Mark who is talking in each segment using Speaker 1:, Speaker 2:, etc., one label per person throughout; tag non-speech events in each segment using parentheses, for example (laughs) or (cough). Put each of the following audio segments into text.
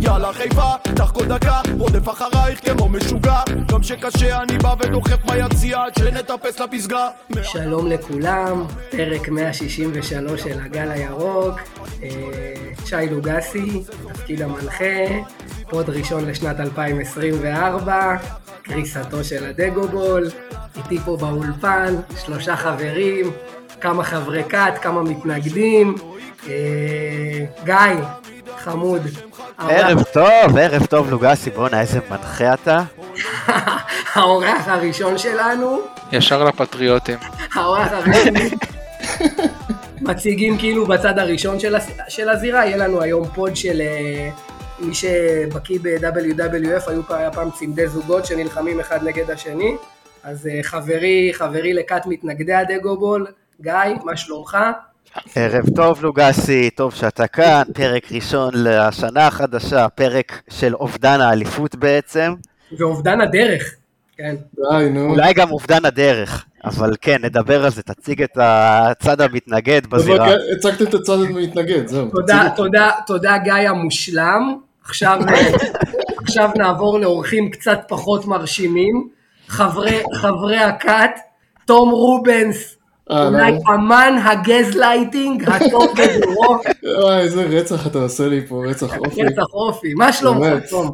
Speaker 1: יאללה חיפה, תח כל דקה, רודף אחרייך כמו משוגע גם שקשה אני בא ודוחף ביציע עד שנטפס לפסגה
Speaker 2: שלום לכולם, פרק 163 של הגל הירוק, אה, שי לוגסי, תפקיד המנחה, פוד ראשון לשנת 2024, קריסתו של הדגובול, איתי פה באולפן, שלושה חברים, כמה חברי כת, כמה מתנגדים, אה, גיא, חמוד.
Speaker 3: ערב טוב, ערב טוב לוגסי, בואנה איזה מנחה אתה.
Speaker 2: האורח הראשון שלנו,
Speaker 4: ישר לפטריוטים.
Speaker 2: האורח הראשון, מציגים כאילו בצד הראשון של, הס... של הזירה, יהיה לנו היום פוד של אה, מי שבקיא ב-WWF, היו פעם, היה פעם צמדי זוגות שנלחמים אחד נגד השני, אז אה, חברי, חברי לכת מתנגדי הדגובול, גיא, מה שלומך?
Speaker 3: ערב טוב לוגסי, טוב שאתה כאן, פרק ראשון לשנה החדשה, פרק של אובדן האליפות בעצם.
Speaker 2: ואובדן הדרך, כן.
Speaker 5: די, נו.
Speaker 3: אולי גם אובדן הדרך, אבל כן, נדבר על זה, תציג את הצד המתנגד בזירה.
Speaker 5: אבל הצגתם את הצד המתנגד, זהו.
Speaker 2: תודה, תודה, תודה גיא המושלם. עכשיו, עכשיו נעבור לאורחים קצת פחות מרשימים. חברי, חברי הכת, תום רובנס,
Speaker 5: אה,
Speaker 2: אולי
Speaker 5: לא.
Speaker 2: אמן הגזלייטינג, הטוב בדורו,
Speaker 5: וואי, איזה רצח אתה עושה לי פה, רצח
Speaker 2: (laughs)
Speaker 5: אופי.
Speaker 2: רצח אופי. מה שלומך,
Speaker 5: באמת,
Speaker 2: תום?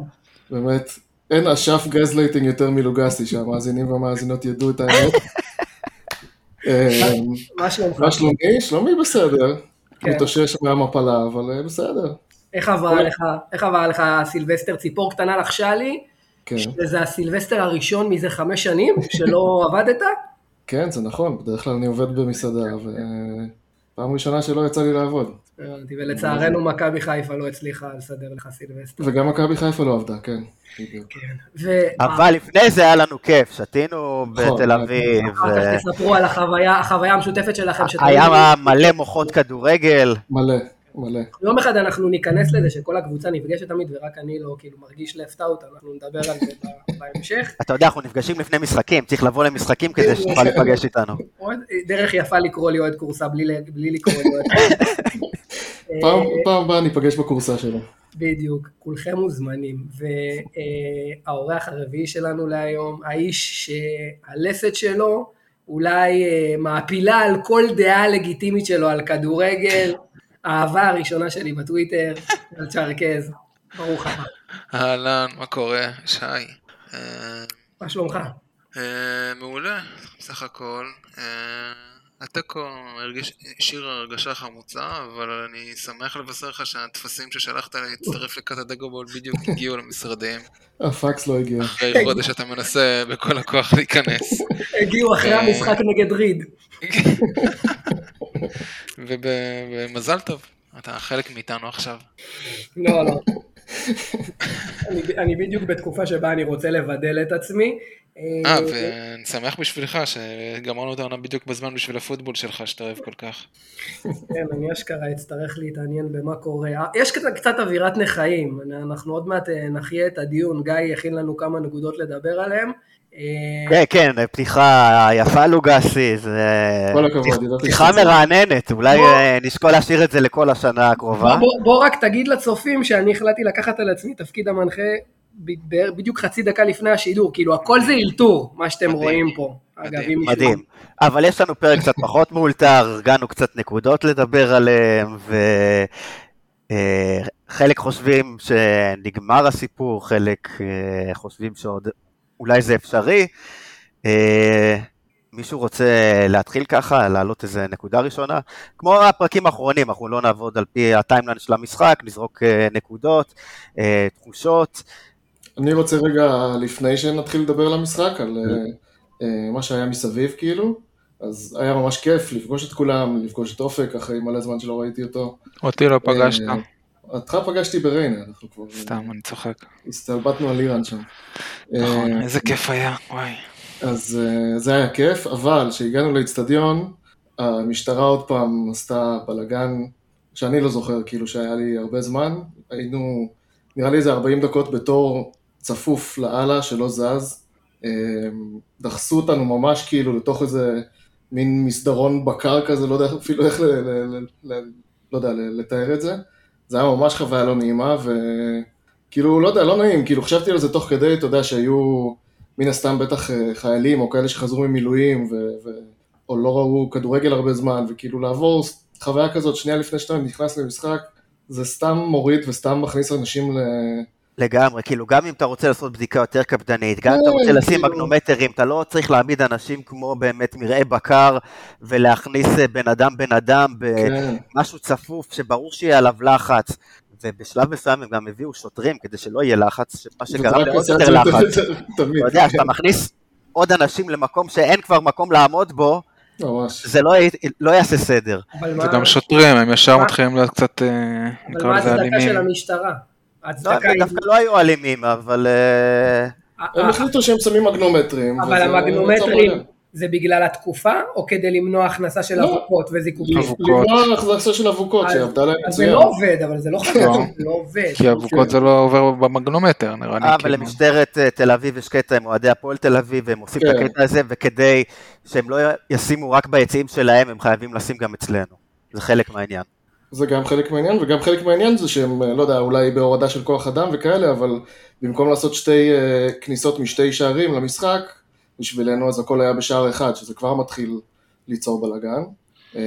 Speaker 5: באמת. אין אשף גזלייטינג יותר מלוגסי, שהמאזינים והמאזינות ידעו את
Speaker 2: (laughs)
Speaker 5: האמת. אמ,
Speaker 2: מה שלומך?
Speaker 5: מה שלומי? שלומי בסדר.
Speaker 2: כן.
Speaker 5: מתאושש מהמפלה, אבל אה, בסדר.
Speaker 2: איך עבר לך, איך עבר לך סילבסטר ציפור קטנה לחשה לי?
Speaker 5: כן.
Speaker 2: שזה הסילבסטר הראשון מזה חמש שנים
Speaker 5: (laughs)
Speaker 2: שלא עבדת?
Speaker 5: כן, זה נכון, בדרך כלל אני עובד במסעדה, ופעם ראשונה שלא יצא לי לעבוד.
Speaker 2: הבנתי, ולצערנו מכבי חיפה לא הצליחה לסדר לך סילבסטר.
Speaker 5: וגם מכבי חיפה לא עבדה, כן. בדיוק.
Speaker 2: ו-
Speaker 3: אבל לפני זה היה לנו כיף, שתינו
Speaker 5: נכון,
Speaker 3: בתל אביב, אה,
Speaker 2: אחר כך תספרו על החוויה, החוויה המשותפת שלכם. שאתם-
Speaker 3: היה מלא מוחות כדורגל,
Speaker 5: מלא, מלא.
Speaker 2: יום אחד אנחנו ניכנס לזה שכל הקבוצה נפגשת תמיד ורק אני לא כאילו מרגיש left out, אנחנו נדבר על זה ב- (laughs) בהמשך.
Speaker 3: אתה יודע, אנחנו נפגשים לפני משחקים, צריך לבוא למשחקים
Speaker 5: כן.
Speaker 3: כדי שתוכל להיפגש איתנו.
Speaker 2: עוד דרך יפה לקרוא לי אוהד כורסה בלי ל- בלי לקרוא לי אוהד כורסה. אה.
Speaker 5: פעם- פעם הבאה ניפגש בכורסה שלו.
Speaker 2: בדיוק, כולכם מוזמנים. והאורח הרביעי שלנו להיום, האיש שהלסת שלו אולי אה, מעפילה על כל דעה לגיטימית שלו, על כדורגל, האהבה הראשונה שלי בטוויטר, על צ'רקז. ברוך הבא.
Speaker 4: אהלן, מה קורה? שי. אה,
Speaker 2: מה שלומך?
Speaker 4: אה, מעולה, בסך הכל. אה, התיקו הרגיש- השאיר הרגשה חמוצה, אבל אני שמח לבשר לך שהטפסים ששלחת להצטרף לכת הדגובול בדיוק הגיעו למשרדים,
Speaker 5: הפקס לא הגיע.
Speaker 4: אחרי חודש שאתה מנסה בכל הכוח להיכנס.
Speaker 2: הגיעו אחרי
Speaker 4: אה.
Speaker 2: המשחק נגד ריד.
Speaker 4: ובמזל טוב, אתה חלק מאיתנו עכשיו. אה,
Speaker 2: לא, לא. אני- אני בדיוק בתקופה שבה אני רוצה לבדל את עצמי.
Speaker 4: אה,
Speaker 2: אוקיי.
Speaker 4: ואני שמח בשבילך שגמרנו את העונה בדיוק בזמן בשביל הפוטבול שלך שאתה אוהב כל כך.
Speaker 2: כן, אני אשכרה אצטרך להתעניין במה קורה. אה, יש קצת, קצת אווירת נכאים, אנחנו עוד מעט אה, נחיה את הדיון, גיא הכין לנו כמה נקודות לדבר עליהן. אה,
Speaker 3: כן, כן, פתיחה יפה לוגסי, זה
Speaker 5: כל הכבוד, לא
Speaker 3: פתיח-
Speaker 5: ידעתי
Speaker 3: פתיחה
Speaker 5: שזה-
Speaker 3: מרעננת, אולי
Speaker 2: בוא.
Speaker 3: אה, נשקול להשאיר את זה לכל השנה הקרובה.
Speaker 2: בוא, בוא רק תגיד לצופים שאני החלטתי לקחת על עצמי תפקיד המנחה ב- בערך- בדיוק חצי דקה לפני השידור, כאילו הכל זה אלתור, מה שאתם
Speaker 4: מדהים.
Speaker 2: רואים פה. אגב,
Speaker 4: מדהים.
Speaker 2: אם מישהו-
Speaker 3: מדהים. אבל יש לנו פרק קצת פחות מאולתר, הרגענו קצת נקודות לדבר עליהן, וחלק חושבים שנגמר הסיפור, חלק אה, חושבים שעוד אולי זה אפשרי. אה, מישהו רוצה להתחיל ככה, להעלות איזה נקודה ראשונה? כמו הפרקים האחרונים, אנחנו לא נעבוד על פי הטיימליין של המשחק, נזרוק אה, נקודות, אה, תחושות.
Speaker 5: אני רוצה רגע, לפני שנתחיל לדבר על המשחק, על אה, אה, מה שהיה מסביב כאילו, אז היה ממש כיף לפגוש את כולם, לפגוש את אופק אחרי מלא זמן שלא ראיתי אותו.
Speaker 4: אותי לא
Speaker 5: פגשת. אותך פגשתי בריינה, אנחנו כבר
Speaker 4: סתם, אני צוחק.
Speaker 6: אה,
Speaker 5: הסתלבטנו על איראן שם.
Speaker 4: נכון,
Speaker 5: אה,
Speaker 4: איזה כיף היה, וואי.
Speaker 5: אז אה, זה היה כיף, אבל כשהגענו לאיצטדיון, המשטרה עוד פעם עשתה בלאגן שאני לא זוכר, כאילו שהיה לי הרבה זמן. היינו, נראה לי איזה 40 דקות בתור צפוף לאללה שלא זז. אה, דחסו אותנו ממש כאילו לתוך איזה מין מסדרון בקר כזה, לא יודע אפילו איך ל, ל, ל, ל, לא יודע, ל- לתאר את זה. זה היה ממש חוויה לא נעימה, כאילו, לא יודע, לא נעים, כאילו, חשבתי על זה תוך כדי, אתה יודע, שהיו מן הסתם בטח אה, חיילים, או כאלה שחזרו ממילואים, ו... ו... או לא ראו כדורגל הרבה זמן, וכאילו לעבור חוויה כזאת שנייה לפני שאתה נכנס למשחק, זה סתם מוריד וסתם מכניס אנשים ל...
Speaker 3: לגמרי, כאילו גם אם אתה רוצה לעשות בדיקה יותר קפדנית, גם אם אתה
Speaker 5: כן,
Speaker 3: רוצה לשים
Speaker 5: כאילו.
Speaker 3: מגנומטרים, אתה לא צריך להעמיד אנשים כמו באמת מרעה בקר ולהכניס אה, בן אדם בן אדם
Speaker 5: כן.
Speaker 3: במשהו צפוף שברור שיהיה עליו לחץ. ובשלב מסוים הם גם הביאו שוטרים כדי שלא יהיה לחץ, מה
Speaker 5: וזה
Speaker 3: שגרם
Speaker 5: רק
Speaker 3: לעוד
Speaker 5: עושה
Speaker 3: יותר
Speaker 5: את (laughs) זה
Speaker 3: לחץ.
Speaker 5: יותר- תמיד.
Speaker 3: אתה יודע, כשאתה מכניס עוד אנשים למקום שאין כבר מקום לעמוד בו,
Speaker 5: ממש.
Speaker 3: זה לא, י- לא יעשה סדר.
Speaker 2: אבל
Speaker 6: זה
Speaker 2: מה-
Speaker 6: גם שוטרים, הם ישר
Speaker 2: מה-
Speaker 6: מתחילים להיות קצת, אה,
Speaker 2: אבל מה
Speaker 6: נקרא לזה
Speaker 2: ההצדקה
Speaker 6: אלימים.
Speaker 2: של המשטרה?
Speaker 3: לא,
Speaker 2: ההצדקה
Speaker 3: הם
Speaker 5: כן.
Speaker 2: היא...
Speaker 3: דווקא לא היו אלימים, אבל... אה,
Speaker 5: הם החליטו שהם שמים מגנומטרים.
Speaker 2: אבל
Speaker 5: וזה-
Speaker 2: המגנומטרים
Speaker 5: זה הבעיה.
Speaker 2: זה בגלל התקופה, או כדי למנוע הכנסה של
Speaker 5: לא.
Speaker 2: אבוקות וזיקוקים?
Speaker 6: אבוקות.
Speaker 5: למנוע החזקה של אבוקות,
Speaker 2: אז-
Speaker 5: שעבדה להם
Speaker 2: אז זה
Speaker 5: מצוין.
Speaker 2: לא עובד, אבל זה לא חדש,
Speaker 6: לא.
Speaker 2: זה לא עובד.
Speaker 6: כי אבוקות זה לא עובר במגנומטר, נראה לי.
Speaker 3: אה, אבל
Speaker 5: כן
Speaker 6: כאילו.
Speaker 3: למשטרת אה, תל אביב יש קטע עם אוהדי הפועל תל אביב, והם עושים את
Speaker 5: כן.
Speaker 3: הקטע הזה, וכדי שהם לא ישימו רק ביציעים שלהם, הם חייבים לשים גם אצלנו. זה חלק מהעניין.
Speaker 5: זה גם חלק מהעניין, וגם חלק מהעניין זה שהם, לא יודע, אולי בהורדה של כוח אדם וכאלה, אבל במקום לעשות שתי אה, כניסות משתי שערים למשחק, בשבילנו אז הכל היה בשער אחד, שזה כבר מתחיל ליצור בלאגן. אה,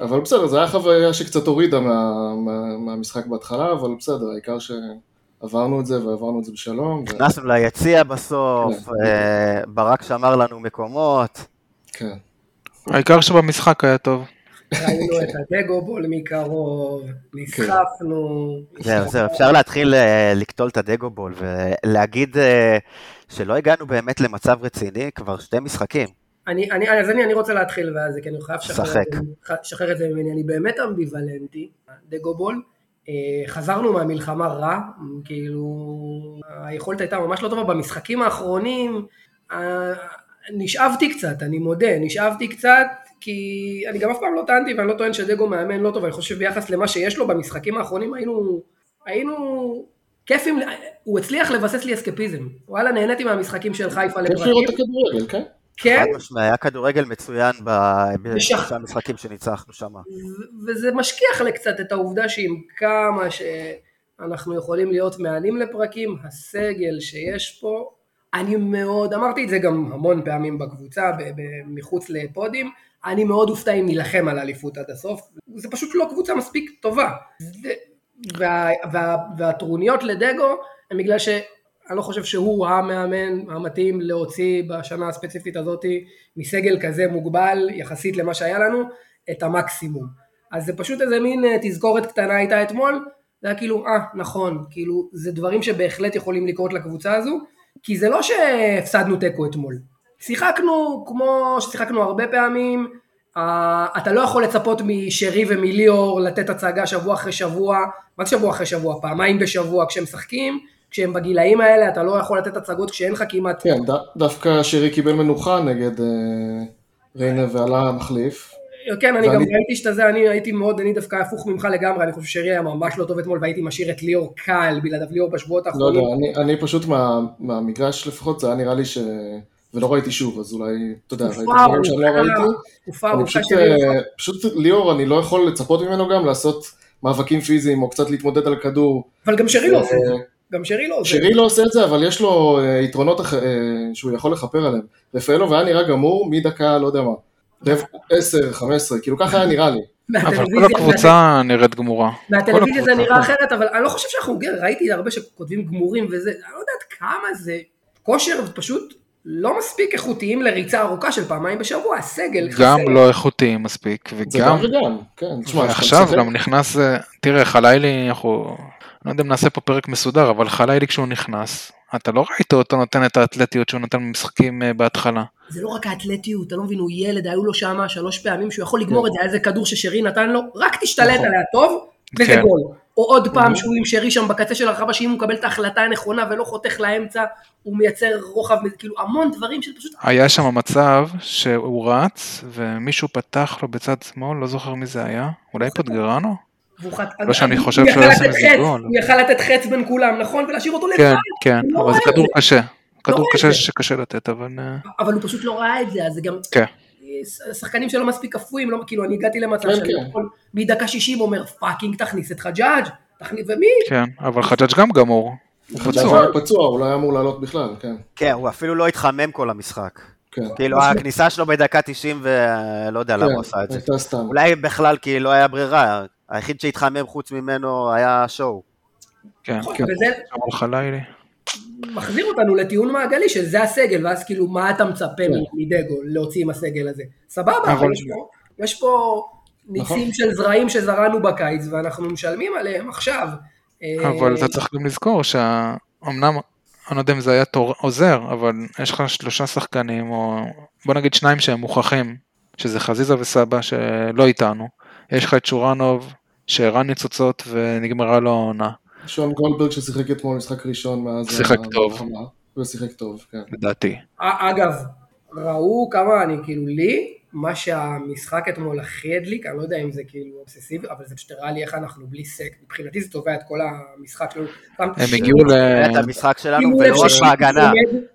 Speaker 5: אבל בסדר, זו הייתה חוויה שקצת הורידה מה, מה, מהמשחק בהתחלה, אבל בסדר, העיקר שעברנו את זה ועברנו את זה בשלום. ו...
Speaker 3: נכנסנו ליציע בסוף,
Speaker 5: כן.
Speaker 3: אה, ברק שמר לנו מקומות.
Speaker 5: כן.
Speaker 6: העיקר שבמשחק היה טוב.
Speaker 2: ראינו את הדגובול מקרוב, נסחפנו.
Speaker 3: זהו, זהו, אפשר להתחיל אה, לקטול את הדגובול ולהגיד אה, שלא הגענו באמת למצב רציני כבר שתי משחקים.
Speaker 2: אני, אני, אז אני, אני רוצה להתחיל ואז זה, כי אני חייב לשחרר
Speaker 3: שחק.
Speaker 2: את זה- לשחרר את זה ממני, אני באמת אמביוולנטי, דגובול. אה, חזרנו מהמלחמה רע, כאילו היכולת הייתה ממש לא טובה, במשחקים האחרונים אה, נשאבתי קצת, אני מודה, נשאבתי קצת, כי אני גם אף פעם לא טענתי ואני לא טוען שדגו מאמן לא טוב, אני חושב שביחס למה שיש לו במשחקים האחרונים היינו, היינו כיפים, הוא הצליח לבסס לי אסקפיזם, וואלה נהניתי מהמשחקים של חיפה
Speaker 5: כיף
Speaker 2: לפרקים,
Speaker 5: לראות את הכדורגל, כן?
Speaker 2: כן,
Speaker 3: חד משמעי, היה כדורגל מצוין ב-
Speaker 2: בשח-
Speaker 3: בשלושה משחקים שניצחנו שם.
Speaker 2: ו- וזה משכיח לקצת את העובדה שעם כמה שאנחנו יכולים להיות מעלים לפרקים, הסגל שיש פה, אני מאוד, אמרתי את זה גם המון פעמים בקבוצה, ב- ב- מחוץ לפודים, אני מאוד אופתע אם נילחם על אליפות עד הסוף, זה פשוט לא קבוצה מספיק טובה. זה, וה, וה, והטרוניות לדגו הם בגלל שאני לא חושב שהוא המאמן המתאים להוציא בשנה הספציפית הזאת מסגל כזה מוגבל יחסית למה שהיה לנו את המקסימום. אז זה פשוט איזה מין אה, תזכורת קטנה הייתה אתמול, זה היה כאילו אה נכון, כאילו זה דברים שבהחלט יכולים לקרות לקבוצה הזו, כי זה לא שהפסדנו תיקו אתמול, שיחקנו כמו ששיחקנו הרבה פעמים, אה, אתה לא יכול לצפות משרי ומליאור לתת הצגה שבוע אחרי שבוע, מה זה שבוע אחרי שבוע? פעמיים בשבוע כשהם משחקים, כשהם בגילאים האלה אתה לא יכול לתת הצגות כשאין לך כמעט
Speaker 5: כן, ד, דווקא שירי קיבל מנוחה נגד אה, ריינה ועלה המחליף.
Speaker 2: כן, אני גם
Speaker 5: ואני-
Speaker 2: ראיתי שאתה זה, אני הייתי מאוד, אני דווקא הפוך ממך לגמרי, אני חושב שרי היה ממש לא טוב אתמול, והייתי משאיר את ליאור קל בלעדיו ליאור בשבועות
Speaker 5: לא
Speaker 2: האחרונים.
Speaker 5: יודע, אני, אני פשוט מה, מהמגרש לפחות, זה היה נראה לי ש... ולא ראיתי שוב, אז אולי, אתה יודע, ראיתי
Speaker 2: תקופה
Speaker 5: דברים שאני לא
Speaker 2: ארוכה,
Speaker 5: ראיתי.
Speaker 2: תקופה
Speaker 5: אני
Speaker 2: ארוכה
Speaker 5: פשוט,
Speaker 2: שרי,
Speaker 5: אה, פשוט ליאור, אני לא יכול לצפות ממנו גם לעשות מאבקים פיזיים, או קצת להתמודד על כדור.
Speaker 2: אבל גם שרי לא עושה את זה,
Speaker 5: אה,
Speaker 2: גם שרי לא עושה את זה.
Speaker 5: שירי לא עושה את זה, אבל יש לו אה, יתרונות אח- אה, שהוא יכול לכפר עליהם. רפאלוב היה נראה גמור מדקה, לא יודע מה. רבע, 10, 15, כאילו ככה היה נראה לי.
Speaker 6: אבל
Speaker 2: מהטלוויזיה-
Speaker 6: כל הקבוצה נראית גמורה.
Speaker 2: מהטלוויזיה זה
Speaker 6: הקבוצה.
Speaker 2: נראה אחרת, אבל אני לא חושב שאנחנו גר, ראיתי הרבה שכותבים גמורים וזה, אני לא יודעת כמה זה כושר פשוט לא מספיק איכותיים לריצה ארוכה של פעמיים בשבוע, הסגל
Speaker 6: גם
Speaker 2: כן, חסר.
Speaker 6: לא איכותי מספיק,
Speaker 5: זה גם
Speaker 6: וגם,
Speaker 5: וגם, כן. תשמע, כשאתה
Speaker 6: ועכשיו
Speaker 5: משחק-
Speaker 6: גם נכנס, אה, תראה, חלילי, אנחנו, לא יודע אם נעשה פה פרק מסודר, אבל חלילי כשהוא נכנס, אתה לא ראית אותו נותן את האתלטיות שהוא נותן במשחקים אה, בהתחלה.
Speaker 2: זה לא רק האתלטיות, אתה לא מבין, הוא ילד, היו לו שמה שלוש פעמים שהוא יכול
Speaker 6: נכון.
Speaker 2: לגמור את זה, היה איזה כדור ששרי נתן לו, רק תשתלט
Speaker 5: נכון.
Speaker 2: עליה טוב, וזה
Speaker 6: כן.
Speaker 2: גול. או עוד פעם
Speaker 5: אהה.
Speaker 2: שהוא עם שרי שם בקצה של הרחבה, שאם הוא מקבל את ההחלטה הנכונה ולא חותך לאמצע, הוא מייצר רוחב, כאילו המון דברים של פשוט...
Speaker 6: היה שם מצב שהוא רץ, ומישהו פתח לו בצד שמאל, לא זוכר מי זה היה, אולי פוטגרנו?
Speaker 2: והוא חת-
Speaker 6: לא שאני
Speaker 2: הוא
Speaker 6: חושב
Speaker 2: יכל
Speaker 6: שהוא היה עושה
Speaker 2: לתת
Speaker 6: מזה
Speaker 2: חץ,
Speaker 6: גול.
Speaker 2: הוא יכל לתת חץ בין כולם, נכון? ולהשאיר אותו לבד,
Speaker 6: כן, כן,
Speaker 2: לא
Speaker 6: אבל
Speaker 2: רואה
Speaker 6: זה
Speaker 2: את
Speaker 6: כדור קשה, כדור
Speaker 2: רואה את
Speaker 6: קשה
Speaker 2: זה.
Speaker 6: שקשה לתת, אבל... אה,
Speaker 2: אבל הוא פשוט לא ראה את זה, אז זה גם...
Speaker 6: כן.
Speaker 2: שחקנים שלא מספיק אפויים, לא, כאילו אני הגעתי למצב
Speaker 5: כן,
Speaker 2: שאני
Speaker 5: כן.
Speaker 2: יכול מדקה 60 אומר פאקינג תכניס את חג'אג', תחליף ומי?
Speaker 6: כן, אבל חג'אג' גם גמור. הוא פצוע.
Speaker 5: הוא פצוע, הוא לא היה אמור לעלות בכלל, כן.
Speaker 3: כן, הוא אפילו לא התחמם כל המשחק.
Speaker 5: כן.
Speaker 3: כאילו, הכניסה שלו בדקה 90 ולא יודע למה הוא עשה את זה.
Speaker 5: הייתה סתם.
Speaker 3: אולי בכלל כי לא היה ברירה, היחיד שהתחמם חוץ ממנו היה שואו.
Speaker 6: כן,
Speaker 2: נכון,
Speaker 5: כן.
Speaker 2: וזה
Speaker 6: אבל חלילי.
Speaker 2: מחזיר אותנו לטיעון מעגלי שזה הסגל, ואז כאילו מה אתה מצפה
Speaker 5: כן.
Speaker 2: מדגו להוציא עם הסגל הזה? סבבה, אבל
Speaker 6: אבל-
Speaker 2: יש פה- יש פה ניצים
Speaker 5: נכון.
Speaker 2: של זרעים שזרענו בקיץ ואנחנו משלמים עליהם עכשיו. אה,
Speaker 6: אבל אתה צריך גם לזכור שאומנם, אני לא יודע אם זה היה תור... עוזר, אבל יש לך שלושה שחקנים, או בוא נגיד שניים שהם מוכחים, שזה חזיזה וסבא שלא איתנו. יש לך את שורנוב שהראה ניצוצות ונגמרה לו העונה.
Speaker 5: שון גולדברג ששיחק אתמול משחק ראשון מאז...
Speaker 6: שיחק טוב.
Speaker 5: המלחמה, ושיחק טוב, כן.
Speaker 2: אה,
Speaker 6: לדעתי.
Speaker 2: א- אגב, ראו כמה אני, כאילו לי, מה שהמשחק אתמול הכי הדליק, אני לא יודע אם זה כאילו אובססיבי, אבל זה פשוט הראה לי איך אנחנו בלי סק. מבחינתי זה תובע את כל המשחק שלנו.
Speaker 6: הם הגיעו ל...
Speaker 2: אה,
Speaker 3: היה את המשחק שלנו ולא רק בהגנה.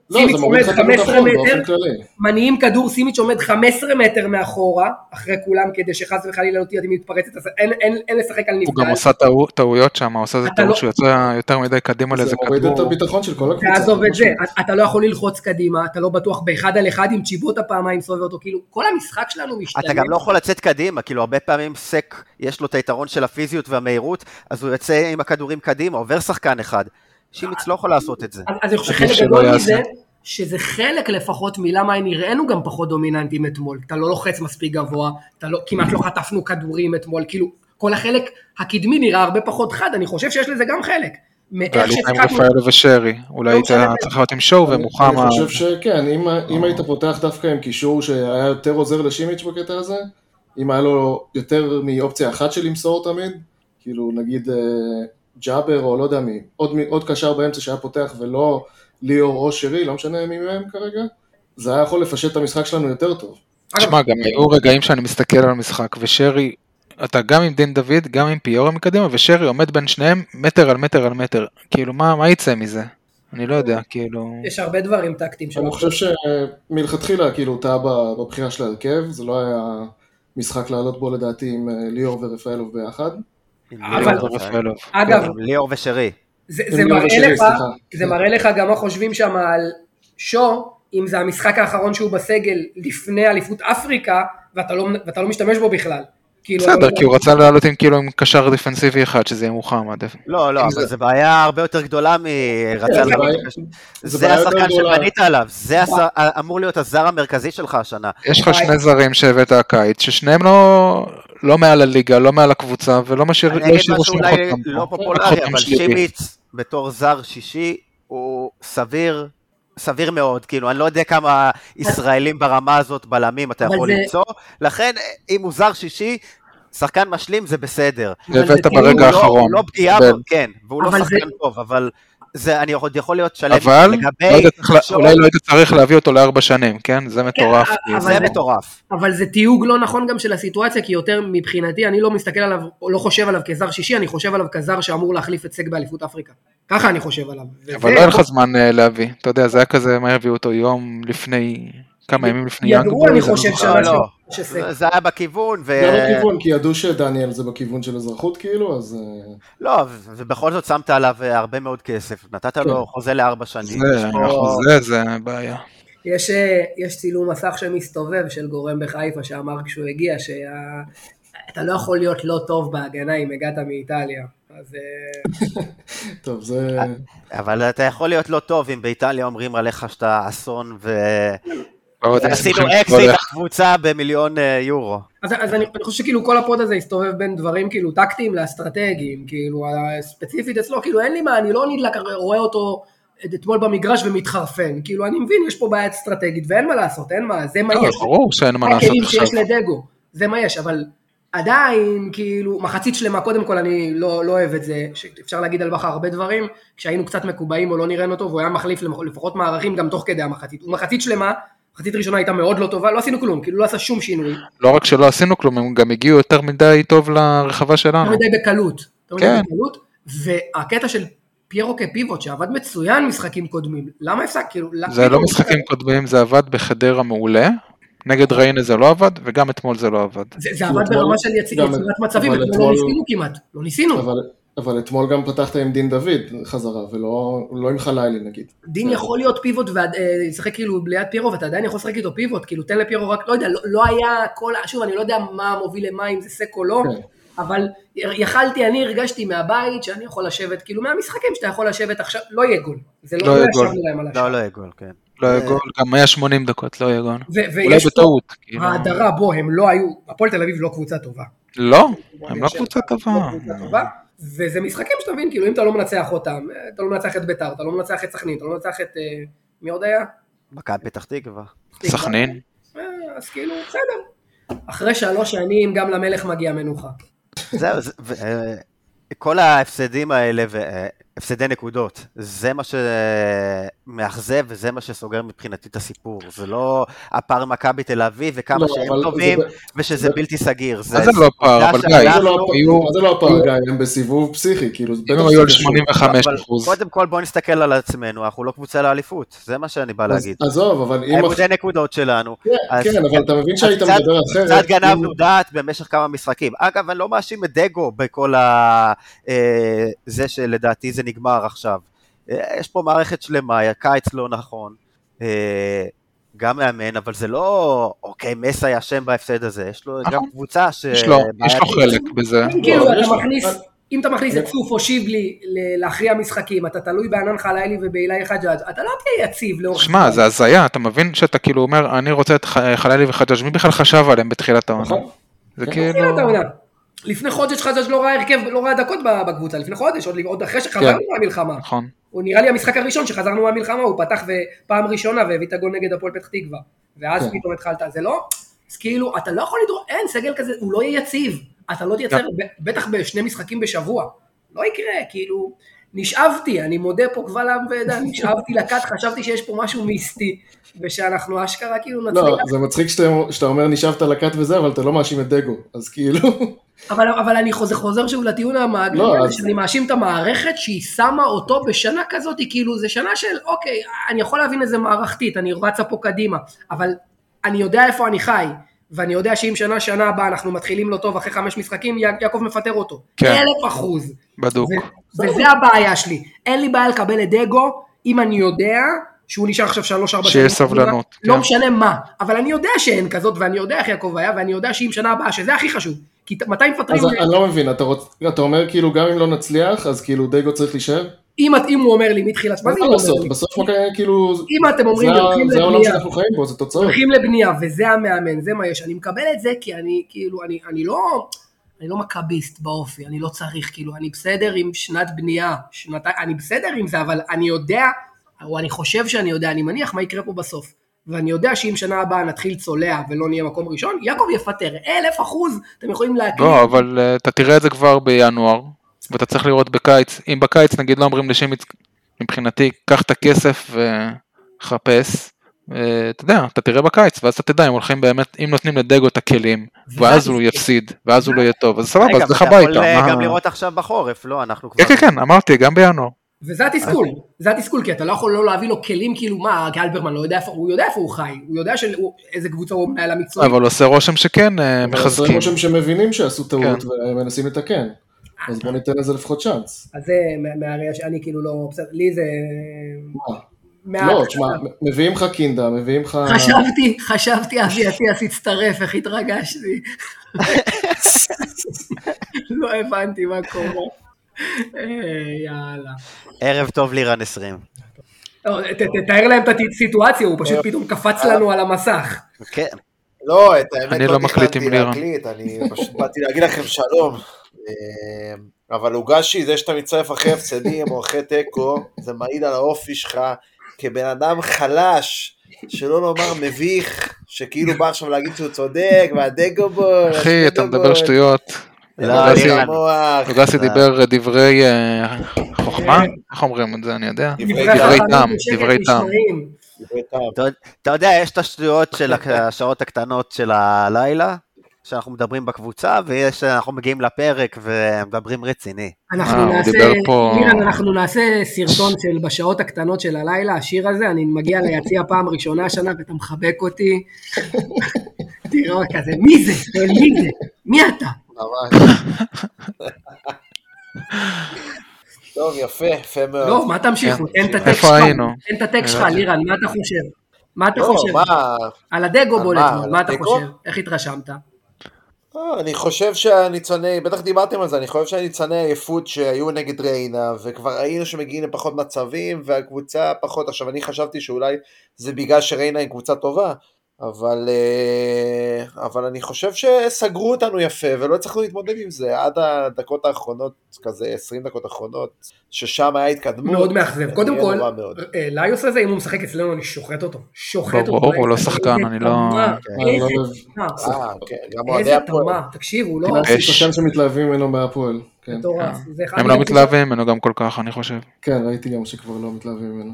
Speaker 5: לא,
Speaker 2: סימיץ'
Speaker 5: זה מוריד
Speaker 2: עומד
Speaker 5: לך את הביטחון
Speaker 2: 15 מטר,
Speaker 5: באופן כללי.
Speaker 2: מניעים כדור, סימיץ' עומד 15 מטר מאחורה, אחרי כולם, כדי שחס וחלילה לא תהיה מתפרצת, אז אין- אין- אין לשחק על
Speaker 6: הוא גם
Speaker 2: נבדל.
Speaker 6: עושה טעו- טעויות שם, הוא עושה איזה
Speaker 2: אה, אתה לא-
Speaker 6: טעות שהוא יוצא יותר מדי קדימה
Speaker 5: זה
Speaker 6: לאיזה
Speaker 5: מוריד את
Speaker 6: כדור.
Speaker 5: הביטחון של כל הקבוצה.
Speaker 2: תעזוב את
Speaker 5: משהו.
Speaker 2: זה, אתה- אתה לא יכול ללחוץ קדימה, אתה לא בטוח באחד על אחד עם צ'יבוטה פעמיים סובב אותו, כאילו כל המשחק שלנו משתנה.
Speaker 3: אתה גם לא יכול לצאת קדימה, כאילו הרבה פעמים סק, יש לו את היתרון של הפיזיות והמהירות, אז הוא יוצא עם הכדורים קדימה, עובר שחקן אחד. שימיץ לא יכול לעשות את זה.
Speaker 2: אז, אז אני חושב
Speaker 6: עדיף
Speaker 2: שחלק
Speaker 6: שלא
Speaker 2: גדול
Speaker 6: יעשה.
Speaker 2: מזה, שזה חלק לפחות מלמה נראינו גם פחות דומיננטיים אתמול. אתה לא לוחץ מספיק גבוה, אתה לא, כמעט לא חטפנו כדורים אתמול, כאילו, כל החלק הקדמי נראה הרבה פחות חד, אני חושב שיש לזה גם חלק. מאיך
Speaker 6: ועלית עם
Speaker 2: ששיחקנו-
Speaker 6: רפאלו ושרי, אולי
Speaker 2: לא
Speaker 6: היית
Speaker 2: משנה.
Speaker 6: צריך להיות עם שואו
Speaker 5: אני
Speaker 6: ומוחמד. אה.
Speaker 5: חושב שכן, אם- אם היית פותח דווקא עם קישור שהיה יותר עוזר לשימיץ' בקטע הזה, אם היה לו יותר מאופציה אחת של למסור תמיד, כאילו נגיד אה, ג'אבר או לא יודע מי, עוד מי- עוד קשר באמצע שהיה פותח ולא ליאור או שרי, לא משנה מי מהם כרגע, זה היה יכול לפשט את המשחק שלנו יותר טוב.
Speaker 2: אגב,
Speaker 6: תשמע, גם היו רגעים שאני מסתכל על המשחק, ושרי, אתה גם עם דין דוד, גם עם פיורה מקדימה, ושרי עומד בין שניהם מטר על מטר על מטר. כאילו, מה מה יצא מזה? אני לא יודע, כאילו...
Speaker 2: יש הרבה דברים טקטיים שלנו.
Speaker 5: אני חושב שמלכתחילה כאילו טעה ב- בבחירה של ההרכב, זה לא היה משחק לעלות בו לדעתי עם אה, ליאור ורפאלוב ביחד.
Speaker 2: אבל-
Speaker 6: זה רפאלוב.
Speaker 2: אגב,
Speaker 3: עם ליאור ושרי.
Speaker 2: זה,
Speaker 5: עם
Speaker 6: לא
Speaker 2: זה,
Speaker 5: יובל
Speaker 2: מראה
Speaker 5: שרי,
Speaker 2: לך,
Speaker 5: סליחה.
Speaker 2: זה מראה לך גם מה חושבים שם על שו, אם זה המשחק האחרון שהוא בסגל לפני אליפות אפריקה, ואתה לא, ואתה לא משתמש בו בכלל. כאילו,
Speaker 6: בסדר,
Speaker 2: אתה-
Speaker 6: כי הוא רצה לעלות עם כאילו עם קשר דיפנסיבי אחד, שזה יהיה מוחמד.
Speaker 3: לא, לא, אבל זו בעיה הרבה יותר גדולה מרצה
Speaker 5: כאילו כן, זה
Speaker 3: לך.
Speaker 5: בעיה-
Speaker 3: זה
Speaker 5: זה בעיה יותר
Speaker 3: השחקן
Speaker 5: גדולה.
Speaker 3: שבנית עליו, זה הש- אמור להיות הזר המרכזי שלך השנה.
Speaker 6: יש לך
Speaker 2: וואי.
Speaker 6: שני זרים שהבאת הקיץ, ששניהם לא לא מעל הליגה, לא מעל הקבוצה, ולא משאיר-
Speaker 3: אני
Speaker 6: לא
Speaker 3: אגיד
Speaker 6: השאירו
Speaker 3: משהו
Speaker 6: שום
Speaker 3: אולי
Speaker 6: חותם.
Speaker 5: אה,
Speaker 3: לא
Speaker 6: פה.
Speaker 3: פופולרי,
Speaker 6: חותם
Speaker 3: אבל
Speaker 6: שלילי.
Speaker 3: שימיץ בתור זר שישי הוא סביר, סביר מאוד, כאילו, אני לא יודע כמה ישראלים ברמה הזאת, בלמים, אתה
Speaker 2: אבל
Speaker 3: יכול
Speaker 2: זה-
Speaker 3: למצוא, לכן אם הוא זר שישי, שחקן משלים זה בסדר.
Speaker 2: אבל זה
Speaker 6: הבאת
Speaker 2: כאילו
Speaker 6: ברגע
Speaker 3: הוא לא-
Speaker 6: האחרון.
Speaker 3: הוא לא פגיעה,
Speaker 6: ב-
Speaker 3: אבל- כן, והוא לא
Speaker 2: אבל
Speaker 3: שחקן טוב, אבל זה, אני עוד יכול להיות שלם.
Speaker 6: אבל לא
Speaker 3: לגבי...
Speaker 6: היית צריך-
Speaker 3: שואו,
Speaker 6: אולי לא היית צריך להביא אותו לארבע שנים, כן? זה מטורף.
Speaker 2: אבל
Speaker 3: אה, זה
Speaker 2: זה-
Speaker 3: מטורף.
Speaker 2: אבל זה תיוג לא נכון גם של הסיטואציה, כי יותר מבחינתי, אני לא מסתכל עליו, או לא חושב עליו כזר שישי, אני חושב עליו כזר שאמור להחליף את סק באליפות אפריקה. ככה אני חושב עליו.
Speaker 6: אבל לא היה לך זמן אה, להביא, אתה יודע, זה היה כזה, מה הביאו אותו יום לפני, כמה ימים לפני
Speaker 2: ידעו,
Speaker 6: יאנג בוי,
Speaker 2: אני
Speaker 6: זה
Speaker 2: חושב
Speaker 6: לא-
Speaker 2: שנה
Speaker 3: לא, לא.
Speaker 2: שסק.
Speaker 3: זה- זה היה בכיוון, ו...
Speaker 5: גם בכיוון, כי ידעו שדניאל זה בכיוון של אזרחות כאילו, אז אה,
Speaker 3: לא, ו- ובכל זאת שמת עליו אה, הרבה מאוד כסף, נתת לו
Speaker 5: כן.
Speaker 3: חוזה לארבע שנים.
Speaker 6: זה,
Speaker 3: יש פה-
Speaker 6: החוזה זה בעיה.
Speaker 2: יש, אה, יש צילום מסך שמסתובב של גורם בחיפה שאמר כשהוא הגיע, שאתה לא יכול להיות לא טוב בהגנה אם הגעת מאיטליה. אז אה,
Speaker 5: טוב, זה...
Speaker 3: אבל אתה יכול להיות לא טוב אם באיטליה אומרים עליך שאתה אסון, ו...
Speaker 6: לא, אתם
Speaker 3: ועשינו
Speaker 6: שמחים
Speaker 3: אקזיט
Speaker 6: שהולך.
Speaker 3: לקבוצה במיליון אה, יורו.
Speaker 2: אז, אז אני, אני חושב שכאילו כל הפוד הזה הסתובב בין דברים כאילו טקטיים לאסטרטגיים, כאילו ה- ספציפית אצלו, כאילו אין לי מה, אני לא נדלק, רואה אותו את- אתמול במגרש ומתחרפן, כאילו אני מבין, יש פה בעיה אסטרטגית ואין מה לעשות, אין מה, זה מה
Speaker 6: לא,
Speaker 3: אה,
Speaker 2: יש,
Speaker 6: ברור שאין מה
Speaker 2: זה
Speaker 6: לעשות
Speaker 2: הכלים
Speaker 6: עכשיו.
Speaker 2: שיש לדגו, זה מה יש, אבל עדיין כאילו מחצית שלמה, קודם כל אני לא, לא אוהב את זה, שאפשר להגיד על בכר הרבה דברים, כשהיינו קצת מקובעים או לא נראינו טוב, הוא היה מחליף למח- לפחות מערכים גם תוך כדי המחצית, הוא מחצית שלמה, מחצית ראשונה הייתה מאוד לא טובה, לא עשינו כלום, כאילו לא עשה שום שינוי.
Speaker 6: לא רק שלא עשינו כלום, הם גם הגיעו יותר מדי טוב לרחבה שלנו.
Speaker 2: יותר מדי בקלות. יותר מדי
Speaker 6: כן.
Speaker 2: בקלות, והקטע של פיירו כפיבוט שעבד מצוין משחקים קודמים, למה הפסק? כאילו, למה-
Speaker 6: זה לא משחקים קודמים, זה עבד בחדרה מעולה, נגד ריינה זה לא עבד, וגם אתמול זה לא עבד.
Speaker 2: זה, זה עבד
Speaker 5: אתמול-
Speaker 2: ברמה של יצ-
Speaker 5: גם-
Speaker 2: יצירת מצבים,
Speaker 5: אבל
Speaker 2: אתמול לא
Speaker 5: אתמול-
Speaker 2: ניסינו כמעט, לא ניסינו.
Speaker 5: אבל אבל אתמול גם פתחת עם דין דוד חזרה, ולא לא עם חלילי נגיד.
Speaker 2: דין יכול להיות פיבוט ולשחק כאילו ליד פירו, ואתה עדיין יכול לשחק איתו פיבוט, כאילו תן לפירו רק, לא יודע, לא- לא היה כל, ה- שוב, אני לא יודע מה מוביל למה, אם זה סק או לא,
Speaker 5: כן.
Speaker 2: אבל יכלתי, אני הרגשתי מהבית שאני יכול לשבת, כאילו מהמשחקים שאתה יכול לשבת עכשיו, לא יהיה גול. זה לא
Speaker 6: לא יהיה
Speaker 2: ישבנו
Speaker 6: גול.
Speaker 2: להם על השער.
Speaker 3: לא, לא יהיה גול, כן.
Speaker 6: לא היה גול, גם היה 80 דקות, לא היה גול.
Speaker 2: ו-
Speaker 6: אולי
Speaker 2: ויש פה
Speaker 6: בטעות. כאילו.
Speaker 2: ההדרה, בוא, הם לא היו, הפועל תל אביב לא קבוצה טובה.
Speaker 6: לא, הם
Speaker 2: באר
Speaker 6: לא
Speaker 2: שבע,
Speaker 6: קבוצה טובה.
Speaker 2: לא קבוצה טובה. וזה משחקים שאתה מבין, כאילו אם אתה לא מנצח אותם, אה, אתה לא מנצח את ביתר, אתה לא מנצח את סכנין, אתה לא מנצח את... אה, מי עוד היה?
Speaker 3: מכבי פתח תקווה.
Speaker 6: סכנין.
Speaker 2: אה, אז כאילו, בסדר. אחרי שלוש שנים גם למלך מגיע מנוחה.
Speaker 3: זהו, זה- ו- אה, כל ההפסדים האלה, ו- אה, הפסדי נקודות, זה מה שמאכזב וזה מה שסוגר מבחינתי את הסיפור. זה לא הפער מכבי תל אביב וכמה
Speaker 5: לא,
Speaker 3: שהם
Speaker 5: אבל
Speaker 3: טובים
Speaker 5: זה-
Speaker 3: ושזה
Speaker 5: זה-
Speaker 3: בלתי סגיר.
Speaker 6: מה זה לא פער, אבל
Speaker 3: שאנחנו-
Speaker 6: גיא?
Speaker 5: זה לא הפ-
Speaker 6: היו-
Speaker 5: מה זה לא הפער, גיא, הם בסיבוב פסיכי, כאילו,
Speaker 6: אם
Speaker 5: בטח
Speaker 6: הם היו על
Speaker 5: שזה קשור.
Speaker 6: 85
Speaker 3: אבל
Speaker 6: אחוז.
Speaker 3: קודם כל בוא נסתכל על עצמנו, אנחנו לא קבוצה לאליפות, זה מה שאני בא
Speaker 5: אז-
Speaker 3: להגיד.
Speaker 5: עזוב, אבל אם...
Speaker 3: העיבודי נקודות שלנו.
Speaker 5: כן,
Speaker 3: אז-
Speaker 5: כן, אבל אתה מבין שהיית
Speaker 3: אז
Speaker 5: מדבר
Speaker 6: אה,
Speaker 5: אחרת.
Speaker 3: קצת
Speaker 5: אם-
Speaker 3: גנבנו דעת במשך כמה משחקים. אגב, אני לא מאשים את דגו בכל ה... אה, זה שלדעתי זה נגמר עכשיו. אה, יש פה מערכת שלמה, הקיץ לא נכון. אה, גם מאמן, אבל זה לא, אוקיי, מסה היה אשם בהפסד הזה, יש לו גם
Speaker 6: נכון.
Speaker 3: קבוצה ש...
Speaker 6: יש לו יש לו
Speaker 3: בעייתית.
Speaker 6: חלק בזה.
Speaker 2: כאילו,
Speaker 5: אבל לא, יש
Speaker 2: אתה
Speaker 5: לו-
Speaker 2: מכניס, אם אתה מכניס את
Speaker 5: אני-
Speaker 2: סוף או שיבלי ל- להכריע משחקים, אתה תלוי בענן חלילי ובאילי חג'אג', אתה לא תהיה יציב לאורך...
Speaker 6: שמע, זה הזיה, אתה מבין שאתה כאילו אומר, אני רוצה את ח- חללי וחג'אג', מי בכלל חשב עליהם בתחילת העונה?
Speaker 5: נכון.
Speaker 6: זה
Speaker 5: נכון.
Speaker 2: תתחיל
Speaker 6: כאילו...
Speaker 2: את העונה. לפני חודש חג'אג' לא ראה הרכב, לא ראה דקות בקבוצה, לפני חודש, עוד- עוד אחרי שחזרנו מהמלחמה.
Speaker 6: נכון.
Speaker 2: הוא נראה לי המשחק הראשון שחזרנו מהמלחמה, הוא פתח פעם ראשונה והביא את הגול נגד הפועל פתח תקווה. ואז
Speaker 5: כן.
Speaker 2: פתאום התחלת, זה לא, אז כאילו, אתה לא יכול לדרוש, אין, סגל כזה, הוא לא יהיה יציב. אתה לא תייצר,
Speaker 5: כן.
Speaker 6: גם-
Speaker 2: ב- בטח בשני משחקים בשבוע. לא יקרה, כאילו, נשאבתי, אני מודה פה קבל עם ועדה, נשאבתי לכת, חשבתי שיש פה משהו מיסטי, ושאנחנו אשכרה כאילו
Speaker 5: לא,
Speaker 2: נצליח.
Speaker 5: זה מצחיק שאתה שאתה אומר נשאבת לכת וזה, אבל אתה לא מאשים את דגו, אז כאילו...
Speaker 2: אבל, אבל אני חוזר, חוזר שוב לטיעון המעגלי,
Speaker 5: לא,
Speaker 2: הזה,
Speaker 5: אז-
Speaker 2: שאני מאשים את המערכת שהיא שמה אותו בשנה כזאת, היא כאילו זה שנה של אוקיי, אני יכול להבין את זה מערכתית, אני רצה פה קדימה, אבל אני יודע איפה אני חי, ואני יודע שאם שנה שנה הבאה אנחנו מתחילים לא טוב אחרי חמש משחקים, יע- יעקב מפטר אותו.
Speaker 6: כן.
Speaker 2: אלף אחוז.
Speaker 6: בדוק.
Speaker 2: ו- וזה הבעיה שלי. אין לי בעיה לקבל את דגו, אם אני יודע שהוא נשאר עכשיו שלוש ארבע
Speaker 6: שיש סבלנות,
Speaker 2: לא
Speaker 6: כן.
Speaker 2: משנה מה, אבל אני יודע שאין כזאת, ואני יודע איך יעקב היה, ואני יודע שאם שנה הבאה, שזה הכי חשוב, כי ת- מתי מפטרים,
Speaker 5: אז אני לא מבין, אתה רוצ- אתה אומר כאילו גם אם לא נצליח, אז כאילו דגו צריך להישאר?
Speaker 2: אם את- אם הוא אומר לי מתחילת, מה זה אם
Speaker 5: מה
Speaker 2: הוא אומר
Speaker 5: לעשות?
Speaker 2: לי?
Speaker 5: בסוף מכבי, כאילו...
Speaker 2: אם אתם אומרים
Speaker 5: זה
Speaker 2: לי
Speaker 5: ה-
Speaker 2: הולכים
Speaker 5: זה העולם
Speaker 2: לבנייה,
Speaker 5: שאנחנו חיים בו, זה תוצאות.
Speaker 2: הולכים לבנייה, וזה המאמן, זה מה יש, אני מקבל את זה כי אני, כאילו, אני, אני לא, אני לא מכביסט באופי, אני לא צריך, כאילו, אני בסדר עם שנת בנייה, שנת, אני בסדר עם זה, אבל אני יודע, או אני חושב שאני יודע, אני מניח מה יקרה פה בסוף. ואני יודע שאם שנה הבאה נתחיל צולע ולא נהיה מקום ראשון, יעקב יפטר, אלף אחוז, אתם יכולים להקליט.
Speaker 6: לא, אבל אה, אתה תראה את זה כבר בינואר, ואתה צריך לראות בקיץ. אם בקיץ נגיד לא אומרים לשימיץ, מבחינתי, קח את הכסף וחפש. אה, אתה יודע, אתה תראה בקיץ, ואז אתה תדע אם הולכים באמת, אם נותנים לדגו את הכלים, ואז הוא יפסיד, ואז הוא לא יהיה טוב, אז סבבה,
Speaker 3: רגע,
Speaker 6: אז לך
Speaker 3: אבל אתה
Speaker 6: הביתה.
Speaker 3: יכול אה,
Speaker 6: מה-
Speaker 3: גם לראות עכשיו בחורף, לא, אנחנו כבר...
Speaker 6: כן, כן, כן, אמרתי, גם בינואר.
Speaker 2: וזה התסכול, זה התסכול, כי אתה לא יכול לא להביא לו כלים, כאילו מה, גלברמן לא יודע איפה, הוא יודע איפה הוא חי, הוא יודע של- הוא- איזה קבוצה הוא מנהל המקצועי.
Speaker 6: אבל עושה רושם שכן אה,
Speaker 5: אבל עושה
Speaker 6: מחזקים.
Speaker 5: רושם שמבינים שעשו טעות
Speaker 6: כן.
Speaker 5: ומנסים לתקן. אז בוא ניתן לזה לפחות צ'אנס.
Speaker 2: אז זה מה- מהראייה שאני כאילו לא, בסדר, לי זה...
Speaker 5: מה?
Speaker 2: מה-
Speaker 5: לא, תשמע, מ- מביאים לך קינדה, מביאים לך...
Speaker 2: חשבתי, חשבתי, אבי אטיאס הצטרף, איך התרגשתי. לא הבנתי מה קורה. אה, יאללה.
Speaker 3: ערב טוב לירן 20.
Speaker 2: לא, ת- תתאר להם את הסיטואציה, הוא פשוט פתאום קפץ לנו על המסך.
Speaker 3: כן,
Speaker 7: לא, את האמת
Speaker 6: אני לא מחליט
Speaker 7: תכננתי
Speaker 6: עם לירן.
Speaker 7: להקליט, אני פשוט באתי להגיד לכם שלום. אה, אבל הוגשי, זה שאתה מצטרף אחרי הפסדים או אחרי תיקו, זה מעיד על האופי שלך כבן אדם חלש, שלא לומר מביך, שכאילו בא עכשיו להגיד שהוא צודק, והדגו בו,
Speaker 6: אחי, אתה מדבר שטויות.
Speaker 3: לא,
Speaker 6: אוגסי-
Speaker 3: לירן,
Speaker 6: אוגסי דיבר דברי אה, חוכמה, איך אומרים את זה, אני יודע.
Speaker 7: דברי
Speaker 6: כן. דברי
Speaker 2: חכמים
Speaker 6: טעם,
Speaker 2: בשקט
Speaker 6: דברי טעם.
Speaker 2: נשמעים.
Speaker 3: אתה, אתה יודע, יש את השטויות של
Speaker 2: (laughs)
Speaker 3: השעות הקטנות של הלילה, שאנחנו מדברים בקבוצה, ויש, אנחנו מגיעים לפרק ומדברים רציני.
Speaker 6: אה,
Speaker 2: אנחנו
Speaker 6: הוא
Speaker 2: נעשה,
Speaker 6: דיבר פה-
Speaker 2: לירן, אנחנו נעשה סרטון של בשעות הקטנות של הלילה, השיר הזה, אני מגיע ליציע פעם ראשונה השנה ואתה מחבק
Speaker 6: (laughs)
Speaker 2: אותי. תראה כזה, מי זה? שואל, מי זה? מי אתה?
Speaker 7: ממש. טוב, יפה, יפה מאוד.
Speaker 2: לא, מה תמשיכו? תן את הטקסט
Speaker 6: כן. איפה
Speaker 2: שלך,
Speaker 6: היינו?
Speaker 2: תן את הטקסט שלך, לירן, מה אתה חושב? מה אתה
Speaker 7: לא,
Speaker 2: חושב?
Speaker 7: מה...
Speaker 2: על הדגו
Speaker 7: על
Speaker 2: בולט,
Speaker 7: מה,
Speaker 2: מה,
Speaker 7: על
Speaker 2: מה אתה
Speaker 7: הדגו?
Speaker 2: חושב? איך התרשמת?
Speaker 7: אה, אני חושב שהניצוני, בטח דיברתם על זה, אני חושב שהניצוני עייפות שהיו נגד ריינה, וכבר ראינו שמגיעים לפחות מצבים, והקבוצה פחות. עכשיו, אני חשבתי שאולי זה בגלל שריינה היא קבוצה טובה, אבל, אה, אבל אני חושב שסגרו אותנו יפה, ולא הצלחנו להתמודד עם זה עד הדקות האחרונות, כזה 20 דקות האחרונות, ששם היה התקדמות.
Speaker 2: מאוד מאכזב. קודם
Speaker 7: היה
Speaker 2: כל,
Speaker 7: נורא מאוד.
Speaker 2: אה, ליוס הזה, אם הוא משחק אצלנו, אני שוחט אותו. שוחט
Speaker 6: ברור,
Speaker 2: אותו.
Speaker 6: הוא לא
Speaker 2: איזה
Speaker 6: שחקן, אני לא-
Speaker 2: תמה,
Speaker 5: כן.
Speaker 2: איזה
Speaker 5: אני לא מבין.
Speaker 2: תמה,
Speaker 7: אה, כן, גם אוהדי
Speaker 2: איזה
Speaker 7: הפועל.
Speaker 2: תמה. תקשיב, הוא לא...
Speaker 5: קילנסקי
Speaker 6: אש.
Speaker 5: שחקן שמתלהבים ממנו מהפועל. כן.
Speaker 2: מטורף. זה אחד
Speaker 6: הם
Speaker 2: מהם-
Speaker 6: לא מתלהבים ממנו גם כל כך, אני חושב.
Speaker 5: כן, ראיתי גם שכבר לא מתלהבים ממנו.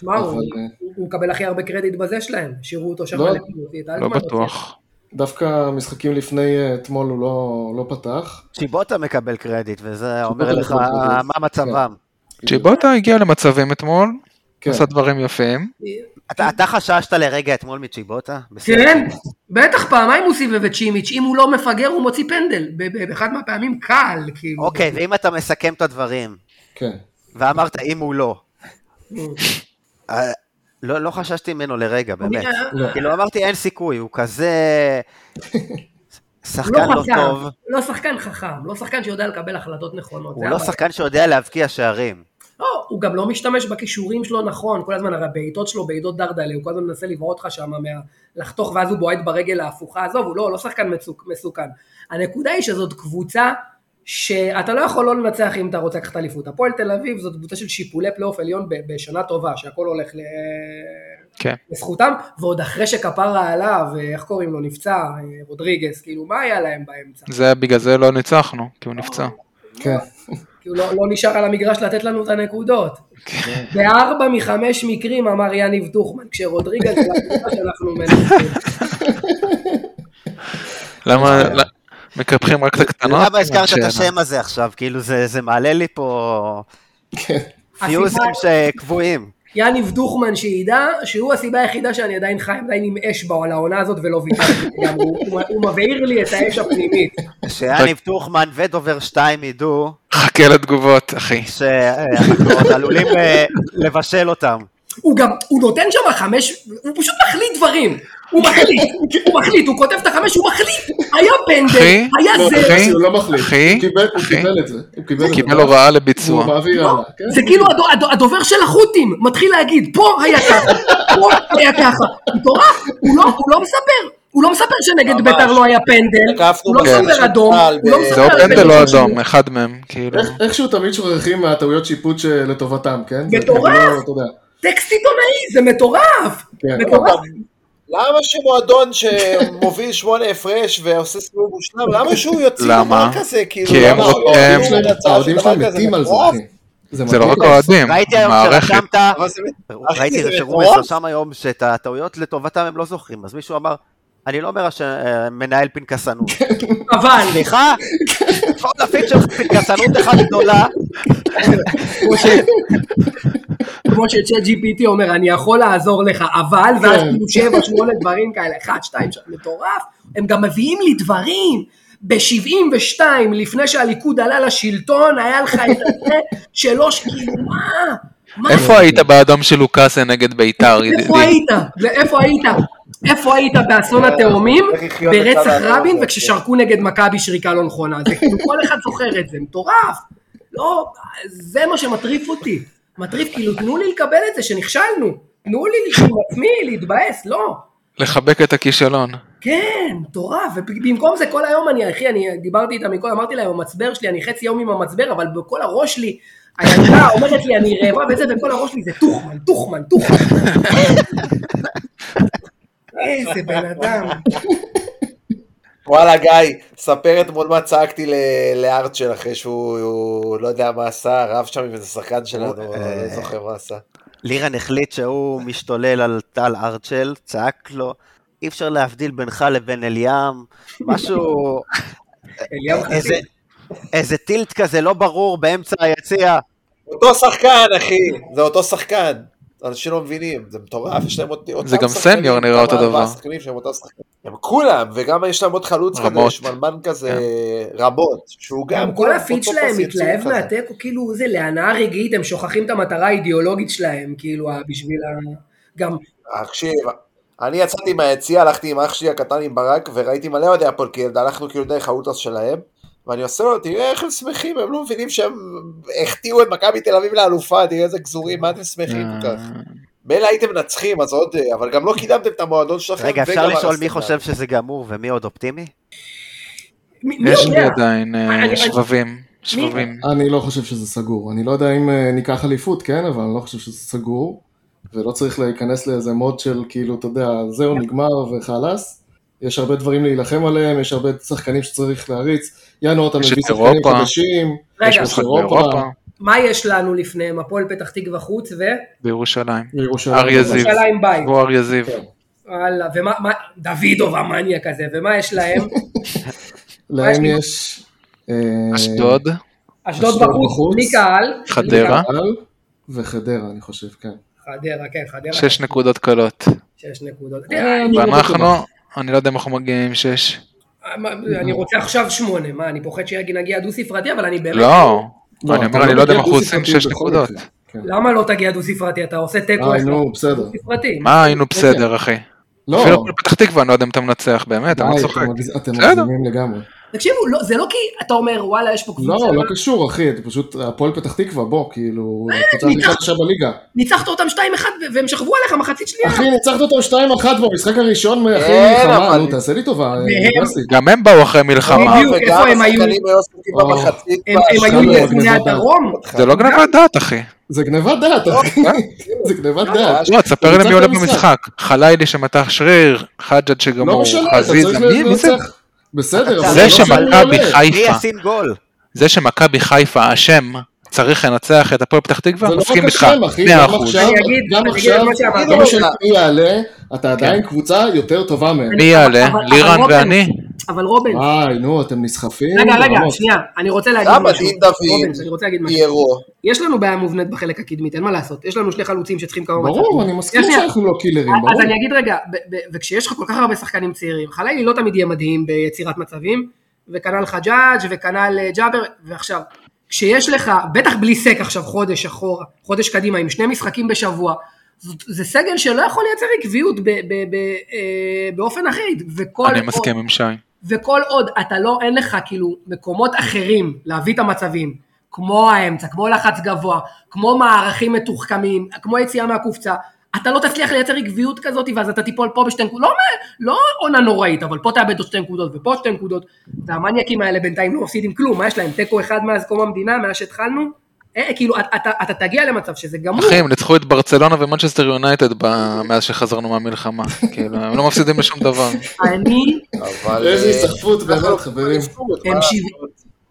Speaker 2: שמע, הוא-
Speaker 5: אבל, אה,
Speaker 2: הוא הוא מקבל הכי הרבה קרדיט בזה שלהם. השאירו אותו שם.
Speaker 5: לא,
Speaker 2: ללכת, הוציא את
Speaker 6: לא
Speaker 2: אלטמן,
Speaker 6: בטוח.
Speaker 5: דווקא המשחקים לפני אה, אתמול הוא לא- לא פתח.
Speaker 3: צ'יבוטה מקבל קרדיט, וזה אומר
Speaker 5: מקבל
Speaker 3: לך
Speaker 5: קרדיט.
Speaker 3: מה מצבם.
Speaker 2: כן.
Speaker 6: צ'יבוטה הגיע למצבים אתמול,
Speaker 5: כן.
Speaker 6: עשה דברים יפים.
Speaker 2: הוציא-
Speaker 3: אתה אתה חששת לרגע אתמול מצ'יבוטה? בסדר.
Speaker 2: כן, בטח פעמיים הוא סיבב את שימיץ', אם הוא לא מפגר הוא מוציא פנדל, ב- ב- באחד מהפעמים קל, כאילו.
Speaker 3: אוקיי, ואם אתה מסכם את הדברים,
Speaker 5: כן.
Speaker 3: ואמרת אם הוא לא,
Speaker 2: נו,
Speaker 3: אה, לא לא חששתי ממנו לרגע, באמת.
Speaker 2: לא.
Speaker 3: כאילו אמרתי אין סיכוי, הוא
Speaker 2: (laughs)
Speaker 3: כזה...
Speaker 2: הוא לא
Speaker 3: שחקן לא טוב,
Speaker 2: חכם, לא שחקן חכם, לא שחקן שיודע לקבל החלטות נכונות.
Speaker 3: הוא
Speaker 2: זה
Speaker 3: לא
Speaker 2: הבעיה.
Speaker 3: שחקן שיודע להבקיע שערים.
Speaker 2: לא, הוא גם לא משתמש בכישורים שלו נכון, כל הזמן הרי הבעיטות שלו, בעיטות דרדלה, הוא כל הזמן מנסה לברוא אותך שם, מה- לחתוך ואז הוא בועט ברגל ההפוכה, עזוב, הוא לא, לא שחקן מצוק, מסוכן. הנקודה היא שזאת קבוצה שאתה לא יכול לא לנצח אם אתה רוצה לקחת אליפות. הפועל תל אביב זאת קבוצה של שיפולי פלייאוף עליון ב- בשנה טובה, שהכל הולך ל...
Speaker 6: כן.
Speaker 2: לזכותם, ועוד אחרי שכפרה עליו, איך קוראים לו, נפצע, אה, רודריגז, כאילו, מה היה להם באמצע?
Speaker 6: זה היה בגלל זה לא ניצחנו, כי הוא נפצע.
Speaker 5: כן.
Speaker 2: כאילו לא, לא נשאר על המגרש לתת לנו את הנקודות. בארבע מחמש מקרים אמר יניב דוכמן, כשרודריגז זה התקופה שאנחנו מנצחים.
Speaker 6: למה ל- אה, מקפחים רק את הקטנות? כן.
Speaker 3: למה הזכרת את
Speaker 6: שאלה.
Speaker 3: השם הזה עכשיו? כאילו זה זה מעלה לי פה
Speaker 7: כן.
Speaker 3: פיוזים
Speaker 2: הסיבה-
Speaker 3: שקבועים.
Speaker 2: יניב דוכמן שידע שהוא הסיבה היחידה שאני עדיין חי עדיין עם אש בו על העונה הזאת ולא ויתרתי. גם הוא, הוא, הוא מבעיר לי את האש הפנימית.
Speaker 3: שיאניב טוחמן ודובר 2 ידעו
Speaker 6: חכה לתגובות, אחי.
Speaker 3: שאנחנו עוד עלולים אה, לבשל אותם.
Speaker 2: הוא גם, הוא נותן שם חמש, הוא פשוט מחליט דברים. הוא מחליט, הוא מחליט, הוא כותב את החמש, הוא מחליט. היה פנדל,
Speaker 6: אחי,
Speaker 2: היה
Speaker 5: לא,
Speaker 2: זה,
Speaker 6: אחי,
Speaker 5: הוא לא מחליט.
Speaker 6: אחי,
Speaker 5: הוא קיבל- הוא
Speaker 6: אחי.
Speaker 5: קיבל את זה. הוא קיבל
Speaker 6: הוא
Speaker 5: את זה.
Speaker 6: קיבל הוראה לא.
Speaker 5: הוא
Speaker 6: לביצוע.
Speaker 5: מעביר הלאה. כן.
Speaker 2: זה כאילו הדו, הדו, הדובר של החות'ים מתחיל להגיד, פה היה ככה, פה היה ככה. מטורף, הוא, לא, הוא לא מספר. הוא לא מספר שנגד
Speaker 7: ממש.
Speaker 2: בית"ר לא היה פנדל,
Speaker 7: תקפנו כן.
Speaker 2: הוא לא
Speaker 7: בקבוצה של
Speaker 2: מספר אדום,
Speaker 7: צה"ל
Speaker 2: הוא לא
Speaker 7: ב-
Speaker 2: מספר...
Speaker 6: זה או
Speaker 2: על
Speaker 6: פנדל או
Speaker 2: פנדל
Speaker 6: אדום, אחד מהם, כאילו.
Speaker 5: איך- איכשהו תמיד שוכחים מהטעויות שיפוט שלטובתם, כן? זה
Speaker 2: מטורף.
Speaker 5: כאילו לא- אתה יודע.
Speaker 2: טקסט עיתונאי, זה מטורף!
Speaker 5: כן.
Speaker 2: מטורף.
Speaker 7: אוקיי. למה שמועדון שמוביל שמונה הפרש ועושה סיבוב מושלם, למה שהוא יוציא
Speaker 6: למה?
Speaker 7: דבר כזה? כאילו,
Speaker 6: כי הם
Speaker 7: למה
Speaker 6: רוצים-
Speaker 7: האוהדים
Speaker 5: האוהדים
Speaker 7: שלהם
Speaker 6: לא,
Speaker 5: שלהם-
Speaker 7: יצאו
Speaker 5: האוהדים
Speaker 7: דבר
Speaker 5: שלהם
Speaker 7: כזה?
Speaker 5: מתים על זה,
Speaker 7: מטורף.
Speaker 5: אחי.
Speaker 6: זה לא
Speaker 5: מדהים.
Speaker 6: רק האוהדים,
Speaker 3: ראיתי היום
Speaker 6: מערכת.
Speaker 3: שרשמת,
Speaker 7: אבל זה-
Speaker 3: ראיתי
Speaker 7: זה
Speaker 3: שרומז
Speaker 7: מטורף.
Speaker 3: רשם היום שאת הטעויות לטובתם הם לא זוכרים, אז מישהו אמר, אני לא אומר הש- אה, מנהל פנקסנות.
Speaker 7: (laughs)
Speaker 2: אבל,
Speaker 3: סליחה, עודפים של פנקסנות אחת גדולה,
Speaker 2: כמו ש- כמו שצ'אט GPT אומר, אני יכול לעזור לך, אבל, ואז
Speaker 5: כן.
Speaker 2: כאילו שבע, שמונה דברים כאלה, אחד, שתיים, שלוש, מטורף, הם גם מביאים לי דברים. ב-72, לפני שהליכוד עלה לשלטון, היה לך את זה שלוש, כאילו, מה? מה?
Speaker 6: איפה היית באדום של לוקאסה נגד ביתר,
Speaker 2: איפה
Speaker 6: ידידי?
Speaker 2: היית? איפה היית? איפה היית באסון התאומים,
Speaker 7: איך לחיות לצד
Speaker 2: ברצח
Speaker 7: האדום כן.
Speaker 2: רבין,
Speaker 7: הזה,
Speaker 2: וכששרקו נגד מכבי שריקה לא נכונה? זה כאילו כל אחד זוכר את זה, מטורף. לא, זה מה שמטריף אותי. מטריף, כאילו, תנו לי לקבל את זה שנכשלנו. תנו לי לשאול עצמי, להתבאס, לא.
Speaker 6: לחבק את הכישלון.
Speaker 2: כן, מטורף, ובמקום זה כל היום אני, אחי, אני דיברתי איתה מקודם, אמרתי להם, המצבר שלי, אני חצי יום עם המצבר, אבל בכל הראש שלי, הילדה אומרת לי, אני רעבה וזה, ובכל הראש שלי זה טוחמן, טוחמן, טוחמן. איזה בן אדם.
Speaker 7: וואלה גיא, ספר אתמול מה צעקתי ל- לארצ'ל אחרי שהוא הוא לא יודע מה עשה, רב שם עם איזה שחקן שלנו,
Speaker 3: אה.
Speaker 7: אני לא זוכר מה עשה.
Speaker 3: לירן החליט שהוא משתולל על טל ארצ'ל, צעק לו, אי אפשר להבדיל בינך לבין אליאם, משהו,
Speaker 2: אליהו
Speaker 3: איזה,
Speaker 2: חסיד.
Speaker 3: איזה טילט כזה לא ברור באמצע היציע.
Speaker 7: אותו שחקן אחי, זה אותו שחקן. אנשים לא מבינים, זה מטורף, יש להם אותי,
Speaker 6: זה גם סניור נראה אותו דבר.
Speaker 7: שחקנים שהם אותם שחקנים. הם כולם, וגם יש להם עוד חלוץ כזה,
Speaker 6: רמות.
Speaker 7: שמלמן כזה, רבות, שהוא גם...
Speaker 2: גם כל
Speaker 7: כולם
Speaker 2: הפיד
Speaker 7: אותו
Speaker 2: שלהם
Speaker 7: פס ייצור
Speaker 2: מתלהב
Speaker 7: כזה.
Speaker 2: מהתיקו, כאילו זה להנאה רגעית, הם שוכחים את המטרה האידיאולוגית שלהם, כאילו, ה- בשביל ה... גם,
Speaker 7: תקשיב, אני יצאתי מהיציע, הלכתי עם אח שלי הקטן עם ברק, וראיתי מלא אוהדי הפועל קילד, הלכנו כאילו דרך האוטוס שלהם, ואני עושה לו, תראה איך הם שמחים, הם לא מבינים שהם החטיאו את מכבי תל אביב לאלופה, תראה איזה גזורים, מה אתם שמחים כל כך? מילא הייתם מנצחים, אז עוד, אבל גם לא קידמתם את המועדון שלכם.
Speaker 3: רגע, אפשר
Speaker 7: וגם
Speaker 3: לשאול
Speaker 7: הרסתם
Speaker 3: מי חושב שזה גמור ומי עוד אופטימי?
Speaker 2: מ- מי
Speaker 6: יש לי
Speaker 2: יודע?
Speaker 6: עדיין אה,
Speaker 2: אני- אני-
Speaker 6: שבבים, שבבים.
Speaker 5: אני לא חושב שזה סגור. אני לא יודע אם אה, ניקח אליפות, כן, אבל אני לא חושב שזה סגור, ולא צריך להיכנס לאיזה מוד של כאילו, אתה יודע, זהו, נגמר וחלאס. יש הרבה דברים להילחם עליהם, יש הרבה שחקנים שצריך להריץ. ינואר אתה
Speaker 6: יש
Speaker 5: מביא
Speaker 6: את
Speaker 5: שחקנים
Speaker 6: אירופה.
Speaker 5: חדשים,
Speaker 6: יש
Speaker 2: רגע,
Speaker 6: משחק
Speaker 5: אירופה.
Speaker 6: באירופה,
Speaker 2: מה יש לנו לפניהם? הפועל פתח תקווה חוץ ו...
Speaker 6: בירושלים.
Speaker 5: וירושלים.
Speaker 6: אריה זיו,
Speaker 2: ירושלים בית.
Speaker 6: ואריה זיו.
Speaker 2: כן. וואלה, ומה, מה, דוידוב המניאק הזה, ומה יש
Speaker 5: (laughs)
Speaker 2: להם?
Speaker 5: להם יש... אה,
Speaker 6: אשדוד,
Speaker 2: אשדוד
Speaker 5: אשדוד
Speaker 2: בחוץ,
Speaker 5: בחוץ.
Speaker 2: בלי קהל. בלי
Speaker 6: חדרה,
Speaker 2: קהל.
Speaker 5: על וחדרה, אני חושב, כן.
Speaker 2: חדרה, כן, חדרה.
Speaker 6: שש נקודות קלות.
Speaker 2: שש נקודות.
Speaker 6: ואנחנו, אני לא יודע אם אנחנו מגיעים עם שש.
Speaker 2: כן. מה- אני רוצה עכשיו שמונה, מה, אני פוחד שנגיע דו ספרתי, אבל אני באמת...
Speaker 6: לא,
Speaker 5: לא,
Speaker 6: אני
Speaker 5: אתה
Speaker 6: אומר, אני לא יודע אם אנחנו
Speaker 5: מגיע
Speaker 6: עושים
Speaker 5: דו-ספרתי
Speaker 6: שש
Speaker 5: בכל
Speaker 6: נקודות.
Speaker 5: מקרה. כן.
Speaker 2: למה לא תגיע דו ספרתי? אתה עושה תיקו
Speaker 5: אה,
Speaker 2: אחד
Speaker 5: נו, בסדר.
Speaker 2: דו ספרתי.
Speaker 6: מה היינו בסדר, אחי?
Speaker 5: לא,
Speaker 6: אפילו כל פתח תקווה, אני לא יודע אם אתה מנצח, באמת,
Speaker 5: די,
Speaker 6: אני לא
Speaker 5: אתם
Speaker 6: צוחק.
Speaker 5: מגז- אתם
Speaker 6: בסדר.
Speaker 5: מגזימים לגמרי.
Speaker 2: תקשיבו, לא, זה לא כי אתה אומר, וואלה, יש פה קבוצה.
Speaker 5: לא, לא קשור, אחי, זה פשוט הפועל פתח תקווה, בוא, כאילו,
Speaker 2: אה,
Speaker 5: קבוצה הכי
Speaker 2: ניצח-
Speaker 5: חדשה בליגה.
Speaker 2: ניצחת אותם 2-1 ו- והם שכבו עליך מחצית שנייה.
Speaker 5: אחי, ניצחת אותם 2-1 במשחק הראשון אחרי
Speaker 7: כן,
Speaker 5: מלחמה,
Speaker 7: אבל-
Speaker 5: נו, תעשה לי טובה, אה,
Speaker 2: והם-
Speaker 5: יוסי.
Speaker 6: גם הם באו אחרי מלחמה.
Speaker 2: בדיוק, איפה
Speaker 7: וגם
Speaker 2: הם היו?
Speaker 7: השחקנים היו עסוקים
Speaker 5: אה.
Speaker 7: במחצית.
Speaker 2: הם הם
Speaker 5: שם
Speaker 2: היו
Speaker 5: לא,
Speaker 2: יפוני
Speaker 5: גניבת דעת.
Speaker 2: הדרום.
Speaker 6: זה לא גנבת דעת, אחי.
Speaker 5: זה גניבת דעת,
Speaker 2: לא,
Speaker 5: אחי.
Speaker 2: אה?
Speaker 5: זה גנבת דעת.
Speaker 6: לא, תספר לי
Speaker 5: ניצחת
Speaker 6: מי עולה
Speaker 5: משחק.
Speaker 6: במשחק. חלילי שמתח שריר, חג'ג'
Speaker 5: לא
Speaker 6: שגמור,
Speaker 5: משנה, אתה
Speaker 6: חזיזה,
Speaker 5: צריך
Speaker 6: מי מי זה?
Speaker 5: לנצח. בסדר, אבל
Speaker 6: זה
Speaker 5: לא משנה מי
Speaker 6: שמכבי
Speaker 5: עולה.
Speaker 3: מי
Speaker 6: חיפה,
Speaker 3: ישים גול?
Speaker 6: זה שמכבי חיפה אשם, צריך לנצח את הפועל פתח תקווה,
Speaker 5: זה לא
Speaker 6: מסכים
Speaker 5: רק
Speaker 6: איתך,
Speaker 5: אשם, אחי, גם
Speaker 6: 100%.
Speaker 5: עכשיו,
Speaker 2: אני אגיד-
Speaker 5: גם
Speaker 2: אני אגיד את
Speaker 5: עכשיו,
Speaker 2: מה כן. שאמרת.
Speaker 5: לא משנה מי יעלה, אתה עדיין קבוצה יותר טובה מהם.
Speaker 6: מי יעלה?
Speaker 2: אבל- אבל
Speaker 6: לירן
Speaker 2: רותם-
Speaker 6: ואני?
Speaker 2: אבל רובן,
Speaker 5: וואי, נו, אתם נסחפים.
Speaker 2: רגע, רגע,
Speaker 5: ברמות.
Speaker 2: שנייה, אני רוצה להגיד
Speaker 7: למה
Speaker 2: משהו.
Speaker 7: דין דוד,
Speaker 2: רובן, אני רוצה להגיד משהו.
Speaker 7: פיירו.
Speaker 2: יש לנו בעיה מובנית בחלק הקדמית, אין מה לעשות. יש לנו שני חלוצים שצריכים כמה
Speaker 5: ברור, אני מסכים
Speaker 2: שנייה.
Speaker 5: שאנחנו לא קילרים,
Speaker 2: אז
Speaker 5: ברור.
Speaker 2: אני אגיד רגע, ב- ב- וכשיש לך כל כך הרבה שחקנים צעירים, חלילי לא תמיד יהיה מדהים ביצירת מצבים, וכנ"ל חג'אג' וכנ"ל אה, ג'אבר, ועכשיו, כשיש לך, בטח בלי סק עכשיו חודש אחורה, חודש קדימה, עם שני משחקים בשבוע, זאת- זה סגל שלא יכול לייצר עקביות ב- ב- ב- אה, באופן אחיד, וכל...
Speaker 6: אני
Speaker 2: עוד-
Speaker 6: מסכים עם שי.
Speaker 2: וכל עוד אתה לא, אין לך כאילו מקומות אחרים להביא את המצבים, כמו האמצע, כמו לחץ גבוה, כמו מערכים מתוחכמים, כמו יציאה מהקופצה, אתה לא תצליח לייצר עקביות כזאת, ואז אתה תיפול פה בשתי נקודות, לא, לא עונה נוראית, אבל פה תאבד עוד שתי נקודות ופה שתי נקודות, והמניאקים האלה בינתיים לא מפסידים כלום, מה יש להם, תיקו אחד מאז קום המדינה, מאז שהתחלנו? אה, כאילו, אתה, אתה, אתה תגיע למצב שזה גמור.
Speaker 6: אחי, הם ניצחו את ברצלונה ומנצ'סטר יונייטד ב- מאז שחזרנו מהמלחמה. כאילו, הם לא מפסידים בשום דבר.
Speaker 2: אני,
Speaker 7: אבל...
Speaker 5: איזה
Speaker 7: אה,
Speaker 5: היסחפות
Speaker 7: אנחנו
Speaker 5: באמת,
Speaker 7: לא
Speaker 5: חברים.
Speaker 7: יכולים לפתור את
Speaker 2: הם
Speaker 7: מה
Speaker 2: שבעים.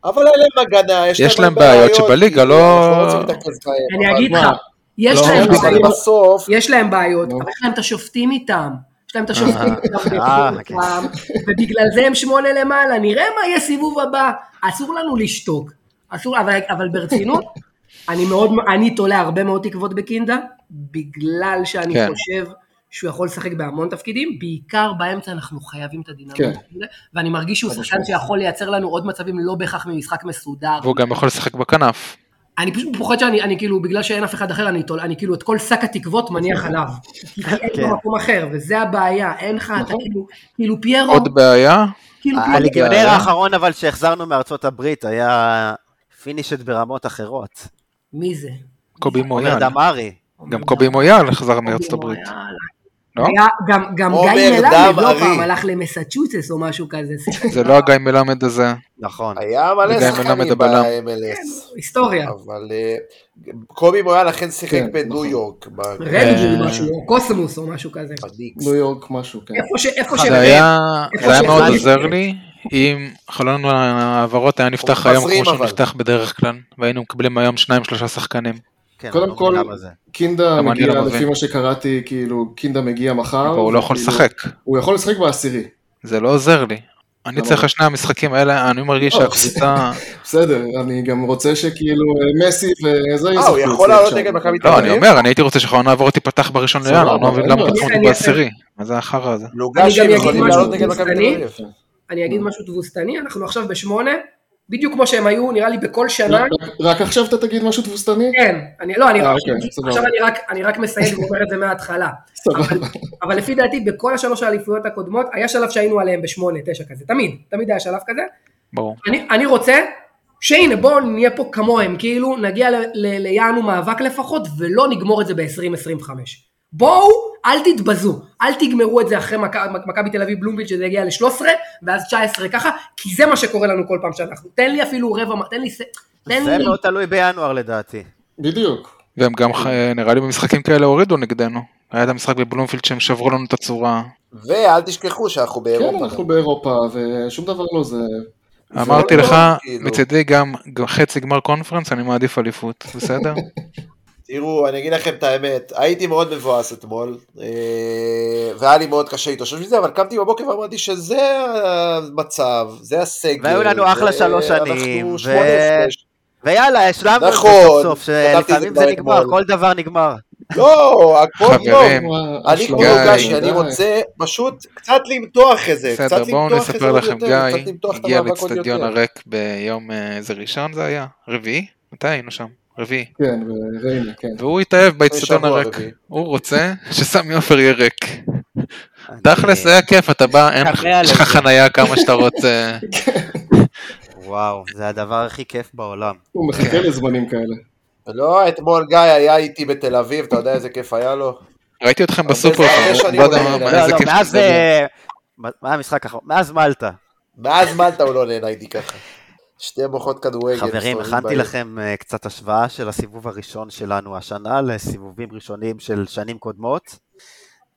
Speaker 7: אבל אין להם הגנה, יש,
Speaker 6: יש להם
Speaker 7: לנו
Speaker 6: בעיות שבליגה לא-
Speaker 7: אנחנו רוצים להתרכז בהם,
Speaker 2: אני
Speaker 7: אבל
Speaker 2: אגיד לך,
Speaker 5: מה?
Speaker 2: יש
Speaker 5: לא,
Speaker 2: להם
Speaker 5: אבל-
Speaker 7: אבל
Speaker 2: בעיות.
Speaker 7: בסוף,
Speaker 2: יש להם בעיות,
Speaker 5: נו.
Speaker 2: אבל יש להם את השופטים איתם. יש להם את השופטים איתם,
Speaker 3: אה,
Speaker 2: איתם, ובגלל זה הם שמונה למעלה, נראה מה יהיה סיבוב הבא. אסור לנו לשתוק. אסור, אבל, אבל ברצינות, אני מאוד, אני תולה הרבה מאוד תקוות בקינדה, בגלל שאני
Speaker 6: כן.
Speaker 2: חושב שהוא יכול לשחק בהמון תפקידים, בעיקר באמצע אנחנו חייבים את הדינמיות.
Speaker 5: כן.
Speaker 2: הזה, ואני מרגיש שהוא
Speaker 5: חד
Speaker 2: שחקן
Speaker 5: משמעית.
Speaker 2: שיכול לייצר לנו עוד מצבים לא בהכרח ממשחק מסודר.
Speaker 6: והוא גם יכול לשחק בכנף.
Speaker 2: אני פשוט פוחד שאני אני כאילו, בגלל שאין אף אחד אחר, אני, תול, אני כאילו את כל שק התקוות
Speaker 6: כן.
Speaker 2: מניח עליו.
Speaker 6: (laughs)
Speaker 2: כי אין
Speaker 3: כן.
Speaker 2: במקום אחר, וזה הבעיה, אין לך, אתה
Speaker 5: נכון.
Speaker 2: כאילו, כאילו פיירו,
Speaker 6: עוד בעיה?
Speaker 2: כאילו פיירו,
Speaker 3: הליגיונר
Speaker 6: אה?
Speaker 3: האחרון אבל שהחזרנו מארצות הברית היה פינישט ברמות אחרות.
Speaker 2: מי זה?
Speaker 6: קובי מויאל.
Speaker 3: עומר דמארי.
Speaker 6: גם קובי מויאל החזר מארצות הברית.
Speaker 2: יאללה.
Speaker 6: לא?
Speaker 2: היה- גם- גם
Speaker 7: עומר
Speaker 2: גיא מלמד
Speaker 7: דם
Speaker 2: לא
Speaker 7: ארי.
Speaker 2: פעם הלך למסצ'וסס או משהו כזה, שיחק.
Speaker 6: זה לא הגיא מלמד הזה.
Speaker 3: נכון.
Speaker 7: היה מלא
Speaker 6: וגם אם
Speaker 7: שחקנים
Speaker 6: מלמד הבלם.
Speaker 7: ב-MLS,
Speaker 2: היסטוריה,
Speaker 7: אבל אה, קובי מויאל אכן שיחק
Speaker 5: כן,
Speaker 7: בניו
Speaker 5: נכון.
Speaker 7: יורק, ב-
Speaker 6: אה.
Speaker 2: רדינג או משהו, או קוסמוס או משהו כזה.
Speaker 7: בניקס.
Speaker 5: ניו יורק משהו, כן.
Speaker 2: איפה ש... איפה ש...
Speaker 6: זה היה זה היה
Speaker 2: איפה
Speaker 6: מאוד
Speaker 2: שהחלטתי.
Speaker 6: עוזר לי אם חלון ההעברות היה נפתח
Speaker 7: אנחנו
Speaker 6: היום
Speaker 7: חוזרים,
Speaker 6: כמו שהוא
Speaker 7: אבל.
Speaker 6: נפתח בדרך כלל, והיינו מקבלים היום שניים שלושה שחקנים.
Speaker 3: כן,
Speaker 5: קודם
Speaker 3: אני לא מבין
Speaker 5: כל-
Speaker 3: למה זה.
Speaker 5: קינדה
Speaker 6: גם אני
Speaker 5: מגיע,
Speaker 6: לא מבין.
Speaker 5: לפי מה שקראתי, כאילו, קינדה מגיע מחר.
Speaker 6: אבל הוא לא יכול
Speaker 5: וכאילו,
Speaker 6: לשחק,
Speaker 5: הוא יכול לשחק בעשירי.
Speaker 6: זה לא עוזר לי. אני צריך לשני המשחקים האלה, אני מרגיש שהקבוצה...
Speaker 5: בסדר, אני גם רוצה שכאילו אה, מסי וזה
Speaker 7: אה, הוא יכול לעלות נגד מכבי
Speaker 6: (laughs)
Speaker 7: תל
Speaker 6: לא,
Speaker 7: אביב?
Speaker 6: אני אומר, אני הייתי רוצה שהעונה עבור תיפתח בראשון
Speaker 5: סבבה,
Speaker 6: לינואר, אני לא מבין
Speaker 5: אין
Speaker 6: למה
Speaker 5: בעיה.
Speaker 6: פתחו
Speaker 2: אני-
Speaker 6: אותי בעשירי. מה זה החרא הזה?
Speaker 2: אני
Speaker 7: לוגשי
Speaker 2: גם אגיד
Speaker 7: יכולים
Speaker 2: משהו,
Speaker 7: לעלות נגד מכבי תל
Speaker 2: אני-
Speaker 7: אביב.
Speaker 2: אני אגיד משהו תבוסתני, אנחנו עכשיו בשמונה, בדיוק כמו שהם היו, נראה לי בכל
Speaker 6: לא.
Speaker 2: שנה.
Speaker 5: רק- רק- רק עכשיו אתה תגיד משהו תבוסתני?
Speaker 2: כן, אני, לא, אני,
Speaker 5: אה,
Speaker 2: עכשיו-
Speaker 5: אוקיי, סבבה.
Speaker 2: עכשיו אני רק, אני רק מסיים ואומר את זה מההתחלה.
Speaker 7: (laughs)
Speaker 5: סבבה.
Speaker 2: אבל לפי דעתי, בכל השלוש האליפויות הקודמות, היה שלב שהיינו עליהם בשמונה, תשע כזה, תמיד, תמיד היה שלב כזה.
Speaker 6: ברור.
Speaker 2: אני, אני רוצה שהנה בואו נהיה פה כמוהם, כאילו נגיע ל- ל- ליעד ומאבק לפחות ולא נגמור את זה ב-2025. בואו, אל תתבזו, אל תגמרו את זה אחרי מכ- מכבי תל אביב בלומביל שזה יגיע ל-13 ואז 19 ככה, כי זה מה שקורה לנו כל פעם שאנחנו. תן לי אפילו רבע, מ- תן לי... ס- תן
Speaker 3: זה
Speaker 2: לי...
Speaker 3: מאוד תלוי בינואר לדעתי.
Speaker 5: בדיוק.
Speaker 6: והם גם, אה, נראה לי במשחקים כאלה הורידו נגדנו. היה את המשחק בבלומפילד שהם שברו לנו את הצורה.
Speaker 7: ואל תשכחו שאנחנו באירופה.
Speaker 5: כן, אנחנו באירופה ושום דבר לא זה.
Speaker 6: אמרתי
Speaker 7: לא
Speaker 6: לך,
Speaker 7: כאילו.
Speaker 6: מצידי גם גם חצי גמר קונפרנס, אני מעדיף אליפות, בסדר?
Speaker 7: תראו, אני אגיד לכם את האמת, הייתי מאוד מבואס אתמול, אה, והיה לי מאוד קשה להתאושש מזה, אבל קמתי בבוקר ואמרתי שזה המצב, זה הסגל.
Speaker 3: והיו לנו אחלה
Speaker 7: אה,
Speaker 3: שלוש שנים,
Speaker 7: אנחנו
Speaker 3: ו-
Speaker 7: שמונה הפרש.
Speaker 3: ויאללה, השלמנו את זה
Speaker 7: נכון,
Speaker 3: סוף סוף,
Speaker 7: כתבתי את זה
Speaker 3: שלפעמים זה
Speaker 7: כבר
Speaker 3: נגמר,
Speaker 7: אתמול.
Speaker 3: כל דבר נגמר.
Speaker 7: לא, הכל טוב.
Speaker 6: חברים,
Speaker 7: אני כמו
Speaker 6: גיא,
Speaker 7: לוגשי,
Speaker 5: די.
Speaker 7: אני רוצה פשוט קצת למתוח את זה, קצת
Speaker 6: בסדר, בואו
Speaker 7: למתוח את זה
Speaker 6: נספר
Speaker 7: עוד
Speaker 6: לכם,
Speaker 7: יותר, קצת
Speaker 6: גיא
Speaker 7: למתוח את
Speaker 6: הגיע
Speaker 7: המאבק עוד
Speaker 6: לאצטדיון
Speaker 7: יותר.
Speaker 6: הריק ביום, אה, איזה ראשון זה היה? רביעי? מתי היינו שם? רביעי.
Speaker 5: כן, וריינה, כן.
Speaker 6: והוא התאהב באצטדיון
Speaker 7: שבוע
Speaker 6: הריק.
Speaker 7: רביעי.
Speaker 6: הוא רוצה שסמי עופר יהיה ריק. תכלס אה. היה כיף, אתה בא, אין לך-
Speaker 3: תמה על
Speaker 6: יש לך
Speaker 3: זה.
Speaker 6: חנייה כמה שאתה רוצה.
Speaker 3: וואו, זה הדבר הכי כיף בעולם.
Speaker 5: הוא
Speaker 6: כן.
Speaker 5: מחכה לזמנים כאלה.
Speaker 7: לא, אתמול גיא היה איתי בתל אביב, אתה יודע איזה כיף היה לו?
Speaker 6: ראיתי אתכם
Speaker 7: הרבה
Speaker 6: בסופר,
Speaker 7: זמן, הרבה
Speaker 6: חברים,
Speaker 7: שנים
Speaker 6: לא יודע
Speaker 7: אולי,
Speaker 6: מה-
Speaker 3: לא,
Speaker 6: איזה
Speaker 3: לא,
Speaker 6: כיף
Speaker 3: מאז...
Speaker 6: שזה.
Speaker 3: אה, מה המשחק האחרון? מאז מלטה.
Speaker 7: מאז מלטה הוא לא נהנה איתי ככה. שתי מוחות כדורגל.
Speaker 3: חברים,
Speaker 7: מסתובבים
Speaker 3: הכנתי
Speaker 7: בעיר.
Speaker 3: לכם אה, קצת השוואה של הסיבוב הראשון שלנו השנה לסיבובים ראשונים של שנים קודמות.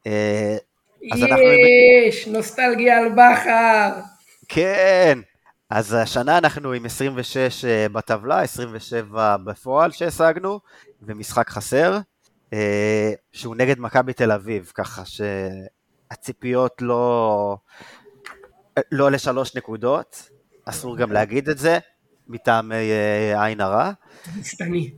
Speaker 3: אה, אז אנחנו-
Speaker 2: יש, נוסטלגיה על בכר.
Speaker 3: כן, אז השנה אנחנו עם 26 אה, בטבלה, 27 בפועל שהשגנו, ומשחק חסר, אה, שהוא נגד מכבי תל אביב, ככה שהציפיות לא... לא לשלוש נקודות, אסור גם להגיד את זה, מטעמי אה, עין הרע.
Speaker 2: תבוסתני.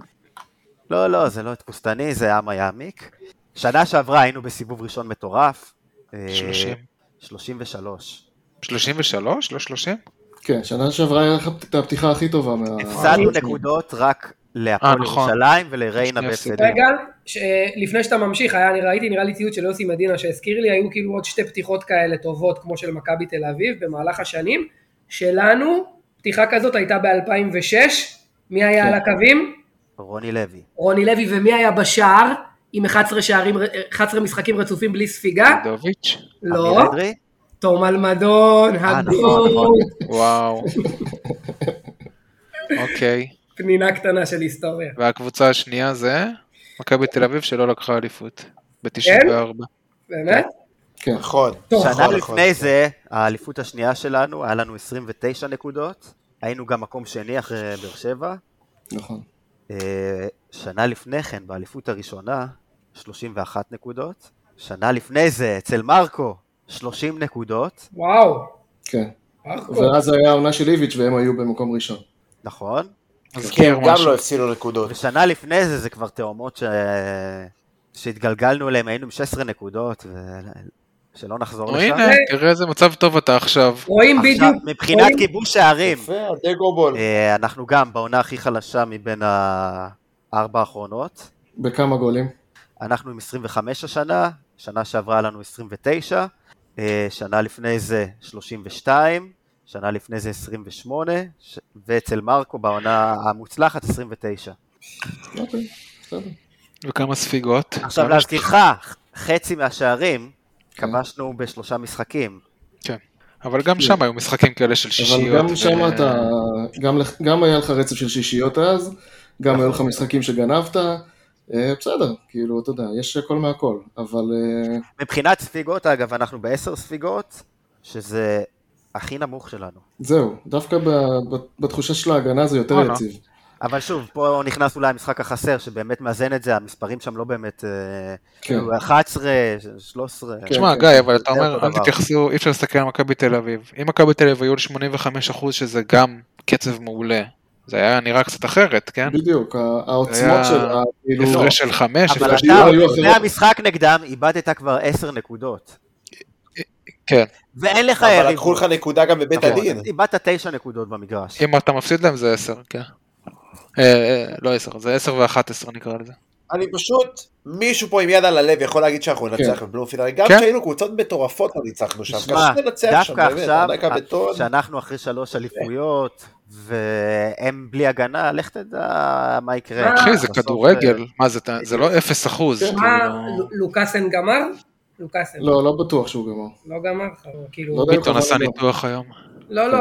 Speaker 3: לא, לא, זה לא תבוסתני, זה עם יעמיק. שנה שעברה היינו בסיבוב ראשון מטורף. אה,
Speaker 6: 30.
Speaker 3: 33.
Speaker 6: 33? לא 30?
Speaker 5: כן, שנה שעברה היה לך את הפתיחה הכי טובה מה...
Speaker 3: הפסדנו נקודות רק
Speaker 6: אה,
Speaker 3: להפועל
Speaker 6: נכון.
Speaker 3: ירושלים ולריינה
Speaker 6: שנייה,
Speaker 3: בהפסדים.
Speaker 2: רגע, ש- לפני שאתה ממשיך, היה, אני ראיתי נראה לי ציוץ של יוסי מדינה שהזכיר לי, היו כאילו עוד שתי פתיחות כאלה טובות, כמו של מכבי תל אביב, במהלך השנים. שלנו, פתיחה כזאת הייתה ב-2006, מי היה
Speaker 5: כן.
Speaker 2: על הקווים?
Speaker 3: רוני לוי.
Speaker 2: רוני לוי, ומי היה בשער? עם 11 שערים, 11 משחקים רצופים בלי ספיגה?
Speaker 6: דוביץ'?
Speaker 2: לא.
Speaker 3: אמיר אדרי?
Speaker 2: תום אלמדון,
Speaker 3: אה, נכון,
Speaker 2: הגון,
Speaker 3: נכון.
Speaker 6: וואו.
Speaker 7: (laughs)
Speaker 6: אוקיי.
Speaker 2: פנינה קטנה של היסטוריה.
Speaker 6: והקבוצה השנייה זה מכבי תל אביב שלא לקחה אליפות. ב-94.
Speaker 2: באמת?
Speaker 5: כן.
Speaker 7: נכון.
Speaker 2: טוב.
Speaker 7: נכון,
Speaker 3: שנה
Speaker 7: נכון.
Speaker 3: לפני זה, האליפות השנייה שלנו, היה לנו 29 נקודות. היינו גם מקום שני אחרי באר שבע.
Speaker 5: נכון.
Speaker 3: אה, שנה לפני כן, באליפות הראשונה, 31 נקודות. שנה לפני זה, אצל מרקו, 30 נקודות,
Speaker 2: וואו.
Speaker 5: כן.
Speaker 2: מרקו.
Speaker 5: ואז היה העונה של איביץ' והם היו במקום ראשון.
Speaker 3: נכון?
Speaker 5: כן,
Speaker 7: כי
Speaker 6: מזכיר
Speaker 7: הם גם
Speaker 6: משהו.
Speaker 7: לא הפסידו נקודות.
Speaker 3: ושנה לפני זה, זה כבר תאומות ש... שהתגלגלנו אליהם, היינו עם 16 נקודות, ו... שלא נחזור
Speaker 6: נו,
Speaker 3: לשם.
Speaker 6: הנה, תראה איזה מצב טוב אתה עכשיו.
Speaker 2: רואים
Speaker 3: עכשיו,
Speaker 2: בדיוק.
Speaker 3: מבחינת
Speaker 2: רואים-
Speaker 3: כיבוש שערים,
Speaker 7: יפה, הדגו בול.
Speaker 3: אה, אנחנו גם בעונה הכי חלשה מבין הארבע האחרונות.
Speaker 5: בכמה גולים?
Speaker 3: אנחנו עם 25 השנה, שנה שעברה לנו 29, אה, שנה לפני זה 32, שנה לפני זה 28, ש- ואצל מרקו בעונה המוצלחת 29.
Speaker 5: אוקיי, בסדר.
Speaker 6: וכמה ספיגות.
Speaker 3: עכשיו
Speaker 2: אוקיי.
Speaker 6: כמה
Speaker 3: להזכירך, ח- חצי מהשערים כבשנו בשלושה משחקים.
Speaker 6: אבל גם שם היו משחקים כאלה של שישיות.
Speaker 5: כן.
Speaker 6: אה,
Speaker 5: אבל גם
Speaker 6: ו-
Speaker 5: שם
Speaker 3: כן.
Speaker 5: אתה, גם לך- גם היה לך רצף של שישיות אז, גם היו לך
Speaker 6: נכון.
Speaker 5: משחקים שגנבת, אה, בסדר, כאילו, אתה יודע, יש הכל מהכל, אבל אה,
Speaker 3: מבחינת ספיגות, אגב, אנחנו בעשר ספיגות, שזה הכי נמוך שלנו.
Speaker 5: זהו, דווקא ב- ב- בתחושה של ההגנה זה יותר
Speaker 2: אה, לא.
Speaker 6: וואלה.
Speaker 5: יציב.
Speaker 3: אבל שוב, פה נכנס אולי המשחק החסר, שבאמת מאזן את זה, המספרים שם לא באמת... אה,
Speaker 5: כן.
Speaker 3: כאילו 11, 13.
Speaker 6: תשמע,
Speaker 5: כן,
Speaker 6: גיא, אבל אתה
Speaker 3: זה
Speaker 6: אומר,
Speaker 3: אותו
Speaker 6: אל
Speaker 3: דבר.
Speaker 6: תתייחסו, אי אפשר להסתכל על מכבי תל אביב. אם מכבי תל אביב היו ל-85%, שזה גם קצב מעולה, זה היה נראה קצת אחרת, כן?
Speaker 5: בדיוק, ה- העוצמות
Speaker 6: היה-
Speaker 5: שלה, כאילו,
Speaker 6: הפרש של 5,
Speaker 3: לא. אבל
Speaker 6: הפרש...
Speaker 5: השאלה
Speaker 3: אתה,
Speaker 5: היו
Speaker 3: לפני
Speaker 5: אחרות.
Speaker 3: המשחק נגדם, איבדת כבר 10 נקודות.
Speaker 6: כן.
Speaker 3: ואין לך
Speaker 7: אבל
Speaker 3: יריב.
Speaker 7: לקחו לך נקודה גם בבית
Speaker 3: נכון,
Speaker 7: הדין.
Speaker 3: איבדת 9 נקודות במגרש.
Speaker 6: אם אתה מפסיד להם זה 10, כן. אה, אה, לא 10, זה 10 ו-11 נקרא לזה.
Speaker 7: אני פשוט, מישהו פה עם יד על הלב יכול להגיד שאנחנו ננצח
Speaker 5: כן.
Speaker 7: בבלומפילד, גם
Speaker 6: כן.
Speaker 7: כשהיינו קבוצות מטורפות לא ניצחנו שם,
Speaker 3: תשמע,
Speaker 7: קשה לנצח שם,
Speaker 3: דווקא
Speaker 7: באמת,
Speaker 3: עכשיו, אה,
Speaker 7: ענק הבטון,
Speaker 3: שאנחנו אחרי שלוש אליפויות, והם בלי הגנה, לך תדע מה יקרה.
Speaker 6: אחי, זה
Speaker 3: אה, בסוף, אה,
Speaker 6: כדורגל, מה זה, אתה- זה לא 0 אחוז,
Speaker 5: כן.
Speaker 2: מה,
Speaker 6: כאילו,
Speaker 2: ל- לוקאסן גמר? לוקאסן.
Speaker 5: לא, לא בטוח שהוא גמר.
Speaker 2: לא גמר, חבר, כאילו,
Speaker 5: לא יודע.
Speaker 6: ביטון עשה ניתוח היום.
Speaker 2: לא, לא,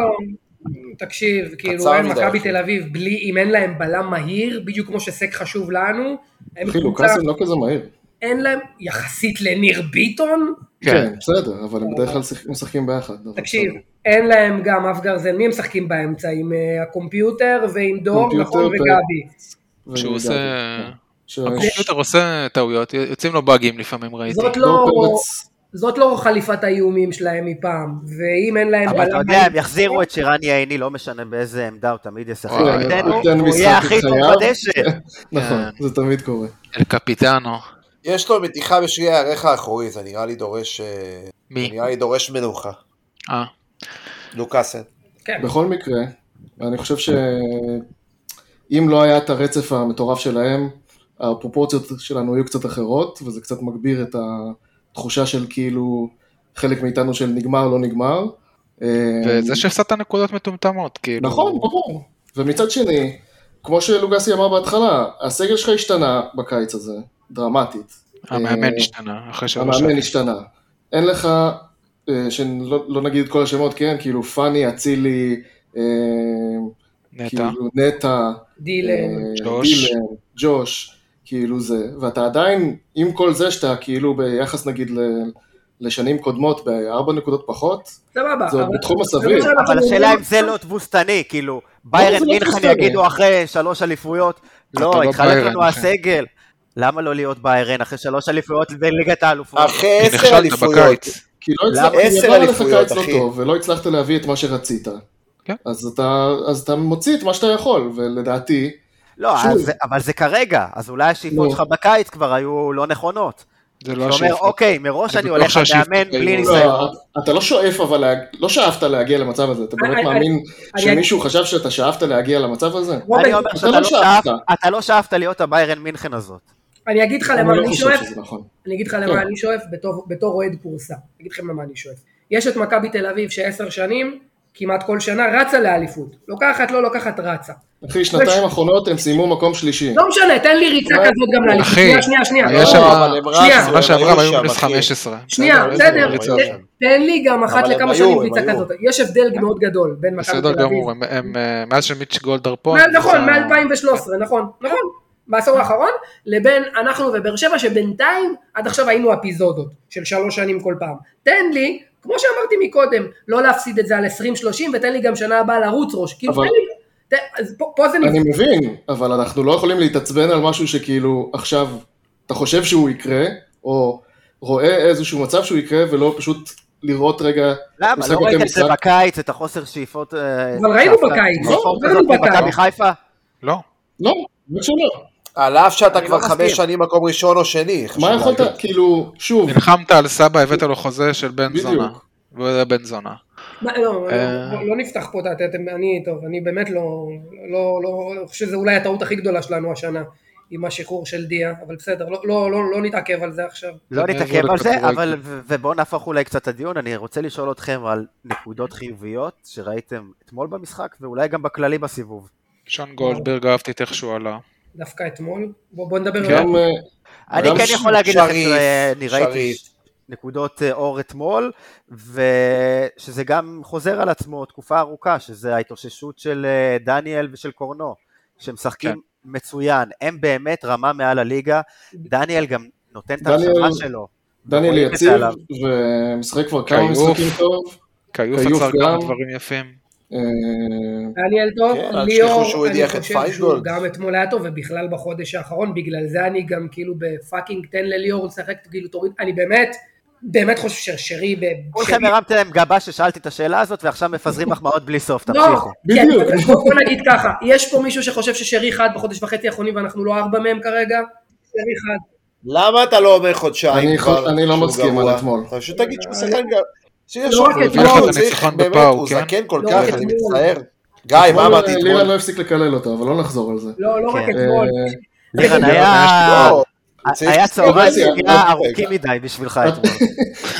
Speaker 2: תקשיב, כאילו,
Speaker 7: קצר
Speaker 2: אין
Speaker 7: מדי,
Speaker 2: מכבי
Speaker 7: אחי.
Speaker 2: תל אביב, בלי, אם אין להם בלם מהיר, בדיוק כמו שסק חשוב לנו, הם
Speaker 5: אחי,
Speaker 2: קבוצה,
Speaker 5: לוקאסם לא כזה מהיר.
Speaker 2: אין להם, יחסית לניר ביטון,
Speaker 6: כן,
Speaker 5: כן, בסדר, אבל הם בדרך כלל שיח- משחקים ביחד. לא אבל
Speaker 2: תקשיב,
Speaker 5: בסדר.
Speaker 2: אין להם גם אף גרזן, מי הם משחקים באמצע? עם אה, הקומפיוטר ועם דור,
Speaker 5: קומפיוטר,
Speaker 2: נכון,
Speaker 5: ו-
Speaker 2: וגבי.
Speaker 6: שהוא
Speaker 5: ואני
Speaker 6: עושה...
Speaker 5: הגעתי, כן. ש-
Speaker 6: הקומפיוטר עושה טעויות, יוצאים לו באגים לפעמים ראיתי.
Speaker 2: זאת לא...
Speaker 5: דור פרץ,
Speaker 2: זאת לא חליפת האיומים שלהם מפעם, ואם אין להם
Speaker 3: אבל אתה יודע,
Speaker 2: מהיר-
Speaker 3: הם יחזירו את שרן יעיני, לא משנה באיזה עמדה הוא תמיד ישחק.
Speaker 6: וואי,
Speaker 3: הוא ייתן-
Speaker 5: הוא ייתן
Speaker 3: הוא
Speaker 5: משחק
Speaker 3: יהיה הכי טוב
Speaker 5: בחייו.
Speaker 3: בדשא.
Speaker 6: (laughs)
Speaker 5: נכון, זה תמיד קורה.
Speaker 6: אל קפיטנו.
Speaker 7: יש לו מתיחה בשביל הירך האחורי, זה נראה לי דורש, אה, זה
Speaker 6: מי?
Speaker 7: נראה לי דורש מנוחה,
Speaker 6: אה,
Speaker 7: לוקאסן.
Speaker 2: כן.
Speaker 5: בכל מקרה, אני חושב שאם לא היה את הרצף המטורף שלהם, הפרופורציות שלנו היו קצת אחרות, וזה קצת מגביר את התחושה של כאילו חלק מאיתנו של נגמר, לא נגמר. אה,
Speaker 6: וזה שהפסדת נקודות מטומטמות, כאילו.
Speaker 5: נכון, ברור. ומצד שני, כמו שלוגסי אמר בהתחלה, הסגל שלך השתנה בקיץ הזה, דרמטית.
Speaker 6: המאמן
Speaker 5: אה,
Speaker 6: השתנה, אחרי שלוש
Speaker 5: המאמן
Speaker 6: שנים.
Speaker 5: השתנה. אין לך, אה, שלא לא נגיד את כל השמות, כן, כאילו פאני, אצילי, אה,
Speaker 6: נטע.
Speaker 5: כאילו נטע,
Speaker 2: דילן.
Speaker 5: אה,
Speaker 6: ג'וש.
Speaker 5: דילן, ג'וש, כאילו זה, ואתה עדיין, עם כל זה שאתה כאילו ביחס נגיד ל- לשנים קודמות בארבע נקודות פחות,
Speaker 2: סבבה.
Speaker 5: זה עוד
Speaker 2: אבל-
Speaker 5: בתחום הסביר.
Speaker 2: זה מה שאנחנו
Speaker 3: אבל השאלה
Speaker 2: אומרים.
Speaker 3: אם זה לא תבוסתני, כאילו,
Speaker 5: לא, זה
Speaker 3: ביירן
Speaker 5: לא
Speaker 3: מינכן
Speaker 5: תבוסתני.
Speaker 3: יגידו אחרי שלוש אליפויות,
Speaker 6: אתה
Speaker 3: לא,
Speaker 6: לא
Speaker 3: התחלף
Speaker 6: ביירן,
Speaker 3: לנו
Speaker 6: אחי."
Speaker 3: הסגל. למה לא להיות ביירן אחרי שלוש אליפויות בליגת האלופות?
Speaker 7: אחרי
Speaker 6: כי
Speaker 7: עשר
Speaker 6: נכשלת
Speaker 7: אליפויות,
Speaker 6: בקיץ.
Speaker 5: כי לא
Speaker 3: למה?
Speaker 5: הצלחת,
Speaker 7: עשר
Speaker 5: עבר עליך
Speaker 7: אליפויות,
Speaker 5: קיץ לא
Speaker 7: אחי.
Speaker 5: טוב, ולא הצלחת להביא את מה שרצית.
Speaker 6: כן.
Speaker 5: אז אתה, אז אתה מוציא את מה שאתה יכול, ולדעתי,
Speaker 3: לא,
Speaker 5: שוב.
Speaker 3: אז, אבל זה כרגע, אז אולי השאיפות
Speaker 5: נו.
Speaker 3: שלך בקיץ כבר היו לא נכונות.
Speaker 6: זה
Speaker 3: אתה
Speaker 6: לא
Speaker 3: אומר,
Speaker 6: השאיפה.
Speaker 3: אוקיי, מראש
Speaker 6: אני
Speaker 3: אני
Speaker 6: בטוח
Speaker 3: הולך
Speaker 6: שהשאיפות
Speaker 3: למאמן
Speaker 6: היו-
Speaker 3: בלי
Speaker 6: לא,
Speaker 3: ניסיון.
Speaker 5: לא, אתה לא שואף אבל, להג- לא שאפת להגיע למצב הזה, אתה
Speaker 2: אני-
Speaker 5: באמת מאמין
Speaker 2: אני-
Speaker 5: שמישהו חשב שאתה שאפת להגיע למצב הזה?
Speaker 2: רוברט,
Speaker 3: אני אומר
Speaker 5: אתה
Speaker 3: שאתה
Speaker 5: לא
Speaker 3: לא
Speaker 5: שאפת.
Speaker 3: שאפת, אתה לא שאפת להיות הביירן מינכן הזאת.
Speaker 2: אני אגיד לך
Speaker 5: אני
Speaker 2: למה
Speaker 5: לא
Speaker 2: אני
Speaker 5: חושב
Speaker 2: שואף,
Speaker 5: שזה נכון.
Speaker 2: אני אגיד לך למה אני שואף בתור- בתור אוהד פורסה. אני אגיד לכם למה אני שואף. יש את מכבי תל אביב שעשר שנים, כמעט כל שנה, רצה לאליפות. לוקחת, לא לוקחת, רצה.
Speaker 5: אחי, שנתיים האחרונות הם סיימו מקום שלישי.
Speaker 2: לא משנה, תן לי ריצה
Speaker 7: אולי-
Speaker 2: כזאת גם לאליפות.
Speaker 6: אחי,
Speaker 2: שנייה, שנייה, שנייה.
Speaker 6: היה
Speaker 7: לא,
Speaker 6: שם-
Speaker 7: אבל הם
Speaker 2: שנייה.
Speaker 7: רצו,
Speaker 6: שנה
Speaker 7: הם
Speaker 6: שעברה הם היו
Speaker 7: שם,
Speaker 6: מינוס
Speaker 7: אחי.
Speaker 6: 15.
Speaker 2: שנייה,
Speaker 7: בסדר,
Speaker 2: בסדר,
Speaker 7: הם
Speaker 5: היו
Speaker 2: תן-
Speaker 7: שם.
Speaker 2: תן לי גם אחת
Speaker 7: אבל הם
Speaker 2: לכמה
Speaker 7: היו,
Speaker 2: שנים
Speaker 7: הם
Speaker 2: ריצה
Speaker 7: היו.
Speaker 2: כזאת. יש הבדל מאוד גדול בין מכבי תל
Speaker 6: בסדר
Speaker 2: אביב.
Speaker 6: גמור, הם- הם, אה, מאז שמיץ' גולדהר פה.
Speaker 2: מעל-
Speaker 6: הם
Speaker 2: נכון,
Speaker 6: קבוצה-
Speaker 2: מ-2013, נכון, נכון, בעשור האחרון, לבין אנחנו ובאר שבע, שבינתיים עד עכשיו היינו אפיזודות של שלוש שנים כל פעם. תן לי, כמו שאמרתי מקודם, לא להפסיד את זה על 20-30, ותן לי גם שנה הבאה לרוץ ראש. כאילו, תן
Speaker 5: אבל-
Speaker 2: לי, תן- אז פה- פה זה
Speaker 5: אני
Speaker 2: נפלא.
Speaker 5: מבין, אבל אנחנו לא יכולים להתעצבן על משהו שכאילו עכשיו אתה חושב שהוא יקרה, או רואה איזשהו מצב שהוא יקרה, ולא פשוט לראות רגע,
Speaker 3: למה?
Speaker 5: משחק
Speaker 3: לא ראית את זה
Speaker 5: משחק.
Speaker 3: בקיץ, את החוסר שאיפות... אה,
Speaker 2: אבל ראינו
Speaker 3: שאפת-
Speaker 2: בקיץ,
Speaker 3: שאיפות
Speaker 2: ראינו
Speaker 3: הזאת
Speaker 2: בקיץ.
Speaker 3: ממכבי חיפה?
Speaker 6: לא.
Speaker 5: לא, באמת שלא.
Speaker 7: על אף שאתה
Speaker 3: אני
Speaker 7: כבר
Speaker 3: לא
Speaker 7: חמש
Speaker 3: מסכים.
Speaker 7: שנים מקום ראשון או שני. חשוב
Speaker 6: לא
Speaker 5: מה יכולת,
Speaker 7: להגיד.
Speaker 5: כאילו, שוב,
Speaker 6: נלחמת על סבא, הבאת לו חוזה של בן
Speaker 5: בדיוק.
Speaker 6: זונה. והוא היה בן זונה.
Speaker 2: מה, לא, לא,
Speaker 6: אה.
Speaker 2: לא- לא נפתח פה את ה... אתם- אני, טוב, אני באמת לא... לא, לא, אני חושב שזו אולי הטעות הכי גדולה שלנו השנה. עם השחרור של דיה, אבל בסדר, לא, לא, לא, לא נתעכב על זה עכשיו.
Speaker 3: לא
Speaker 6: מעבר
Speaker 3: נתעכב על זה,
Speaker 6: לכדורגל.
Speaker 3: אבל, ו- ובואו נהפוך אולי קצת את הדיון, אני רוצה לשאול אתכם על נקודות חיוביות שראיתם אתמול במשחק, ואולי גם בכללי בסיבוב.
Speaker 6: שון גולדברג, אהבתי את איך שהוא עלה.
Speaker 2: דווקא אתמול, בוא, בוא נדבר על
Speaker 5: גם, אה,
Speaker 3: אני
Speaker 5: גם
Speaker 3: כן
Speaker 5: ש-
Speaker 3: יכול להגיד לכם
Speaker 7: שריף,
Speaker 3: שאני ראיתי
Speaker 7: שריף.
Speaker 3: נקודות אה, אור אתמול, ושזה גם חוזר על עצמו תקופה ארוכה, שזה ההתאוששות של אה, דניאל ושל קורנו, שמשחקים מצוין, הם באמת רמה מעל הליגה, דניאל גם נותן את
Speaker 5: דניאל-
Speaker 3: ההרשמה שלו.
Speaker 5: דניאל
Speaker 3: רואים את זה
Speaker 5: יציב,
Speaker 3: עליו.
Speaker 5: ומשחק כבר כמה
Speaker 6: כיוף.
Speaker 5: משחקים טוב.
Speaker 6: כיוף
Speaker 5: כיוף
Speaker 6: עצר
Speaker 5: גם.
Speaker 6: כמה דברים יפים.
Speaker 5: אה,
Speaker 2: דניאל טוב,
Speaker 7: כן, אל
Speaker 2: ליאור,
Speaker 7: תשכחו שהוא
Speaker 2: אני
Speaker 7: הדיח את
Speaker 2: חושב שהוא
Speaker 7: פיינגולד.
Speaker 2: גם אתמול היה טוב, ובכלל בחודש האחרון, בגלל זה אני גם כאילו בפאקינג תן לליאור לשחק, כאילו תוריד, אני באמת, באמת חושב ששרי, ב-
Speaker 3: כולכם
Speaker 2: שרי-
Speaker 3: הרמתם גבה ששאלתי את השאלה הזאת, ועכשיו מפזרים מחמאות בלי
Speaker 2: (laughs)
Speaker 3: סוף,
Speaker 2: לא,
Speaker 3: תמשיכו.
Speaker 2: כן,
Speaker 5: בדיוק.
Speaker 2: אבל בוא בוא נגיד ככה, יש פה מישהו שחושב ששרי חד בחודש וחצי האחרונים ואנחנו לא ארבע מהם כרגע? שרי חד.
Speaker 7: למה אתה לא אומר חודשיים
Speaker 5: אני
Speaker 7: כבר
Speaker 5: חו- אני לא
Speaker 7: שהוא
Speaker 5: מסכים
Speaker 7: גרוע?
Speaker 5: על אתמול.
Speaker 7: אתה פשוט תגיד שהוא שחקן גרוע. שיש
Speaker 2: לא
Speaker 7: לו
Speaker 2: רק
Speaker 7: גבול,
Speaker 2: אתמול.
Speaker 7: הוא
Speaker 6: יש לך
Speaker 7: צריך-
Speaker 6: ניצחון
Speaker 7: אה, באמת,
Speaker 6: בפאו,
Speaker 7: הוא
Speaker 6: כן?
Speaker 7: זקן כל
Speaker 2: לא
Speaker 7: כך,
Speaker 2: רק
Speaker 7: אני
Speaker 2: אתמול.
Speaker 7: מצטער. גיא, מה
Speaker 5: אתמול,
Speaker 7: אמרתי
Speaker 5: אה, לירן לא
Speaker 7: אתמול?
Speaker 5: הפסיק לקלל אותו, אבל לא נחזור על זה.
Speaker 2: לא, לא רק
Speaker 3: כן.
Speaker 2: אתמול.
Speaker 5: אה,
Speaker 3: לירן,
Speaker 6: לא,
Speaker 3: היה
Speaker 7: לא, צריך-
Speaker 3: היה צהריים
Speaker 5: זה-
Speaker 3: שנייה
Speaker 7: זה-
Speaker 3: ארוכים מדי בשבילך אתמול.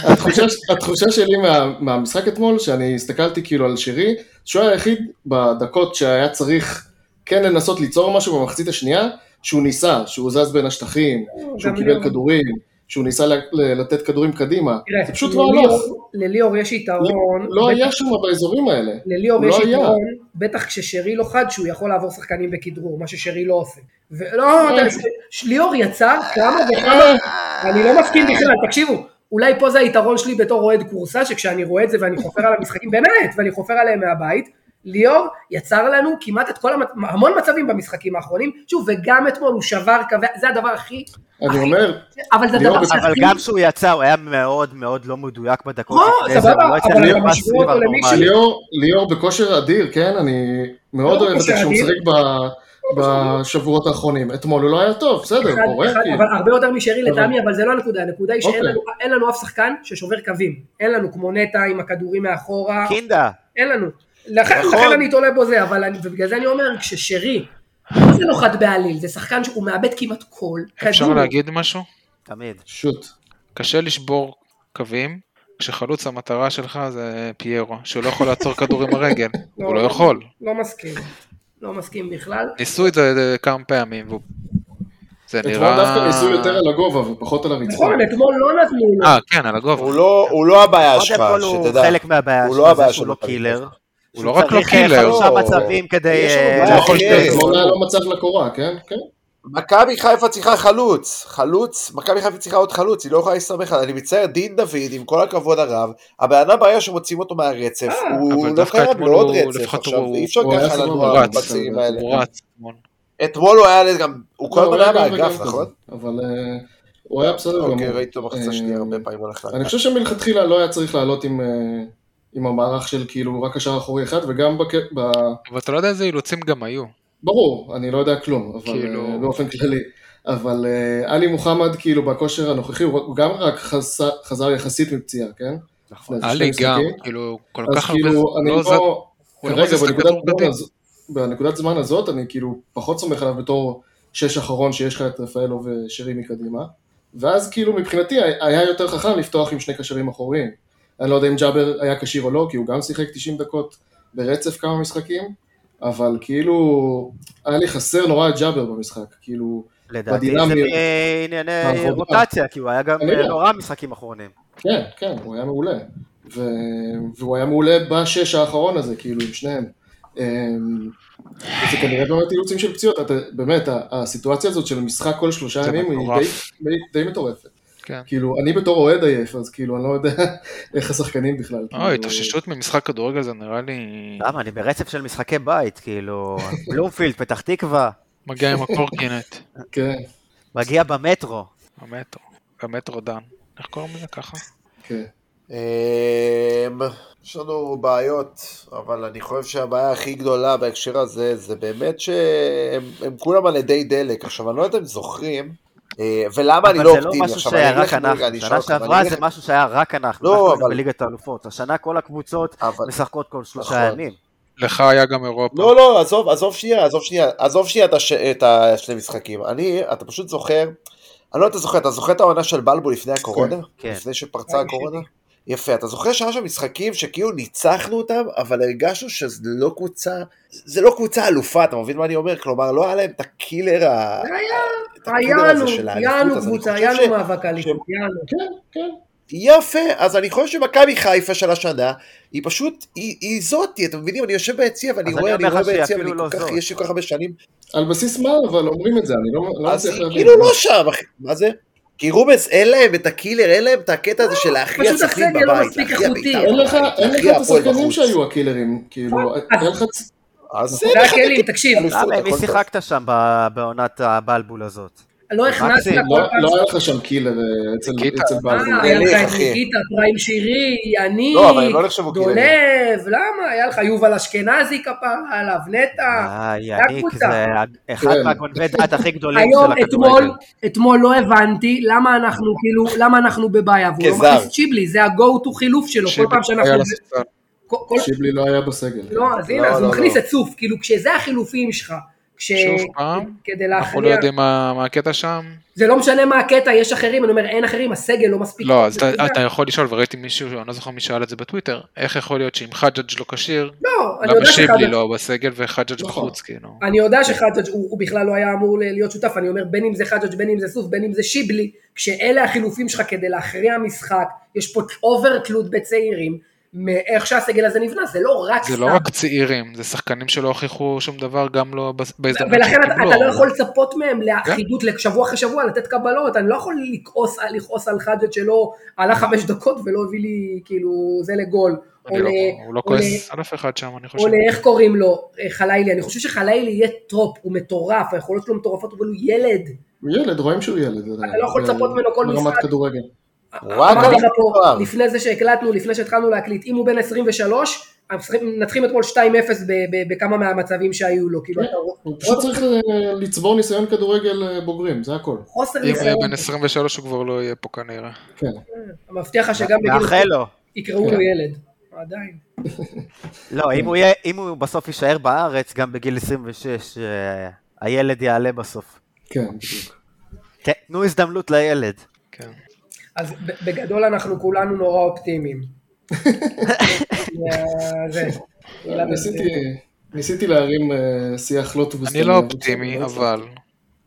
Speaker 5: אה, התחושה, התחושה שלי מה, מהמשחק אתמול, שאני הסתכלתי כאילו על שירי, שהוא היה היחיד בדקות שהיה צריך כן לנסות ליצור משהו במחצית השנייה, שהוא ניסה, שהוא זז בין השטחים, שהוא
Speaker 2: גם לא-
Speaker 5: קיבל
Speaker 2: ליאור.
Speaker 5: כדורים, שהוא ניסה ל- ל- לתת כדורים קדימה,
Speaker 2: תראה,
Speaker 5: זה פשוט לא הלך.
Speaker 2: לליאור- לליאור יש יתרון.
Speaker 5: לא היה שם באזורים האלה.
Speaker 2: לליאור
Speaker 5: לא
Speaker 2: יש
Speaker 5: היה.
Speaker 2: יתרון, בטח כששרי לא חד, שהוא יכול לעבור שחקנים בכדרור, מה ששרי לא עושה.
Speaker 3: אה.
Speaker 2: ולא, אתה- ש- ליאור יצר כמה וכמה, אני לא מסכים בכלל, תקשיבו, אולי פה זה היתרון שלי בתור אוהד כורסה, שכשאני רואה את זה ואני חופר על המשחקים, באמת, ואני חופר עליהם מהבית, ליאור יצר לנו כמעט את כל, המצ- המון מצבים במשחקים האחרונים, שוב, וגם אתמול הוא שבר קווי, זה הדבר הכי,
Speaker 5: אני
Speaker 2: אחי,
Speaker 5: אומר,
Speaker 2: אבל זה
Speaker 5: ליאור,
Speaker 2: הדבר שהכי...
Speaker 3: אבל גם כשהוא יצא, הוא היה מאוד מאוד לא מדויק בדקות
Speaker 2: או,
Speaker 3: לפני זה,
Speaker 2: סבבה,
Speaker 3: הוא לא הצליח
Speaker 2: אבל
Speaker 3: לראות
Speaker 2: אתה משווה אותו
Speaker 3: סביב
Speaker 2: למישהו-
Speaker 7: לא-
Speaker 3: הנורמלי.
Speaker 5: ליאור, ליאור בכושר אדיר, כן? אני מאוד
Speaker 2: לא
Speaker 5: אוהב את
Speaker 2: בכושר
Speaker 5: זה שהוא
Speaker 2: אדיר.
Speaker 5: משחק ב- בשבועות האחרונים. אתמול הוא לא היה טוב, בסדר,
Speaker 2: אחד-
Speaker 5: קורה,
Speaker 2: אחד-
Speaker 5: כי...
Speaker 2: אבל הרבה יותר משרי
Speaker 5: אבל-
Speaker 2: לטעמי, אבל זה לא הנקודה, הנקודה היא שאין
Speaker 5: אוקיי.
Speaker 2: לנו- אין לנו אף שחקן ששובר קווים. אין לנו כמו נטע עם הכדורים מאחורה,
Speaker 6: כן.
Speaker 3: קינדה,
Speaker 2: אין לנו. לכן
Speaker 7: נכון.
Speaker 2: לכן אני תולה בו זה, אבל אני- ובגלל זה אני אומר, כששרי, מה זה נוחת בעליל? זה שחקן שהוא מאבד כמעט כל
Speaker 6: אפשר
Speaker 2: כדור.
Speaker 6: להגיד משהו?
Speaker 3: תמיד.
Speaker 5: שוט.
Speaker 6: קשה לשבור קווים כשחלוץ המטרה שלך זה פיירו, שהוא לא יכול לעצור כדור עם הרגל, הוא לא יכול.
Speaker 2: לא מסכים. לא מסכים בכלל.
Speaker 6: ניסו את זה אה, כמה פעמים, והוא... זה
Speaker 5: אתמול דווקא
Speaker 6: נראה...
Speaker 5: ניסו יותר על הגובה ופחות על הרצפה.
Speaker 2: נכון, אתמול לא נתנו לו.
Speaker 6: אה, כן, על הגובה.
Speaker 7: הוא לא- הוא לא הבעיה שלך,
Speaker 3: קודם כל הוא
Speaker 7: שתדע.
Speaker 3: חלק מהבעיה
Speaker 7: הוא
Speaker 3: שלו,
Speaker 7: לא הבעיה
Speaker 3: זה שהוא
Speaker 7: שלו
Speaker 3: לא
Speaker 7: כרגע.
Speaker 3: קילר.
Speaker 6: הוא לא רק לא
Speaker 3: שהוא
Speaker 6: קילר.
Speaker 3: צריך אה, חמישה
Speaker 7: לא.
Speaker 3: מצבים כדי...
Speaker 7: יש לו
Speaker 3: אה,
Speaker 7: בעיה.
Speaker 3: להפוך
Speaker 7: יכול להיות.
Speaker 3: את זה.
Speaker 5: אתמול היה לא מצב לקורה, כן? כן.
Speaker 7: מכבי חיפה צריכה חלוץ, חלוץ, מכבי חיפה צריכה עוד חלוץ, היא לא יכולה להסתמך עליו, אני מצטער, דין דוד, עם כל הכבוד הרב, הבן אדם ברגע שמוציאים אותו מהרצף,
Speaker 2: אה,
Speaker 7: הוא
Speaker 6: אבל
Speaker 7: לא
Speaker 6: דווקא
Speaker 7: קיים
Speaker 6: אתמול
Speaker 7: לעוד
Speaker 6: הוא-
Speaker 7: רצף,
Speaker 6: לפחות
Speaker 7: עכשיו
Speaker 6: הוא-
Speaker 7: אי אפשר
Speaker 5: הוא היה
Speaker 7: ככה
Speaker 5: סבבה,
Speaker 7: לנוע
Speaker 6: הוא
Speaker 7: על
Speaker 6: רץ,
Speaker 7: הבצעים
Speaker 5: לא-
Speaker 7: האלה.
Speaker 6: הוא רץ. אתמול.
Speaker 7: אתמול הוא היה גם, הוא כל הזמן היה
Speaker 5: גם
Speaker 7: באגף,
Speaker 5: וגם
Speaker 7: נכון?
Speaker 5: כזה, אבל אה, הוא היה בסדר גמור.
Speaker 7: אוקיי, ראיתי אותו מחצה שנייה
Speaker 5: אה,
Speaker 7: הרבה פעמים הולך
Speaker 5: אני
Speaker 7: לאגף.
Speaker 5: חושב שמלכתחילה לא היה צריך לעלות עם, אה, עם המערך של כאילו רק השער האחורי אחד, וגם בק- ב...
Speaker 6: אבל אתה לא יודע איזה אילוצים גם היו.
Speaker 5: ברור, אני לא יודע כלום, אבל
Speaker 6: כאילו-
Speaker 5: כאילו... באופן כללי. אבל אה, עלי מוחמד, כאילו, בכושר הנוכחי, הוא הוא גם רק חזר, חזר יחסית מפציעה, כן?
Speaker 3: נכון.
Speaker 5: לפני
Speaker 6: עלי
Speaker 5: שני
Speaker 6: גם,
Speaker 5: משחקים.
Speaker 6: כאילו, כל
Speaker 5: אז
Speaker 6: כך הרבה...
Speaker 5: כאילו, אני
Speaker 6: לא זז-
Speaker 5: לא...
Speaker 6: הוא לא
Speaker 5: כרגע,
Speaker 6: מזיז את
Speaker 5: בנקודת
Speaker 6: הכדור
Speaker 5: זמן
Speaker 6: קדימה.
Speaker 5: הזו- בנקודת זמן הזאת, אני כאילו פחות סומך עליו בתור שש אחרון שיש לך את רפאלו ושירי מקדימה. ואז כאילו מבחינתי היה יותר חכם לפתוח עם שני קשרים אחוריים. אני לא יודע אם ג'אבר היה כשיר או לא, כי הוא גם שיחק 90 דקות ברצף כמה משחקים, אבל כאילו, היה לי חסר נורא את ג'אבר במשחק, כאילו,
Speaker 3: לדעתי זה
Speaker 5: בדינמיות.
Speaker 3: מענייני
Speaker 5: העבודה.
Speaker 3: רוטציה, כי הוא היה גם
Speaker 5: אני יודע.
Speaker 3: אה, נורא משחקים אחרונים.
Speaker 5: כן, כן, הוא היה מעולה. ו... והוא היה מעולה בשש האחרון הזה, כאילו, עם שניהם. אמ, זה כנראה באמת אילוצים של פציעות, אתה, באמת, ה- הסיטואציה הזאת של משחק כל שלושה
Speaker 6: זה
Speaker 5: ימים היא
Speaker 6: מטורף.
Speaker 5: די, די, די מטורפת.
Speaker 6: כן.
Speaker 5: כאילו, אני בתור אוהד עייף, אז כאילו, אני לא יודע (laughs) איך השחקנים בכלל.
Speaker 6: אוי,
Speaker 5: כאילו,
Speaker 6: התאוששות ממשחק כדורגל זה נראה לי...
Speaker 3: למה? אני ברצף של משחקי בית, כאילו, בלומפילד, פתח תקווה,
Speaker 6: מגיע עם
Speaker 5: (laughs)
Speaker 6: הקורקינט,
Speaker 5: כן,
Speaker 3: מגיע במטרו.
Speaker 6: המטרו, המטרו דן. איך קוראים לזה ככה?
Speaker 5: כן.
Speaker 7: אמ, יש לנו בעיות, אבל אני חושב שהבעיה הכי גדולה בהקשר הזה, זה באמת שהם הם כולם על ידי דלק. עכשיו, אני לא יודע אם זוכרים, אה, ולמה אני
Speaker 3: אבל
Speaker 7: לא
Speaker 3: זה לא
Speaker 7: אופטימי.
Speaker 3: משהו
Speaker 7: עכשיו,
Speaker 3: שהיה
Speaker 7: אני אלך
Speaker 3: רק
Speaker 7: עם-
Speaker 3: אנחנו,
Speaker 7: אני אשאל
Speaker 3: שנה
Speaker 7: אותך, ואני
Speaker 3: שעברה
Speaker 7: אלך-
Speaker 3: זה משהו שהיה רק אנחנו,
Speaker 7: לא,
Speaker 3: אנחנו היינו
Speaker 7: אבל-
Speaker 3: בליגת האלופות, השנה כל הקבוצות
Speaker 7: אבל-
Speaker 3: משחקות אה, כל שלושה
Speaker 7: נכון.
Speaker 3: ימים.
Speaker 6: לך היה גם אירופה.
Speaker 7: לא, לא, עזוב, עזוב שנייה, עזוב שנייה, עזוב שנייה את, הש... את השני משחקים. אני, אתה פשוט זוכר, אני לא יודע, אתה זוכר, אתה זוכר את העונה של בלבו לפני הקורונה?
Speaker 3: כן.
Speaker 7: לפני שפרצה הקורונה? יפה, אתה זוכר שהיה שם משחקים שכאילו ניצחנו אותם, אבל הרגשנו שזה לא קבוצה, זה לא קבוצה אלופה, אתה מבין מה אני אומר? כלומר, לא היה להם את הקילר ה...
Speaker 6: אה,
Speaker 7: את
Speaker 2: היה
Speaker 7: הקילר הזה
Speaker 2: לנו,
Speaker 7: של
Speaker 2: היה
Speaker 7: האליפות,
Speaker 2: לנו
Speaker 7: אז אני
Speaker 2: קבוצה,
Speaker 7: חושב
Speaker 2: היה
Speaker 7: ש-
Speaker 2: לנו מאבק אליפות, היה לנו.
Speaker 5: כן,
Speaker 7: יפה, אז אני חושב שמכבי חיפה של השנה, היא פשוט, היא, היא זאתי, אתם מבינים? אני יושב ביציע ואני
Speaker 3: אז אני אומר
Speaker 7: רואה, אני רואה
Speaker 3: לך שהיא
Speaker 7: ביציע,
Speaker 3: אפילו
Speaker 7: ואני
Speaker 3: לא
Speaker 7: כל כך,
Speaker 3: זאת.
Speaker 7: יש לי כל כך הרבה שנים,
Speaker 5: על בסיס מה, אבל אומרים את זה, אני לא לא
Speaker 7: אז
Speaker 5: מצליח
Speaker 7: היא
Speaker 5: להבין.
Speaker 7: כאילו לא שם, אחי. מה זה? כי רובנס, אין להם את הקילר, אין להם את הקטע הזה של להכריע
Speaker 2: פשוט
Speaker 7: שחקנים
Speaker 2: הסגל לא
Speaker 7: בבית,
Speaker 2: מספיק
Speaker 7: להכריע
Speaker 2: איכותי.
Speaker 7: בית"ר
Speaker 5: אין לך
Speaker 7: בבית,
Speaker 5: אין לך
Speaker 7: להכריע
Speaker 5: את
Speaker 7: הפועל
Speaker 5: השחקנים
Speaker 7: בחוץ.
Speaker 5: שהיו הקילרים, כאילו, אין לך...
Speaker 7: אז
Speaker 2: זה
Speaker 5: נכון.
Speaker 7: אין לך
Speaker 2: הכלים,
Speaker 7: את
Speaker 2: תקשיב.
Speaker 7: האליפות,
Speaker 3: למה,
Speaker 7: הכל
Speaker 3: מי
Speaker 7: טוב.
Speaker 3: שיחקת שם ב- בעונת הבלבול הזאת?
Speaker 2: לא הכנסת
Speaker 3: מקסים,
Speaker 2: כל
Speaker 5: לא-
Speaker 2: פעם
Speaker 5: לא היה
Speaker 2: ש-
Speaker 5: לך שם קילר אה, אצל-
Speaker 6: ניקיטה.
Speaker 5: אצל
Speaker 2: מה,
Speaker 5: בלבול.
Speaker 2: היה לך
Speaker 7: אליך,
Speaker 2: את
Speaker 7: אחי.
Speaker 2: ניקיטה, פריים שירי, יניב,
Speaker 7: לא, אבל הם לא נחשבו כאילו.
Speaker 2: דולב, למה? היה לך יובל אשכנזי כפרה עליו, נטע.
Speaker 3: אה, יניק,
Speaker 2: הקבוצה.
Speaker 3: זה אחד
Speaker 5: כן.
Speaker 3: מהגונבי דעת הכי גדולים של
Speaker 2: היום,
Speaker 3: הכדורגל.
Speaker 2: אתמול, אתמול לא הבנתי למה אנחנו כאילו, למה אנחנו בבעיה, והוא לא
Speaker 7: כזר.
Speaker 2: מכניס את צ'יבלי, זה ה-go to חילוף שלו, כל פעם שאנחנו...
Speaker 6: היה לספסל.
Speaker 2: כל- כל-
Speaker 5: שיבלי לא היה בסגל.
Speaker 2: לא, אז
Speaker 7: לא,
Speaker 2: הנה, אז
Speaker 7: לא,
Speaker 2: הוא מכניס
Speaker 7: לא.
Speaker 2: את סוף, כאילו, כשזה החילופים שלך, כש...
Speaker 6: שוב פעם,
Speaker 2: כדי
Speaker 6: אנחנו לא
Speaker 2: להכריע,
Speaker 6: יודעים מה מה הקטע שם.
Speaker 2: זה לא משנה מה הקטע, יש אחרים, אני אומר, אין אחרים, הסגל לא מספיק.
Speaker 6: לא, אז
Speaker 2: אתה
Speaker 6: אתה- אתה יכול לשאול, וראיתי מישהו, אני לא זוכר מי שאל את זה בטוויטר, איך יכול להיות שאם חג'ג' לא כשיר,
Speaker 2: לא, אני
Speaker 6: למה
Speaker 2: יודע שחג'ג'
Speaker 6: שיבלי לא בסגל וחג'ג'
Speaker 5: נכון.
Speaker 6: בחוץ, כאילו.
Speaker 2: אני יודע שחג'ג' הוא, הוא בכלל לא היה אמור ל- להיות שותף, אני אומר בין אם זה חג'ג' בין אם זה סוף, בין אם זה שיבלי, כשאלה החילופים שלך כדי להכריע משחק, יש פה אובר תלות בצעירים, מאיך שהסגל הזה נבנה, זה לא רק
Speaker 6: זה
Speaker 2: סתם.
Speaker 6: לא רק צעירים, זה שחקנים שלא הוכיחו שום דבר, גם לא בס- בהזדמנות
Speaker 2: ולכן אתה,
Speaker 6: שקיבלו.
Speaker 2: אתה לא יכול לצפות מהם
Speaker 6: כן.
Speaker 2: לאחידות לשבוע אחרי שבוע, לתת קבלות, אני לא יכול לכעוס, לכעוס על חג'ג' שלא עלה חמש דקות ולא הביא לי כאילו זה לגול. או
Speaker 6: אני לא-
Speaker 2: ל-
Speaker 6: הוא לא
Speaker 2: או ל-
Speaker 6: כועס על אף אחד שם, אני חושב.
Speaker 2: או לאיך קוראים לו, אה, חלילי, אני חושב שחלילי יהיה טרופ, הוא מטורף, היכולות שלו מטורפות, אבל הוא ילד,
Speaker 5: הוא ילד, רואים שהוא ילד. עדיין.
Speaker 2: אתה לא יכול לצפות ממנו כל
Speaker 5: ברמת
Speaker 2: משחק.
Speaker 5: כדורגל.
Speaker 7: רק
Speaker 2: אמרתי
Speaker 7: על
Speaker 2: לך פה,
Speaker 7: התואר.
Speaker 2: לפני זה שהקלטנו, לפני שהתחלנו להקליט, אם הוא בן 23, המשחק- מנצחים אתמול 2-0 ב- ב- בכמה מהמצבים שהיו לו, כאילו,
Speaker 5: כן.
Speaker 2: אתה רואה-
Speaker 5: הוא פשוט צריך אה, לצבור ניסיון כדורגל אה, בוגרים, זה הכל.
Speaker 2: חוסר
Speaker 6: אם הוא יהיה
Speaker 2: ניסיון,
Speaker 6: בן 23 הוא כבר לא יהיה פה כנראה.
Speaker 5: כן.
Speaker 2: אני מבטיח לך שגם בגיל
Speaker 3: מאחל לו.
Speaker 2: יקראו
Speaker 5: כן.
Speaker 2: לו ילד, עדיין.
Speaker 3: לא, אם הוא יהיה- אם הוא בסוף יישאר בארץ, גם בגיל 26, אה, הילד יעלה בסוף.
Speaker 5: כן, בדיוק.
Speaker 3: כן, תנו הזדמנות לילד.
Speaker 6: כן.
Speaker 2: אז ב- בגדול אנחנו כולנו נורא
Speaker 6: (laughs)
Speaker 2: אופטימיים. אה, זה.
Speaker 5: ניסיתי, ניסיתי להרים אה, שיח לא טובוסטי.
Speaker 6: אני לא אופטימי, אבל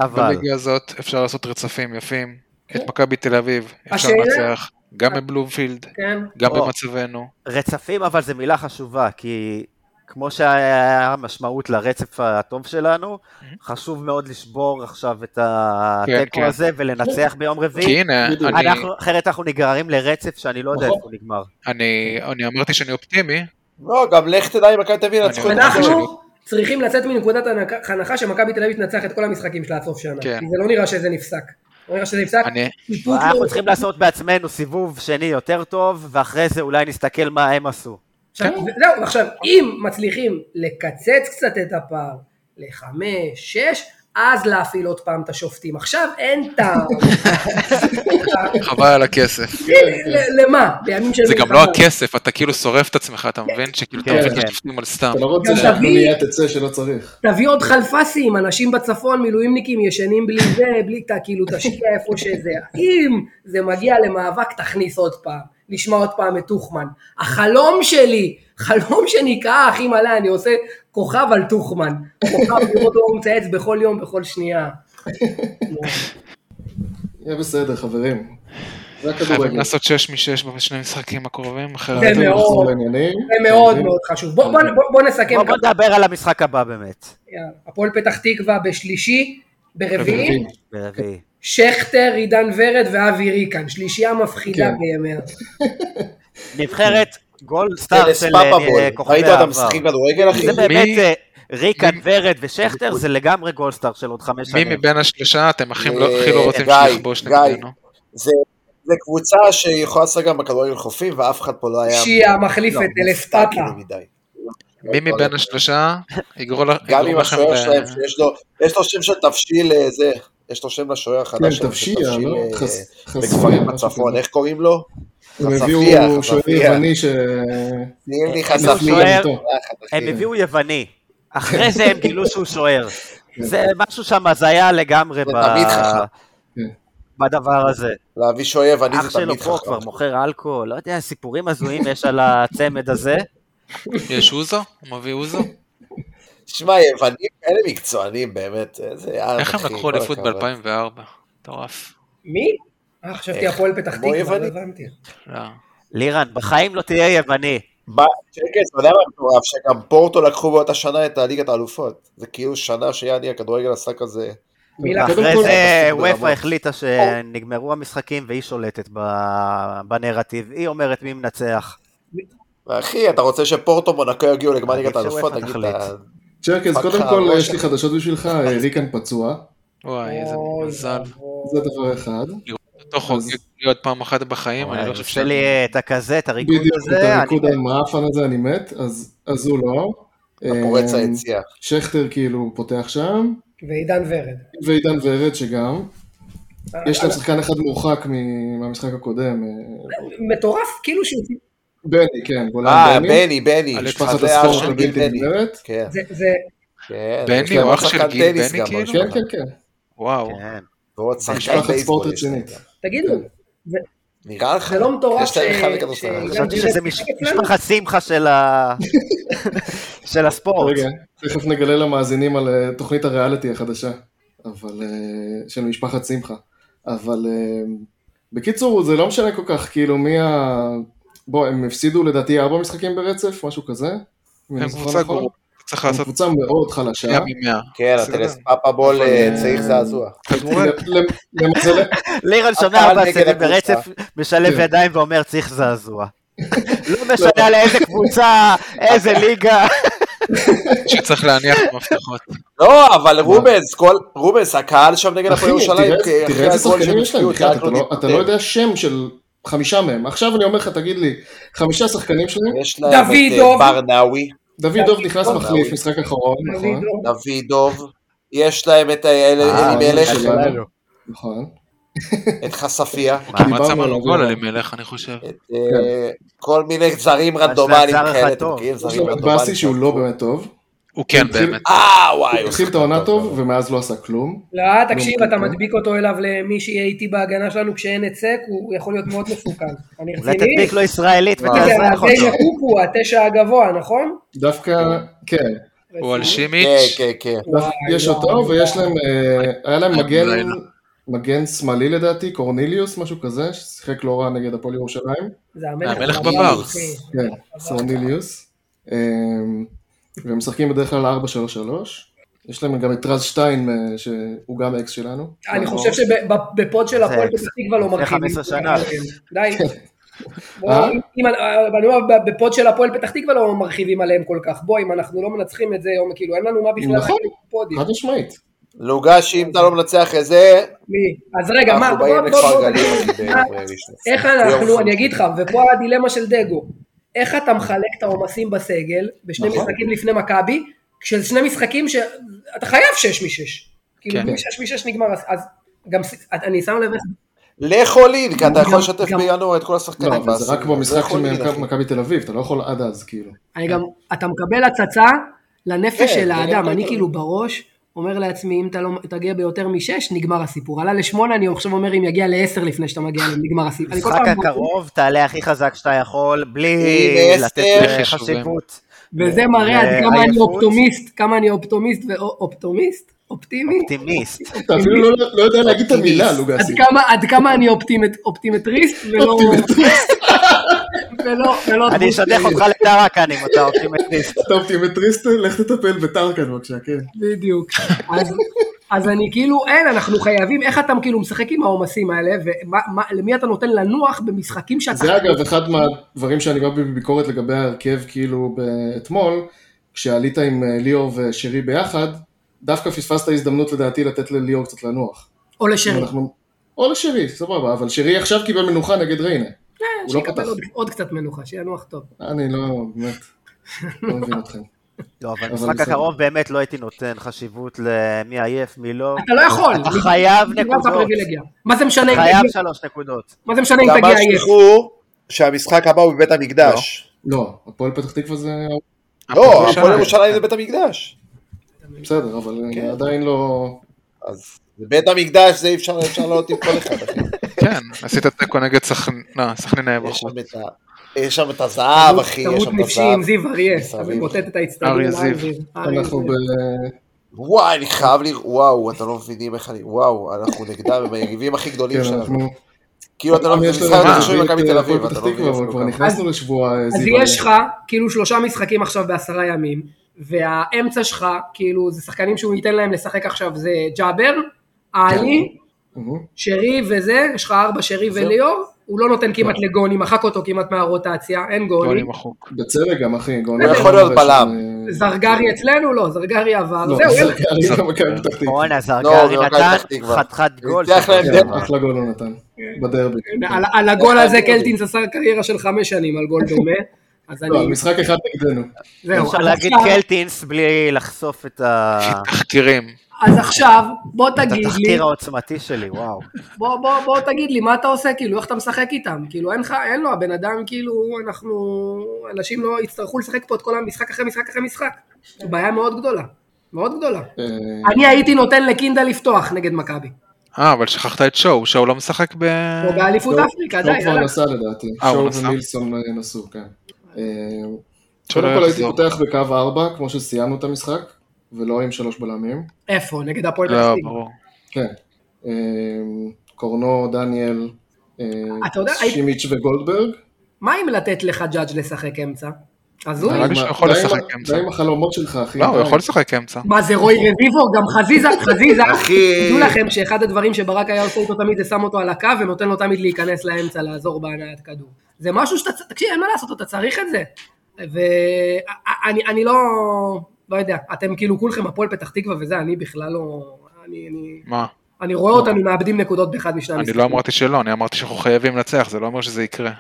Speaker 3: אבל,
Speaker 6: בליגה הזאת אפשר לעשות רצפים יפים. את מכבי תל אביב אפשר
Speaker 2: כן. השאלה-
Speaker 6: לנצח, גם בבלומפילד,
Speaker 2: כן,
Speaker 6: גם
Speaker 3: או.
Speaker 6: במצבנו.
Speaker 3: רצפים אבל זה מילה חשובה, כי כמו שהיה משמעות לרצף הטוב שלנו, חשוב מאוד לשבור עכשיו את
Speaker 6: כן.
Speaker 3: התיקו הזה ולנצח ביום
Speaker 6: כי
Speaker 3: רביעי.
Speaker 6: הנה,
Speaker 5: בדיוק.
Speaker 6: אני-
Speaker 3: אנחנו- אחרת אנחנו נגררים לרצף שאני לא יודע
Speaker 5: נכון.
Speaker 3: איפה הוא נגמר.
Speaker 6: אני אני אמרתי שאני אופטימי,
Speaker 7: לא, גם לך תדע אם מכבי תל אביב ינצחו את
Speaker 6: אני-
Speaker 7: זה.
Speaker 2: אנחנו צריכים לצאת מנקודת הנק- הנחה שמכבי תל אביב תנצח את כל המשחקים שלה עד סוף שנה.
Speaker 6: כן.
Speaker 2: כי זה לא נראה שזה נפסק. לא נראה שזה נפסק.
Speaker 6: אני- אה,
Speaker 2: איפוק
Speaker 3: אנחנו
Speaker 2: לא-
Speaker 3: צריכים לעשות בעצמנו סיבוב שני יותר טוב, ואחרי זה אולי נסתכל מה הם עשו.
Speaker 2: עכשיו, זהו, עכשיו, אם מצליחים לקצץ קצת את הפער לחמש, שש, אז להפעיל עוד פעם את השופטים. עכשיו אין טעם.
Speaker 6: חבל על הכסף.
Speaker 2: כן, ל- למה? בימים של
Speaker 6: זה גם לא
Speaker 2: מלחמה.
Speaker 6: הכסף, אתה כאילו שורף את עצמך, אתה מבין? שכאילו אתה
Speaker 3: כן,
Speaker 6: מביא את
Speaker 3: כן.
Speaker 6: השופטים על סתם.
Speaker 5: אתה לא רוצה
Speaker 2: גם
Speaker 5: שהפנייה תצא שלא צריך.
Speaker 2: תביא עוד חלפסים, אנשים בצפון, מילואימניקים ישנים בלי זה, בלי תא, כאילו תשקיע איפה שזה. אם זה מגיע למאבק, תכניס עוד פעם, נשמע עוד פעם את טוחמן. החלום שלי, חלום שנקרא אחי מלא, אני עושה כוכב על טוחמן. כוכב לראות אור מצייץ בכל יום, בכל שנייה.
Speaker 5: יהיה בסדר, חברים. זה
Speaker 6: חייבים
Speaker 5: הכדורגל. כן.
Speaker 6: לעשות 6 מ-6 בשני המשחקים הקרובים, אחרת...
Speaker 2: זה כן, מאוד.
Speaker 5: נחזור לעניינים.
Speaker 2: זה
Speaker 5: כן.
Speaker 2: מאוד מאוד חשוב. בוא- בוא- בוא- בוא נסכם.
Speaker 3: בוא בוא נדבר על המשחק הבא באמת,
Speaker 2: יאללה. הפועל פתח תקווה בשלישי, ברביעי,
Speaker 5: ברביעי.
Speaker 3: ברביעי.
Speaker 2: שכטר, עידן ורד ואבי ריקן. שלישייה מפחידה
Speaker 5: כן.
Speaker 2: בימיה.
Speaker 3: נבחרת גולד סטאר
Speaker 7: פלס
Speaker 3: של
Speaker 7: פאפה
Speaker 3: אה,
Speaker 7: בול.
Speaker 3: כוכבי
Speaker 7: ראית אותם
Speaker 3: העבר.
Speaker 7: משחקים כדורגל, אחי?
Speaker 3: זה באמת
Speaker 6: מי-
Speaker 3: אה, ריקן,
Speaker 6: מי-
Speaker 3: ורד ושכטר, זה לגמרי גולד סטאר של עוד חמש
Speaker 6: מי
Speaker 3: שנים.
Speaker 6: מבין השלושה אתם הכי לא
Speaker 7: אה,
Speaker 6: הכי לא רוצים
Speaker 7: גיא,
Speaker 6: שנכבוש
Speaker 7: גיא.
Speaker 6: נגדנו?
Speaker 7: זה זה קבוצה שיכולה לשחק גם בכדורגל חופים, ואף אחד פה לא היה...
Speaker 2: שהיא המחליפת
Speaker 7: לא,
Speaker 2: אלסטאטה.
Speaker 7: כאילו מדי.
Speaker 6: מי מבין השלושה יגרור לכם...
Speaker 7: לא גם עם
Speaker 6: יגרור לכם
Speaker 7: השוער
Speaker 6: ב-
Speaker 7: שלהם, שיש לו- יש לו שם של תבשיל אה, זה, יש לו שם לשוער
Speaker 5: כן,
Speaker 7: החדש שלהם, של
Speaker 5: תבשיע, לא?
Speaker 7: אה,
Speaker 5: חס- חשפיה,
Speaker 7: בכפרים
Speaker 5: משהו
Speaker 7: בצפון,
Speaker 5: כזה.
Speaker 7: איך קוראים לו? אה,
Speaker 5: הם
Speaker 7: חשפיה,
Speaker 6: אה,
Speaker 5: הביאו שוער
Speaker 7: חשפיה.
Speaker 5: יווני ש...
Speaker 7: שים לי אה,
Speaker 3: הם
Speaker 7: חשפיה.
Speaker 3: שוער-
Speaker 7: אחי.
Speaker 3: הם הביאו יווני, אחרי זה הם גילו שהוא שוער. זה משהו שם הזיה לגמרי
Speaker 7: כן. זה
Speaker 3: ב-
Speaker 7: תמיד חכם.
Speaker 5: כן.
Speaker 3: בדבר הזה.
Speaker 7: להביא שואב, אני
Speaker 3: אח
Speaker 7: זה
Speaker 3: שלו
Speaker 7: תמיד
Speaker 3: פה
Speaker 7: חכם.
Speaker 3: כבר מוכר אלכוהול, לא יודע, סיפורים הזויים יש על הצמד הזה. (laughs)
Speaker 6: יש אוזו? הוא מביא אוזו?
Speaker 7: שמע, יוונים כאלה מקצוענים באמת, איזה יאללה,
Speaker 6: איך הם
Speaker 7: אחי,
Speaker 6: לקחו
Speaker 7: כל
Speaker 6: אליפות
Speaker 7: הכבוד.
Speaker 6: ב-2004? מטורף.
Speaker 2: מי? אה, חשבתי
Speaker 7: איך?
Speaker 2: הפועל פתח תקווה,
Speaker 7: כמו
Speaker 2: לא
Speaker 7: יווני.
Speaker 2: הבנתי.
Speaker 6: לא.
Speaker 3: לירן, בחיים לא תהיה יווני.
Speaker 7: מה, שקט, אתה יודע מה מטורף, שגם פורטו לקחו באותה שנה את ליגת האלופות. זה כאילו שנה שיעני הכדורגל עשה כזה,
Speaker 2: מילה
Speaker 5: קודם
Speaker 3: ואחרי
Speaker 5: כל-
Speaker 3: זה
Speaker 5: ברמות.
Speaker 3: וופא החליטה שנגמרו המשחקים והיא שולטת ב- בנרטיב, היא אומרת מי מנצח.
Speaker 7: אחי, אתה רוצה שפורטו מונקו יגיעו לגמר
Speaker 3: עדיף
Speaker 7: ליגת האלופות?
Speaker 3: שוופא
Speaker 7: תגיד,
Speaker 3: תחליט.
Speaker 7: אתה-
Speaker 5: צ'רקס,
Speaker 7: פק
Speaker 5: קודם
Speaker 7: לך,
Speaker 5: כל
Speaker 7: ראש.
Speaker 5: יש לי חדשות בשבילך, אה, ריקן פצוע,
Speaker 6: וואי, אה, איזה
Speaker 2: אוי,
Speaker 6: מזל.
Speaker 5: זה דבר אחד.
Speaker 6: אותו חוגג לי עוד פעם אחת בחיים, אני לא חושב
Speaker 3: עושה "אה, לי את הכזה, את הריקוד
Speaker 5: בדיוק, את
Speaker 3: הזה,
Speaker 5: הריקוד
Speaker 3: אני-
Speaker 5: המאפן הזה אני מת, אז אז הוא לא.
Speaker 7: הפורץ
Speaker 5: אה,
Speaker 7: היציאה.
Speaker 5: שכטר כאילו פותח שם,
Speaker 2: ועידן ורד.
Speaker 5: ועידן ורד שגם. יש להם שחקן אחד מורחק מ- מהמשחק הקודם, אה,
Speaker 2: מטורף, כאילו שהוא...
Speaker 5: בני, כן,
Speaker 7: אה,
Speaker 5: גולן בני,
Speaker 7: בני, בני.
Speaker 6: על
Speaker 5: משפחת
Speaker 7: זה אח
Speaker 5: הספורט
Speaker 7: של גיל
Speaker 5: הבלתי
Speaker 7: בני.
Speaker 5: נגמרת.
Speaker 7: כן,
Speaker 2: זה, זה,
Speaker 7: כן.
Speaker 6: בני
Speaker 7: יש להם
Speaker 6: הוא
Speaker 7: עוד
Speaker 6: אח של
Speaker 7: שחקן
Speaker 6: גיל
Speaker 7: טניס
Speaker 6: בני,
Speaker 7: גם
Speaker 6: כאילו?
Speaker 7: במשפחה.
Speaker 5: כן, כן, כן.
Speaker 6: וואו.
Speaker 3: כן.
Speaker 7: ועוד שחקן
Speaker 5: משפחת ספורט
Speaker 7: בייסבול.
Speaker 5: רצינית.
Speaker 2: תגידו,
Speaker 7: נראה לך?
Speaker 2: זה לא מטורף
Speaker 7: יש להם
Speaker 2: ש-
Speaker 7: אחד
Speaker 2: ש-
Speaker 7: בכדורסל.
Speaker 2: ש-
Speaker 3: חשבתי שזה מש-
Speaker 2: אצלנו?
Speaker 3: משפחת שמחה של
Speaker 5: (laughs)
Speaker 3: ה- של הספורט.
Speaker 5: רגע, אוקיי. תכף נגלה למאזינים על אה, תוכנית הריאליטי החדשה, אבל, אה, של משפחת שמחה. אבל אה, בקיצור, זה לא משנה כל כך, כאילו, מי ה... בוא, הם הפסידו לדעתי ארבע משחקים ברצף, משהו כזה. אם
Speaker 6: הם
Speaker 5: אני זוכר
Speaker 6: קבוצה
Speaker 5: נכון.
Speaker 6: גרועה. צריך
Speaker 5: הם
Speaker 6: לעשות
Speaker 5: קבוצה מאוד חלשה.
Speaker 6: שנייה ממאה.
Speaker 7: כן,
Speaker 6: בסדר.
Speaker 5: לא-
Speaker 7: הטלס פאפה בול אה, צעיר זעזוע.
Speaker 6: כדורגל.
Speaker 5: למזלם,
Speaker 3: לירון שומע
Speaker 7: הקהל
Speaker 3: ארבע
Speaker 7: נגד
Speaker 3: סרטים
Speaker 7: הקבוצה.
Speaker 3: ברצף, משלב
Speaker 5: כן.
Speaker 3: ידיים ואומר צריך
Speaker 5: (laughs)
Speaker 3: זעזוע. לא משנה לאיזה קבוצה,
Speaker 5: לא.
Speaker 3: איזה ליגה.
Speaker 6: שצריך להניח במפתחות.
Speaker 7: לא, אבל רובנס, כל- רובנס, הקהל שם נגד
Speaker 5: אחי,
Speaker 7: (laughs) הפועל ירושלים,
Speaker 5: תראה-
Speaker 7: אחרי
Speaker 5: תראה איזה
Speaker 7: הגול
Speaker 5: שחקנים
Speaker 7: שהם
Speaker 5: יש להם,
Speaker 7: הפקיעו,
Speaker 5: בחייאת,
Speaker 7: הקהל
Speaker 5: אתה
Speaker 7: לא
Speaker 5: לא- אתה לא יודע שם של חמישה מהם. עכשיו אני אומר לך, תגיד לי, חמישה שחקנים שלהם,
Speaker 7: יש להם את אה,
Speaker 2: דוידוב.
Speaker 7: ברנאוי,
Speaker 5: דוידוב נכנס
Speaker 2: דוד.
Speaker 5: מחליף, משחק אחרון, נכון?
Speaker 2: דוד,
Speaker 7: דוידוב, יש להם את אה, אל-
Speaker 3: אה,
Speaker 7: אלימלך,
Speaker 5: יש להם.
Speaker 3: שלנו.
Speaker 5: אוקיי. נכון.
Speaker 7: אה, את חשפיה,
Speaker 5: דיברנו
Speaker 6: מצא
Speaker 5: על
Speaker 6: מנו
Speaker 5: זה.
Speaker 6: גול על ימלך, אני חושב.
Speaker 7: את אה, כל מיני זרים
Speaker 3: יש
Speaker 7: רנדומליים
Speaker 3: להם זר אחד
Speaker 7: כאלה, אתם
Speaker 3: טוב.
Speaker 7: מכירים
Speaker 5: כן. יש
Speaker 7: זרים
Speaker 5: להם את
Speaker 7: רנדומליים.
Speaker 5: באסי כן. שהוא לא באמת טוב.
Speaker 6: הוא כן
Speaker 5: התחיל-
Speaker 6: באמת.
Speaker 7: אה, וואי,
Speaker 5: הוא התחיל את העונה טוב, ומאז לא עשה כלום.
Speaker 2: לא, תקשיב, אתה מדביק אותו אליו למי שיהיה איתי בהגנה שלנו כשאין היצק, הוא יכול להיות מאוד מסוכן. אני
Speaker 3: אולי
Speaker 2: רציני? כן,
Speaker 3: תדביק לו ישראלית נכון.
Speaker 7: וואו.
Speaker 2: זה
Speaker 3: ותאזרח
Speaker 2: התשע
Speaker 3: אותו.
Speaker 2: קוקו, התשע הגבוה, נכון?
Speaker 5: דווקא, כן.
Speaker 6: הוא על שימיץ',
Speaker 7: כן, כן, כן.
Speaker 2: וואי, לא,
Speaker 5: דווקא יש
Speaker 2: וואי,
Speaker 5: אותו,
Speaker 2: וואי.
Speaker 5: ויש להם, אה, היה להם מגן,
Speaker 6: לילה.
Speaker 5: מגן שמאלי לדעתי, קורניליוס, משהו כזה, ששיחק לא רע נגד הפועל ירושלים.
Speaker 2: זה המלך,
Speaker 6: המלך
Speaker 2: בבר,
Speaker 6: בבר.
Speaker 2: אחי.
Speaker 5: כן, סורניליוס. אמ, והם משחקים בדרך כלל 4-3-3. יש להם גם את רז שטיין, אה, שהוא גם אקס שלנו. לא,
Speaker 2: אני חושב שבפוד של הפועל פתח תקווה לא
Speaker 3: לפני
Speaker 2: מרכיבים.
Speaker 3: 15 שנה.
Speaker 2: די. בוא,
Speaker 5: אה?
Speaker 2: אם- אני אומר, בפוד של הפועל פתח תקווה לא מרחיבים עליהם כל כך. בוא, אם אנחנו לא מנצחים את זה, יום, כאילו, אין לנו מה בכלל
Speaker 5: נכון.
Speaker 2: להגיד בפודים.
Speaker 5: חד משמעית.
Speaker 7: לוגש, אם אתה לא מנצח את זה,
Speaker 2: מי? אז רגע, כן, מה,
Speaker 7: אנחנו
Speaker 2: בוא,
Speaker 7: באים
Speaker 2: בוא,
Speaker 7: לכפר
Speaker 2: בוא, אה.
Speaker 7: גלים.
Speaker 2: מה-
Speaker 7: ביום ראשון.
Speaker 2: איך
Speaker 7: ביום
Speaker 2: אנחנו, אני
Speaker 7: ראשון.
Speaker 2: אגיד לך, ופה הדילמה של דגו, איך אתה מחלק את העומסים בסגל בשני
Speaker 5: נכון.
Speaker 2: משחקים לפני מכבי, של שני משחקים שאתה חייב שש משש. כאילו,
Speaker 6: כן.
Speaker 2: בלי שש משש נגמר, אז- אז גם, ס- אני שם לב איך
Speaker 7: לחולין, כי אתה
Speaker 2: גם-
Speaker 7: יכול לשתף
Speaker 2: גם-
Speaker 7: בינואר את כל השחקנים.
Speaker 5: לא, אבל זה רק במשחק
Speaker 7: לכו
Speaker 5: של
Speaker 7: לין,
Speaker 5: מכבי-
Speaker 7: אחי.
Speaker 5: מכבי תל אביב, אתה לא יכול עד אז, כאילו.
Speaker 2: אני גם, אתה מקבל הצצה לנפש
Speaker 7: כן,
Speaker 2: של
Speaker 7: זה
Speaker 2: האדם,
Speaker 7: לגמרי
Speaker 2: אני
Speaker 7: טוב.
Speaker 2: כאילו בראש אומר לעצמי, אם אתה לא תגיע ביותר משש, נגמר הסיפור. עלה לשמונה, אני עכשיו אומר, אם יגיע לעשר לפני שאתה מגיע, (laughs) נגמר הסיפור. אני כל
Speaker 3: משחק
Speaker 2: פעם-
Speaker 3: הקרוב תעלה הכי חזק שאתה יכול, בלי
Speaker 7: בלי
Speaker 3: לתת
Speaker 7: להסתר.
Speaker 3: אה, חשיבות.
Speaker 2: וזה מראה עד כמה אני
Speaker 3: עייפות.
Speaker 2: אופטומיסט, כמה אני אופטומיסט ואופטומיסט, אופטימי,
Speaker 3: אופטימיסט.
Speaker 5: אתה אפילו לא לא יודע להגיד את המילה,
Speaker 2: עד
Speaker 5: לוגסי.
Speaker 2: כמה, עד כמה אני אופטימט, אופטימטריסט ולא, (laughs) ולא, ולא,
Speaker 3: אני אשדך אותך לטראקן אם אתה
Speaker 2: (laughs)
Speaker 3: אופטימטריסט.
Speaker 5: אתה אופטימטריסט, לך תטפל בטרקן בבקשה, כן.
Speaker 2: בדיוק. אז, אז אני כאילו, אין, אנחנו חייבים, איך אתה כאילו משחק עם העומסים האלה, ולמי אתה נותן לנוח במשחקים שאתה...
Speaker 5: זה אגב אחד מהדברים שאני בא בביקורת לגבי ההרכב כאילו ב- אתמול, כשעלית עם אה, ליאור ושירי ביחד, דווקא פספסת הזדמנות לדעתי לתת לליאור קצת לנוח.
Speaker 2: או לשרי.
Speaker 5: אנחנו- או לשירי, סבבה, אבל שירי עכשיו קיבל מנוחה נגד ריינה. הוא לא
Speaker 2: שיקבל
Speaker 5: פתח.
Speaker 2: עוד, עוד קצת מנוחה, שינוח טוב.
Speaker 5: אני לא, באמת, לא מבין אתכם.
Speaker 3: לא, אבל
Speaker 5: אבל
Speaker 3: במשחק
Speaker 5: בסדר.
Speaker 3: הקרוב באמת לא הייתי נותן חשיבות למי עייף, מי לא.
Speaker 2: אתה לא יכול.
Speaker 3: אתה חייב
Speaker 2: בגלל
Speaker 3: נקודות.
Speaker 2: הפריבילגיה. מה זה משנה אם
Speaker 3: חייב
Speaker 2: תגיע-
Speaker 3: שלוש נקודות.
Speaker 2: מה זה משנה אם
Speaker 7: גם
Speaker 2: כן, תגיע
Speaker 7: אל
Speaker 2: עייף?
Speaker 7: שכחו שהמשחק הבא הוא בבית המקדש.
Speaker 5: לא, הפועל פתח תקווה זה
Speaker 7: לא,
Speaker 6: ירושלים.
Speaker 7: הפועל ירושלים זה בית המקדש.
Speaker 5: בסדר, אבל אה,
Speaker 7: כן.
Speaker 5: עדיין לא...
Speaker 7: אז בית המקדש זה אי אפשר אפשר לעלות עם כל אחד.
Speaker 2: (laughs)
Speaker 7: אחי.
Speaker 6: כן, עשית תיקו נגד סכנין, לא, סכנין היה
Speaker 7: יש
Speaker 6: בחוץ.
Speaker 7: שם את ה- יש שם את
Speaker 5: אה,
Speaker 7: הזהב, אחי, יש
Speaker 2: תמות
Speaker 7: שם את
Speaker 2: נפשי עם
Speaker 7: הזהב.
Speaker 2: זיו אריה,
Speaker 7: מסביב.
Speaker 2: אתה מבוטט את ההצטדיון.
Speaker 6: אריה זיו.
Speaker 2: אריה
Speaker 5: אנחנו ב...
Speaker 2: זיו.
Speaker 7: וואי, אני חייב לראות, וואו, אתם לא מבינים איך אני, וואו, אנחנו נגדם, הם היריבים הכי גדולים
Speaker 5: כן,
Speaker 7: שלנו.
Speaker 5: אנחנו...
Speaker 7: כאילו, אתה לא מבין,
Speaker 5: יש
Speaker 7: זה
Speaker 5: לנו
Speaker 7: משחק
Speaker 5: את
Speaker 7: ראשון עם מכבי תל אביב,
Speaker 5: הפועל
Speaker 7: אתה
Speaker 5: פתח
Speaker 7: לא
Speaker 5: תקווה,
Speaker 7: מבין
Speaker 5: אבל
Speaker 7: אפילו
Speaker 5: כבר
Speaker 7: כמה.
Speaker 5: נכנסנו לשבוע אה,
Speaker 2: אז
Speaker 5: זיו.
Speaker 2: יש לך כאילו שלושה משחקים עכשיו בעשרה ימים, והאמצע שלך, כאילו, זה שחקנים שהוא ייתן להם לשחק עכשיו זה ג'אבר, עלי,
Speaker 5: מהמם.
Speaker 2: שרי וזה, יש לך ארבע שרי וליאור, הוא לא נותן כמעט לגוני, מחק אותו כמעט מהרוטציה, אין גוני.
Speaker 6: גולים מחוק.
Speaker 5: בצדק גם, אחי. גאון.
Speaker 7: הוא יכול להיות בלם.
Speaker 2: זרגרי אצלנו? לא, זרגרי עבר.
Speaker 5: לא,
Speaker 2: זהו,
Speaker 5: זה
Speaker 2: אין-
Speaker 5: קרה גם מכבי פתח תקווה.
Speaker 3: בואנה,
Speaker 7: לא,
Speaker 3: זרגרי
Speaker 7: זה מכבי פתח
Speaker 3: נתן
Speaker 7: תקווה.
Speaker 3: חתיכת גול.
Speaker 7: ניצח להם
Speaker 5: כן, אחלה גול הוא נתן, בדרבי.
Speaker 2: על- על הגול הזה קלטינס עשה קריירה של חמש שנים על גול דומה. אז
Speaker 5: לא, על
Speaker 2: אני,
Speaker 5: משחק אחד נגדנו.
Speaker 2: זהו.
Speaker 3: אפשר
Speaker 2: אז
Speaker 3: להגיד
Speaker 2: עכשיו-
Speaker 3: קלטינס בלי לחשוף את ה-
Speaker 6: תחקירים.
Speaker 2: אז עכשיו, בוא
Speaker 3: את
Speaker 2: תגיד לי,
Speaker 3: התחקיר העוצמתי שלי, וואו.
Speaker 2: בוא, בוא, בוא תגיד לי, מה אתה עושה, כאילו, איך אתה משחק איתם? כאילו, אין לך, אין לו, הבן אדם, כאילו, אנחנו, אנשים לא יצטרכו לשחק פה את כל המשחק אחרי משחק אחרי משחק. זו בעיה מאוד גדולה, מאוד גדולה.
Speaker 5: אה,
Speaker 2: אני הייתי נותן לקינדה לפתוח נגד מכבי.
Speaker 6: אה, אבל שכחת את שואו, שואו לא משחק ב...
Speaker 2: או באליפות
Speaker 5: לא,
Speaker 2: אפריקה, די,
Speaker 5: שואו כבר
Speaker 2: יאללה.
Speaker 5: נסע לדעתי.
Speaker 6: אה, הוא
Speaker 5: שואו
Speaker 6: נסע?
Speaker 5: ומילסון אה, נסעו, כן. אה,
Speaker 6: שלא
Speaker 5: קודם כל הייתי
Speaker 6: יחזור.
Speaker 5: פותח בקו 4, כמו שסיימנו את המשחק, ולא עם שלוש בלמים.
Speaker 2: איפה? נגד הפועל פתח
Speaker 6: לא,
Speaker 2: תקווה.
Speaker 6: ברור.
Speaker 5: כן. אה, קורנו, דניאל, אה,
Speaker 2: אתה יודע, הייתי-
Speaker 5: שימיץ' וגולדברג.
Speaker 2: מה אם לתת לך ג'אג' לשחק אמצע? הזוי.
Speaker 5: אה,
Speaker 6: נראה לי שהוא יכול
Speaker 5: די עם ה-
Speaker 6: לשחק אמצע.
Speaker 5: די עם החלומות שלך, אחי.
Speaker 6: לא, הוא
Speaker 5: די.
Speaker 6: יכול לשחק אמצע.
Speaker 2: מה זה רוי רביבו? גם חזיזה, חזיזה.
Speaker 7: אחי.
Speaker 6: אה,
Speaker 2: תדעו לכם שאחד הדברים שברק היה עושה איתו תמיד זה שם אותו על הקו ונותן לו תמיד להיכנס לאמצע לעזור בהנעת כדור. זה משהו שאתה, צ- תקשיב, אין מה לעשות, אתה צריך את זה. ואני אני לא, לא יודע, אתם כאילו כולכם הפועל פתח תקווה וזה, אני בכלל לא... אני, אני,
Speaker 6: מה?
Speaker 2: אני רואה אותנו מאבדים נקודות באחד משני
Speaker 6: אני
Speaker 2: המשחקים.
Speaker 6: לא אמרתי שלא, אני אמרתי שאנחנו חייבים לנצח, זה לא אומר שזה יקרה.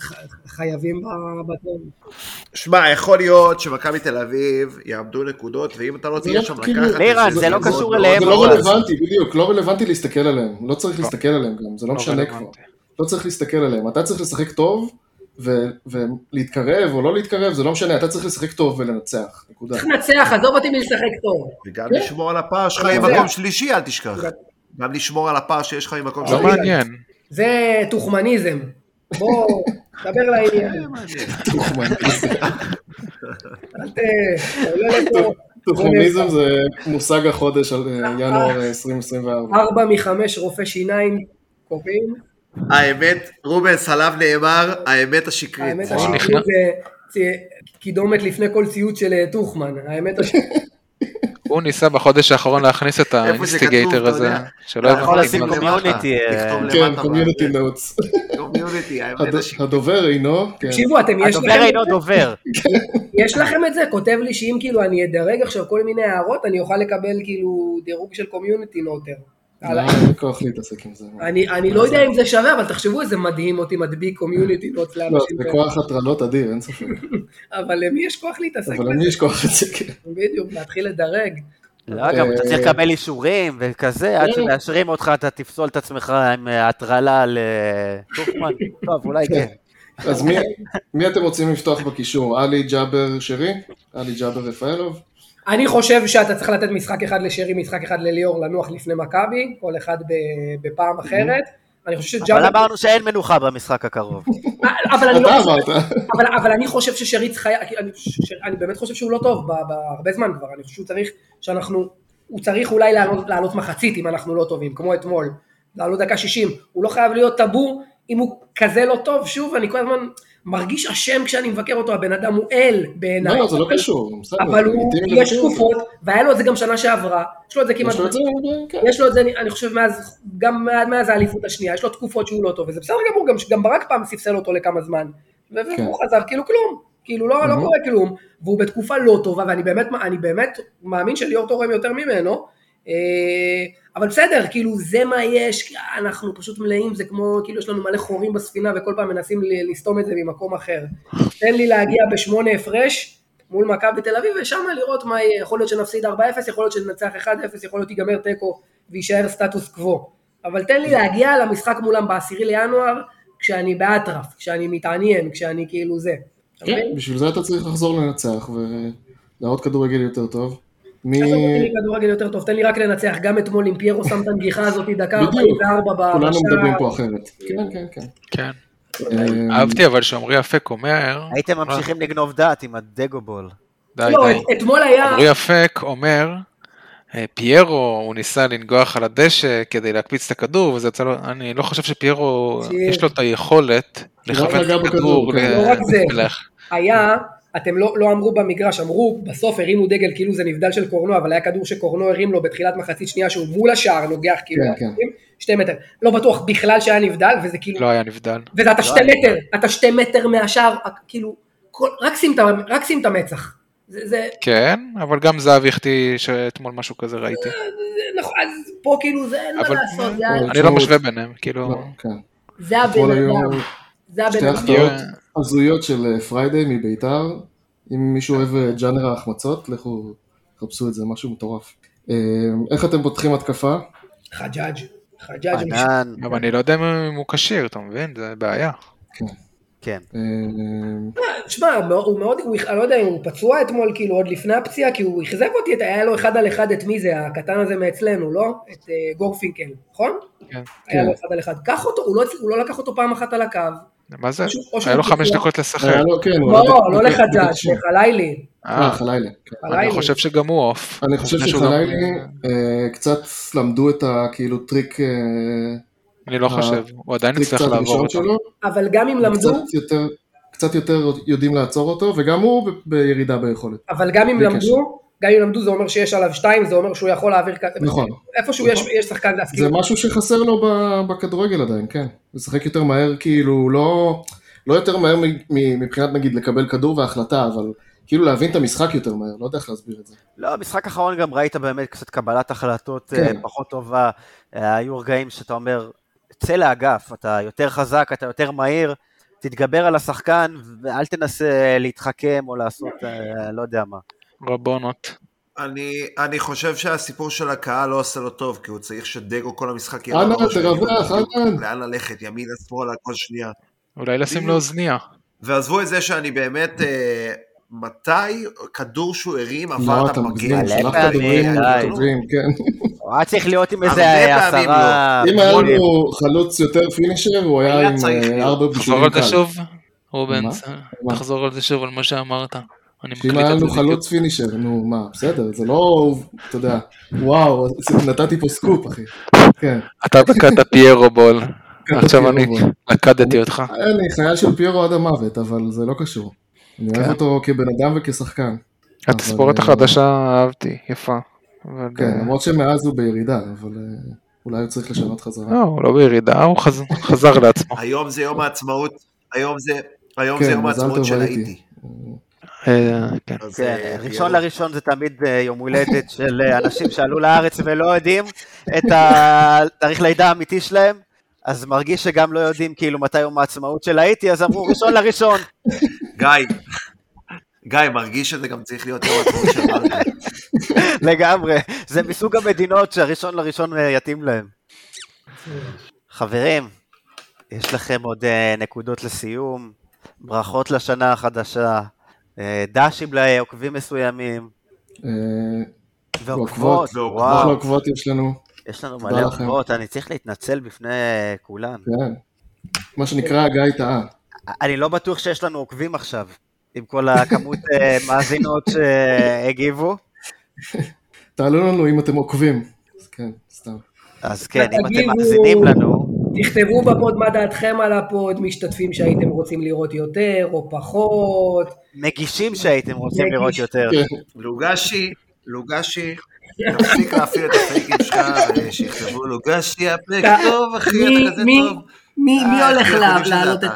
Speaker 2: ח- חייבים ב- ב...
Speaker 7: שמע, יכול להיות שמכבי תל אביב יעמדו נקודות, ואם אתה לא
Speaker 5: זה
Speaker 7: תהיה
Speaker 5: לא
Speaker 7: שם
Speaker 5: כאילו-
Speaker 7: לקחת...
Speaker 3: לירן,
Speaker 7: וזה
Speaker 3: זה לא
Speaker 7: מאוד
Speaker 3: קשור
Speaker 7: מאוד
Speaker 3: אליהם,
Speaker 5: זה
Speaker 7: מאוד
Speaker 5: לא
Speaker 3: אבל-
Speaker 5: רלוונטי, בדיוק, לא רלוונטי להסתכל עליהם, לא צריך להסתכל עליהם גם, זה לא משנה
Speaker 6: רלוונטי.
Speaker 5: כבר. לא צריך להסתכל עליהם, אתה צריך לשחק טוב ו- ולהתקרב או לא להתקרב, זה לא משנה, אתה צריך לשחק טוב ולנצח, נקודה.
Speaker 2: צריך לנצח, עזוב אותי מלשחק טוב.
Speaker 7: וגם לשמור על הפער שלך עם
Speaker 2: זה-
Speaker 7: מקום שלישי, אל תשכח. גם לשמור על הפער שיש לך עם מקום
Speaker 6: לא
Speaker 7: שלישי.
Speaker 6: מעניין.
Speaker 2: זה תוכמניזם. בוא, דבר לעניין. אל ת... עולה לפה
Speaker 5: טוכניזם זה מושג החודש על אה, ינואר
Speaker 2: (laughs)
Speaker 5: אה, 2024.
Speaker 2: ארבע מחמש רופא שיניים קובעים.
Speaker 7: האמת, רובנס, עליו נאמר, האמת
Speaker 5: כן,
Speaker 7: השקרית.
Speaker 5: נכון.
Speaker 2: האמת
Speaker 6: וואו.
Speaker 2: השקרית זה צי- קידומת לפני כל ציוץ של אה, טוחמן. האמת השקרית.
Speaker 5: כן.
Speaker 6: הוא ניסה בחודש האחרון להכניס את
Speaker 7: איפה זה כתוב,
Speaker 6: האינסטיגייטר
Speaker 7: אתה
Speaker 6: הזה,
Speaker 7: יודע.
Speaker 6: שלא
Speaker 3: אתה יכול
Speaker 6: הבנתי
Speaker 3: לשים אה,
Speaker 6: מה זה.
Speaker 3: קומיוניטי.
Speaker 7: תכתוב למטה.
Speaker 5: כן, קומיוניטי נאוץ.
Speaker 7: קומיוניטי, האמת השקרית.
Speaker 5: הדובר אינו, כן.
Speaker 2: תקשיבו, אתם, יש
Speaker 3: הדובר
Speaker 2: לכם,
Speaker 3: אינו דובר.
Speaker 2: יש לכם את זה? כותב לי שאם כאילו אני אדרג עכשיו כל מיני הערות, אני אוכל לקבל כאילו דירוג של קומיוניטי נוטר.
Speaker 5: לא, אין לי כוח להתעסק עם זה.
Speaker 2: אני, אני לא יודע אם זה שווה, אבל תחשבו איזה מדהים אותי מדביק קומיוניטי נוטס
Speaker 5: לא,
Speaker 2: לאנשים.
Speaker 5: זה
Speaker 2: כאלה.
Speaker 5: כוח הטרלות אדיר, אין ספק.
Speaker 2: אבל למי יש כוח להתעסק
Speaker 5: אבל אני
Speaker 2: בזה?
Speaker 5: אשכוח את זה, כן.
Speaker 2: בדיוק, להתחיל לדרג.
Speaker 3: לא, גם אתה צריך לקבל אישורים וכזה, עד שמאשרים אותך אתה תפסול את עצמך עם אה, הטרלה לטוחמן. טוב, אולי כן.
Speaker 5: אז מי, מי אתם רוצים לפתוח בקישור? עלי ג'אבר שרי? עלי ג'אבר רפאלוב?
Speaker 2: אני חושב שאתה צריך לתת משחק אחד לשרי, משחק אחד לליאור, לנוח לפני מכבי, כל אחד ב-
Speaker 5: Mhm.
Speaker 2: בפעם אחרת. אני חושב
Speaker 3: אבל
Speaker 2: שג'אבר...
Speaker 3: אמרנו שאין מנוחה במשחק הקרוב.
Speaker 2: אה, אבל אני לא
Speaker 5: אתה
Speaker 2: חושב...
Speaker 5: אמרת.
Speaker 2: אבל, אבל אני חושב ששרי צריך... היה- אני, ש, אני באמת חושב שהוא לא טוב ב- ב- הרבה זמן כבר, אני חושב שהוא צריך... שאנחנו... הוא צריך אולי לעלות, לעלות מחצית אם אנחנו לא טובים, כמו אתמול. לעלות דקה 60. הוא לא חייב להיות טאבו אם הוא כזה לא טוב. שוב, אני כל הזמן מרגיש אשם כשאני מבקר אותו, הבן אדם הוא אל בעיניי.
Speaker 5: לא, זה לא קשור. בסדר,
Speaker 2: אבל הוא,
Speaker 5: לגיטימי
Speaker 2: יש
Speaker 5: לבקר אותו.
Speaker 2: תקופות, והיה לו את זה גם שנה שעברה, יש לו את זה כמעט,
Speaker 5: יש לו את זה, כן.
Speaker 2: יש לו את זה, אני- אני חושב, מאז, גם מה- מאז האליפות השנייה, יש לו תקופות שהוא לא טוב, וזה בסדר גמור, גם, גם ברק פעם ספסל אותו לכמה זמן, ו-
Speaker 5: כן.
Speaker 2: והוא חזר כאילו כלום, כאילו לא, לא
Speaker 5: Mhm.
Speaker 2: קורה כלום, והוא בתקופה לא טובה, ואני באמת, אני באמת מאמין שליאור תורם יותר ממנו, אה, אבל בסדר, כאילו זה מה יש, כי אנחנו פשוט מלאים, זה כמו, כאילו יש לנו מלא חורים בספינה וכל פעם מנסים ל- לסתום את זה ממקום אחר. תן לי להגיע בשמונה הפרש מול מכבי תל אביב, ושם לראות מה יהיה, יכול להיות שנפסיד 4-0, יכול להיות שננצח 1-0, יכול להיות ייגמר תיקו ויישאר סטטוס קוו. אבל תן לי להגיע למשחק מולם בעשירי לינואר, כשאני באטרף, כשאני מתעניין, כשאני כאילו זה. אתה מבין?
Speaker 5: כן, בשביל זה אתה צריך לחזור לנצח ולהראות כדורגל יותר טוב. מי...
Speaker 2: עזוב, תן לי כדורגל יותר טוב, תן לי רק לנצח, גם אתמול עם פיירו שם את הנגיחה הזאת, דקה
Speaker 5: בדיוק.
Speaker 2: 44 ב...
Speaker 5: כולנו
Speaker 2: בשער.
Speaker 5: מדברים פה אחרת. כן, כן, כן.
Speaker 6: כן.
Speaker 5: אה,
Speaker 6: אהבתי אבל שעמרי אפק אומר,
Speaker 3: הייתם ממשיכים לגנוב דעת עם הדגובול.
Speaker 6: די
Speaker 2: לא,
Speaker 6: די.
Speaker 2: את- אתמול היה...
Speaker 6: עמרי אפק אומר, אה, פיירו, הוא ניסה לנגוח על הדשא כדי להקפיץ את הכדור, וזה יצא לו, אני לא חושב שפיירו,
Speaker 2: תקשיב.
Speaker 6: יש לו את היכולת
Speaker 5: לא
Speaker 6: לכוון
Speaker 5: נגע
Speaker 6: את הכדור.
Speaker 5: בכדור, כן.
Speaker 6: ל-
Speaker 2: לא רק זה.
Speaker 6: ולך.
Speaker 2: היה אתם לא, לא אמרו במגרש, אמרו, בסוף הרימו דגל כאילו זה נבדל של קורנו, אבל היה כדור שקורנו הרים לו בתחילת מחצית שנייה שהוא מול השער נוגח כאילו,
Speaker 5: כן, כן.
Speaker 2: שתי מטר, לא בטוח בכלל שהיה נבדל, וזה כאילו,
Speaker 6: לא היה נבדל.
Speaker 2: וזה אתה
Speaker 3: לא
Speaker 2: שתי
Speaker 3: היה
Speaker 2: מטר, אתה שתי מטר מהשער, כאילו, כל, רק, שים את, ה- רק שים את המצח, זה, זה,
Speaker 6: כן, אבל גם זהבי החטיא שאתמול משהו כזה ראיתי.
Speaker 2: זה נכון, אז פה כאילו זה אין מה
Speaker 6: אבל-
Speaker 2: לעשות, זה
Speaker 5: אבל-
Speaker 2: ה-
Speaker 6: אני לא משווה ביניהם, כאילו...
Speaker 5: לא, כן.
Speaker 2: זה הבן
Speaker 5: אתמול היו
Speaker 2: אה, אדם, זה הבן
Speaker 5: שתי
Speaker 2: אדם,
Speaker 6: יהיה-
Speaker 5: החטאות הזויות של אה, פריידי מביתר. אם מישהו אוהב אה, ג'אנר ההחמצות, לכו חפשו את זה, משהו מטורף. אה, איך אתם פותחים התקפה?
Speaker 2: חג'אג', חג'אג',
Speaker 3: ענן,
Speaker 6: אבל אני לא יודע אם הוא כשיר, אתה מבין? זה בעיה.
Speaker 3: כן.
Speaker 5: אה, אה,
Speaker 2: תשמע, הוא מאוד, הוא, אני לא יודע אם הוא פצוע אתמול, כאילו עוד לפני הפציעה, כי הוא אכזב אותי, את- היה לו אחד על אחד את מי זה, הקטן הזה מאצלנו, לא? את uh, גורפינקל, נכון?
Speaker 6: כן.
Speaker 2: היה לו
Speaker 5: כן.
Speaker 2: אחד על אחד. קח אותו, הוא לא, הצ- הוא לא לקח אותו פעם אחת על הקו.
Speaker 6: מה זה?
Speaker 2: פשוט- לא או שהוא
Speaker 6: היה לו חמש
Speaker 2: פצוע.
Speaker 6: דקות לשחק.
Speaker 5: היה לו, כן, הוא
Speaker 2: לא,
Speaker 5: היה דק-
Speaker 2: לא
Speaker 5: דק- דקה
Speaker 2: לחדש,
Speaker 5: תשעים.
Speaker 2: לחלילי.
Speaker 6: אה,
Speaker 5: אה, חלילה. כן.
Speaker 6: אני חושב שגם הוא עוף.
Speaker 5: אני חושב
Speaker 6: שהוא לא גם-
Speaker 5: שחלילי אה, קצת למדו את הכאילו טריק, אה,
Speaker 6: אני לא
Speaker 5: אה,
Speaker 6: חושב, הוא עדיין
Speaker 5: טריק
Speaker 6: יצטרך
Speaker 5: קצת
Speaker 6: לעבור
Speaker 5: ראשון
Speaker 6: אותו.
Speaker 5: שלו,
Speaker 2: אבל גם אם למדו,
Speaker 5: קצת יותר, קצת יותר יודעים לעצור אותו, וגם הוא ב- בירידה ביכולת.
Speaker 2: אבל גם אם
Speaker 5: בלי
Speaker 2: למדו, גם אם למדו זה אומר שיש עליו שתיים, זה אומר שהוא יכול להעביר כזה.
Speaker 5: נכון.
Speaker 2: איפשהו יש- יש שחקן להסכים.
Speaker 5: זה משהו שחסר לו ב- בכדורגל עדיין, כן. לשחק יותר מהר, כאילו, לא, לא יותר מהר מ- מ- מבחינת נגיד לקבל כדור והחלטה, אבל כאילו להבין את המשחק יותר מהר, לא יודע איך להסביר את זה.
Speaker 3: לא, במשחק האחרון גם ראית באמת קצת קבלת החלטות
Speaker 5: כן.
Speaker 3: אה, פחות טובה. אה, היו רגעים שאתה אומר, צא לאגף, אתה יותר חזק, אתה יותר מהיר, תתגבר על השחקן, ואל תנסה להתחכם או לעשות אה, לא יודע מה.
Speaker 6: רבונות.
Speaker 8: אני, אני חושב שהסיפור של הקהל לא עושה לו טוב, כי הוא צריך שדגו כל המשחק יהיה
Speaker 5: אנא,
Speaker 8: בראש,
Speaker 5: תרווח,
Speaker 8: ויגיד לו בדיוק
Speaker 5: אנא.
Speaker 8: לאן ללכת, ימינה, שמאלה, כל שנייה.
Speaker 6: אולי לשים לו
Speaker 8: בדיוק.
Speaker 6: אוזניה.
Speaker 8: ועזבו את זה שאני באמת, אה, מתי כדור שהוא הרים עבר
Speaker 5: לא,
Speaker 8: את
Speaker 5: אתה
Speaker 8: המגן?
Speaker 5: מגזים,
Speaker 3: שלחת
Speaker 5: שלחת
Speaker 3: פעמים,
Speaker 5: דברים
Speaker 3: די.
Speaker 5: טובים, כן.
Speaker 3: הוא היה צריך להיות עם
Speaker 8: הרבה
Speaker 3: איזה אה,
Speaker 8: פעמים לא.
Speaker 3: עשרה...
Speaker 5: אם היה
Speaker 3: גולים.
Speaker 5: לנו חלוץ יותר פינישר, הוא היה
Speaker 8: היה
Speaker 5: עם
Speaker 8: צריך
Speaker 5: אה,
Speaker 8: להיות.
Speaker 5: ארבע
Speaker 6: תחזור על
Speaker 5: בישולים
Speaker 6: זה
Speaker 5: קל.
Speaker 6: שוב, רובנס.
Speaker 5: מה? מה?
Speaker 6: תחזור על זה שוב, על מה שאמרת. אני
Speaker 5: אם
Speaker 6: מקליט
Speaker 5: היה
Speaker 6: את זה
Speaker 5: לנו
Speaker 6: בדיוק.
Speaker 5: חלוץ פינישר, נו מה, בסדר, זה לא, אתה יודע, וואו, נתתי פה סקופ, אחי. כן.
Speaker 6: אתה
Speaker 5: (laughs)
Speaker 6: דקת פיירו בול. עכשיו
Speaker 5: פיירו
Speaker 6: אני
Speaker 5: בול.
Speaker 6: לקדתי אותך.
Speaker 5: אני חייל של פיירו עד המוות, אבל זה לא קשור. אני אוהב
Speaker 6: כן.
Speaker 5: אותו כבן אדם וכשחקן.
Speaker 6: התספורת
Speaker 5: אה,
Speaker 6: החדשה אהבתי, יפה. אבל,
Speaker 5: כן,
Speaker 6: אה,
Speaker 5: למרות שמאז הוא בירידה, אבל אה, אולי הוא צריך לשנות חזרה.
Speaker 2: אה.
Speaker 6: לא, הוא לא בירידה, הוא חז- חזר
Speaker 5: (laughs)
Speaker 6: לעצמו.
Speaker 8: היום זה יום העצמאות, היום זה... היום
Speaker 5: כן,
Speaker 8: זה יום
Speaker 5: מזל
Speaker 8: העצמאות
Speaker 5: טוב,
Speaker 8: של
Speaker 5: ראיתי.
Speaker 8: האיטי.
Speaker 6: אה, כן.
Speaker 8: אז,
Speaker 3: כן,
Speaker 8: אה,
Speaker 3: ראשון
Speaker 8: תראו.
Speaker 3: לראשון זה תמיד אה, יום הולדת של אה, אנשים שעלו לארץ ולא יודעים את התאריך לידה האמיתי שלהם, אז מרגיש שגם לא יודעים כאילו מתי יום העצמאות של האיטי, אז אמרו ראשון לראשון.
Speaker 8: גיא, גיא, מרגיש שזה גם צריך להיות יום העצמאות של
Speaker 3: (laughs)
Speaker 8: מרגי.
Speaker 3: לגמרי, זה מסוג המדינות שהראשון לראשון אה, יתאים להם. חברים, יש לכם עוד אה, נקודות לסיום, ברכות לשנה החדשה, אה, דשים לעוקבים מסוימים,
Speaker 5: אה,
Speaker 3: ועוקבות,
Speaker 5: ועוקבות,
Speaker 3: וואו.
Speaker 5: אחלה עוקבות יש לנו,
Speaker 3: יש לנו
Speaker 5: תודה
Speaker 3: מלא
Speaker 5: לכם.
Speaker 3: עוקבות, אני צריך להתנצל בפני כולם.
Speaker 5: כן. מה שנקרא, גיא טעה.
Speaker 3: אני לא בטוח שיש לנו עוקבים עכשיו, עם כל הכמות אה, מאזינות שהגיבו.
Speaker 5: תעלו לנו אם אתם עוקבים. אז כן, סתם.
Speaker 3: אז כן, אם אתם
Speaker 2: תגיבו.
Speaker 3: מאזינים לנו,
Speaker 2: תכתבו בפוד מה דעתכם על הפוד, משתתפים שהייתם רוצים לראות יותר או פחות.
Speaker 3: מגישים שהייתם רוצים לראות יותר.
Speaker 5: כן.
Speaker 8: לוגשי, לוגשי, תפסיק להפעיל את הפייקים שלך, ושיכתבו לוגשי, הפרק טוב, אחי,
Speaker 2: מי-
Speaker 8: אתה כזה
Speaker 2: מי-
Speaker 8: טוב.
Speaker 2: מי מי
Speaker 8: אה,
Speaker 2: הולך
Speaker 8: איך
Speaker 2: לה-
Speaker 8: יודעים שזה
Speaker 2: להעלות
Speaker 8: אתה?
Speaker 2: את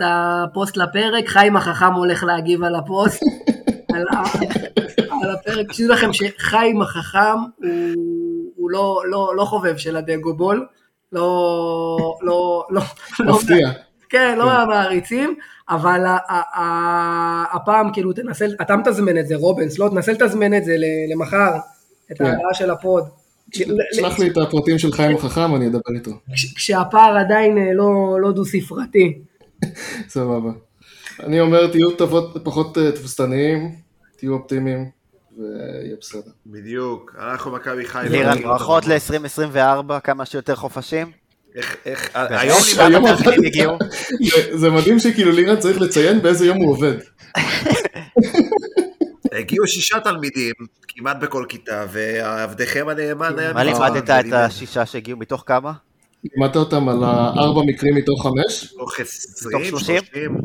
Speaker 2: הפוסט לפרק? חיים החכם הולך להגיב על
Speaker 5: (laughs)
Speaker 2: הפוסט. על ה- על הפרק. תשאירו לכם שחיים החכם הוא- הוא לא- לא- לא חובב של הדגו בול. לא, לא, לא, לא,
Speaker 5: מפתיע.
Speaker 2: כן, לא מהמעריצים, אבל ה- ה- ה- הפעם כאילו תנסה, אתה מתזמן את זה, רובנס, לא, תנסה לתזמן את זה ל- למחר, את
Speaker 5: כן.
Speaker 2: ההעלאה של הפוד.
Speaker 5: שלח לי את הפרטים של חיים החכם, אני אדבר איתו. (laughs)
Speaker 2: כש- כשהפער עדיין אה, לא- לא דו-ספרתי.
Speaker 5: סבבה. אני אומר, תהיו תבות- פחות אה, תבוסתניים, תהיו אופטימיים, ויהיה בסדר.
Speaker 8: בדיוק, אנחנו מכבי חיפה. לא
Speaker 3: לירן,
Speaker 8: ראינו
Speaker 3: ברכות
Speaker 8: אותם.
Speaker 3: ל-2024, כמה שיותר חופשים.
Speaker 8: איך- איך- אה, היום
Speaker 3: יש-
Speaker 8: לירן-
Speaker 5: היום
Speaker 3: המאזינים
Speaker 5: עבדת.
Speaker 3: הגיעו.
Speaker 5: זה- זה מדהים שכאילו לירן צריך לציין באיזה יום הוא עובד.
Speaker 8: הגיעו שישה תלמידים, כמעט בכל כיתה, ועבדכם הנאמן היה...
Speaker 3: מה
Speaker 8: מצוין,
Speaker 3: לימדת את
Speaker 8: ולימד
Speaker 3: השישה שהגיעו מתוך כמה?
Speaker 5: לימדת אותם על הארבע מקרים מתוך חמש?
Speaker 8: מתוך
Speaker 3: מתוך
Speaker 8: 20,
Speaker 3: שלושים?
Speaker 8: 30.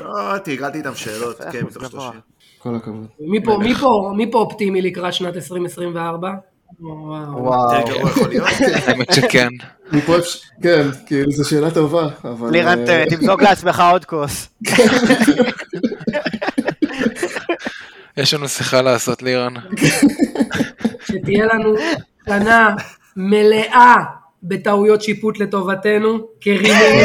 Speaker 8: לא, תרגלתי איתם שאלות,
Speaker 3: יפה,
Speaker 8: כן,
Speaker 3: אחוז
Speaker 8: מתוך
Speaker 3: גבוה.
Speaker 8: 30.
Speaker 5: כל הכבוד.
Speaker 2: מי פה- מי פה- מי פה אופטימי לקראת שנת 2024? וואו.
Speaker 3: וואו.
Speaker 8: יותר אה, גרוע יכול להיות.
Speaker 6: האמת שכן.
Speaker 5: מפה אפשר, כן, כאילו זו שאלה טובה, אבל...
Speaker 3: לירן,
Speaker 5: אה,
Speaker 3: ת- תמזוג לעצמך עוד כוס.
Speaker 6: יש לנו שיחה לעשות לירן.
Speaker 2: שתהיה לנו שנה מלאה בטעויות שיפוט לטובתנו, כרימון.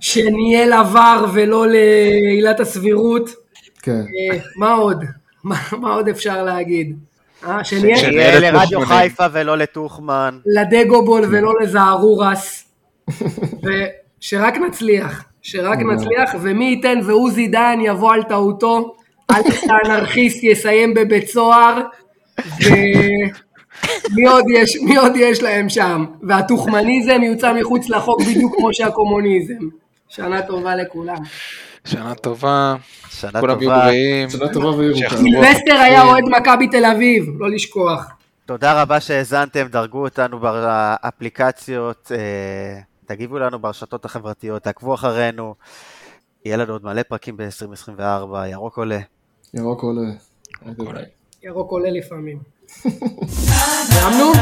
Speaker 2: שנהיה לבר ולא לעילת הסבירות.
Speaker 5: כן.
Speaker 2: אה, מה עוד? מה מה עוד אפשר להגיד? אה, שנהיה
Speaker 6: שנהיה
Speaker 3: שיהיה
Speaker 6: לטוחמנים.
Speaker 3: לרדיו חיפה ולא לטוחמן.
Speaker 2: לדגובול ולא לזערורס, ושרק נצליח, שרק נצליח, ומי ייתן ועוזי דן יבוא על טעותו, אלכס האנרכיסט יסיים בבית סוהר, ומי עוד יש, מי עוד יש להם שם, והתוכמניזם יוצא מחוץ לחוק בדיוק כמו שהקומוניזם. שנה טובה לכולם.
Speaker 6: שנה טובה,
Speaker 3: שנה
Speaker 6: כולם יהיו
Speaker 3: טובה.
Speaker 6: בריאים.
Speaker 5: שאלה טובה וירוקה.
Speaker 6: שיחזרו
Speaker 2: סילבסטר היה
Speaker 6: החטופים.
Speaker 2: אוהד מכבי תל אביב, לא לשכוח.
Speaker 3: תודה רבה שהאזנתם, דרגו אותנו באפליקציות, אה, תגיבו לנו ברשתות החברתיות, תעקבו אחרינו. יהיה לנו עוד מלא פרקים ב-2024, ירוק עולה.
Speaker 5: ירוק עולה. ביי.
Speaker 2: ירוק עולה לפעמים. סיימנו?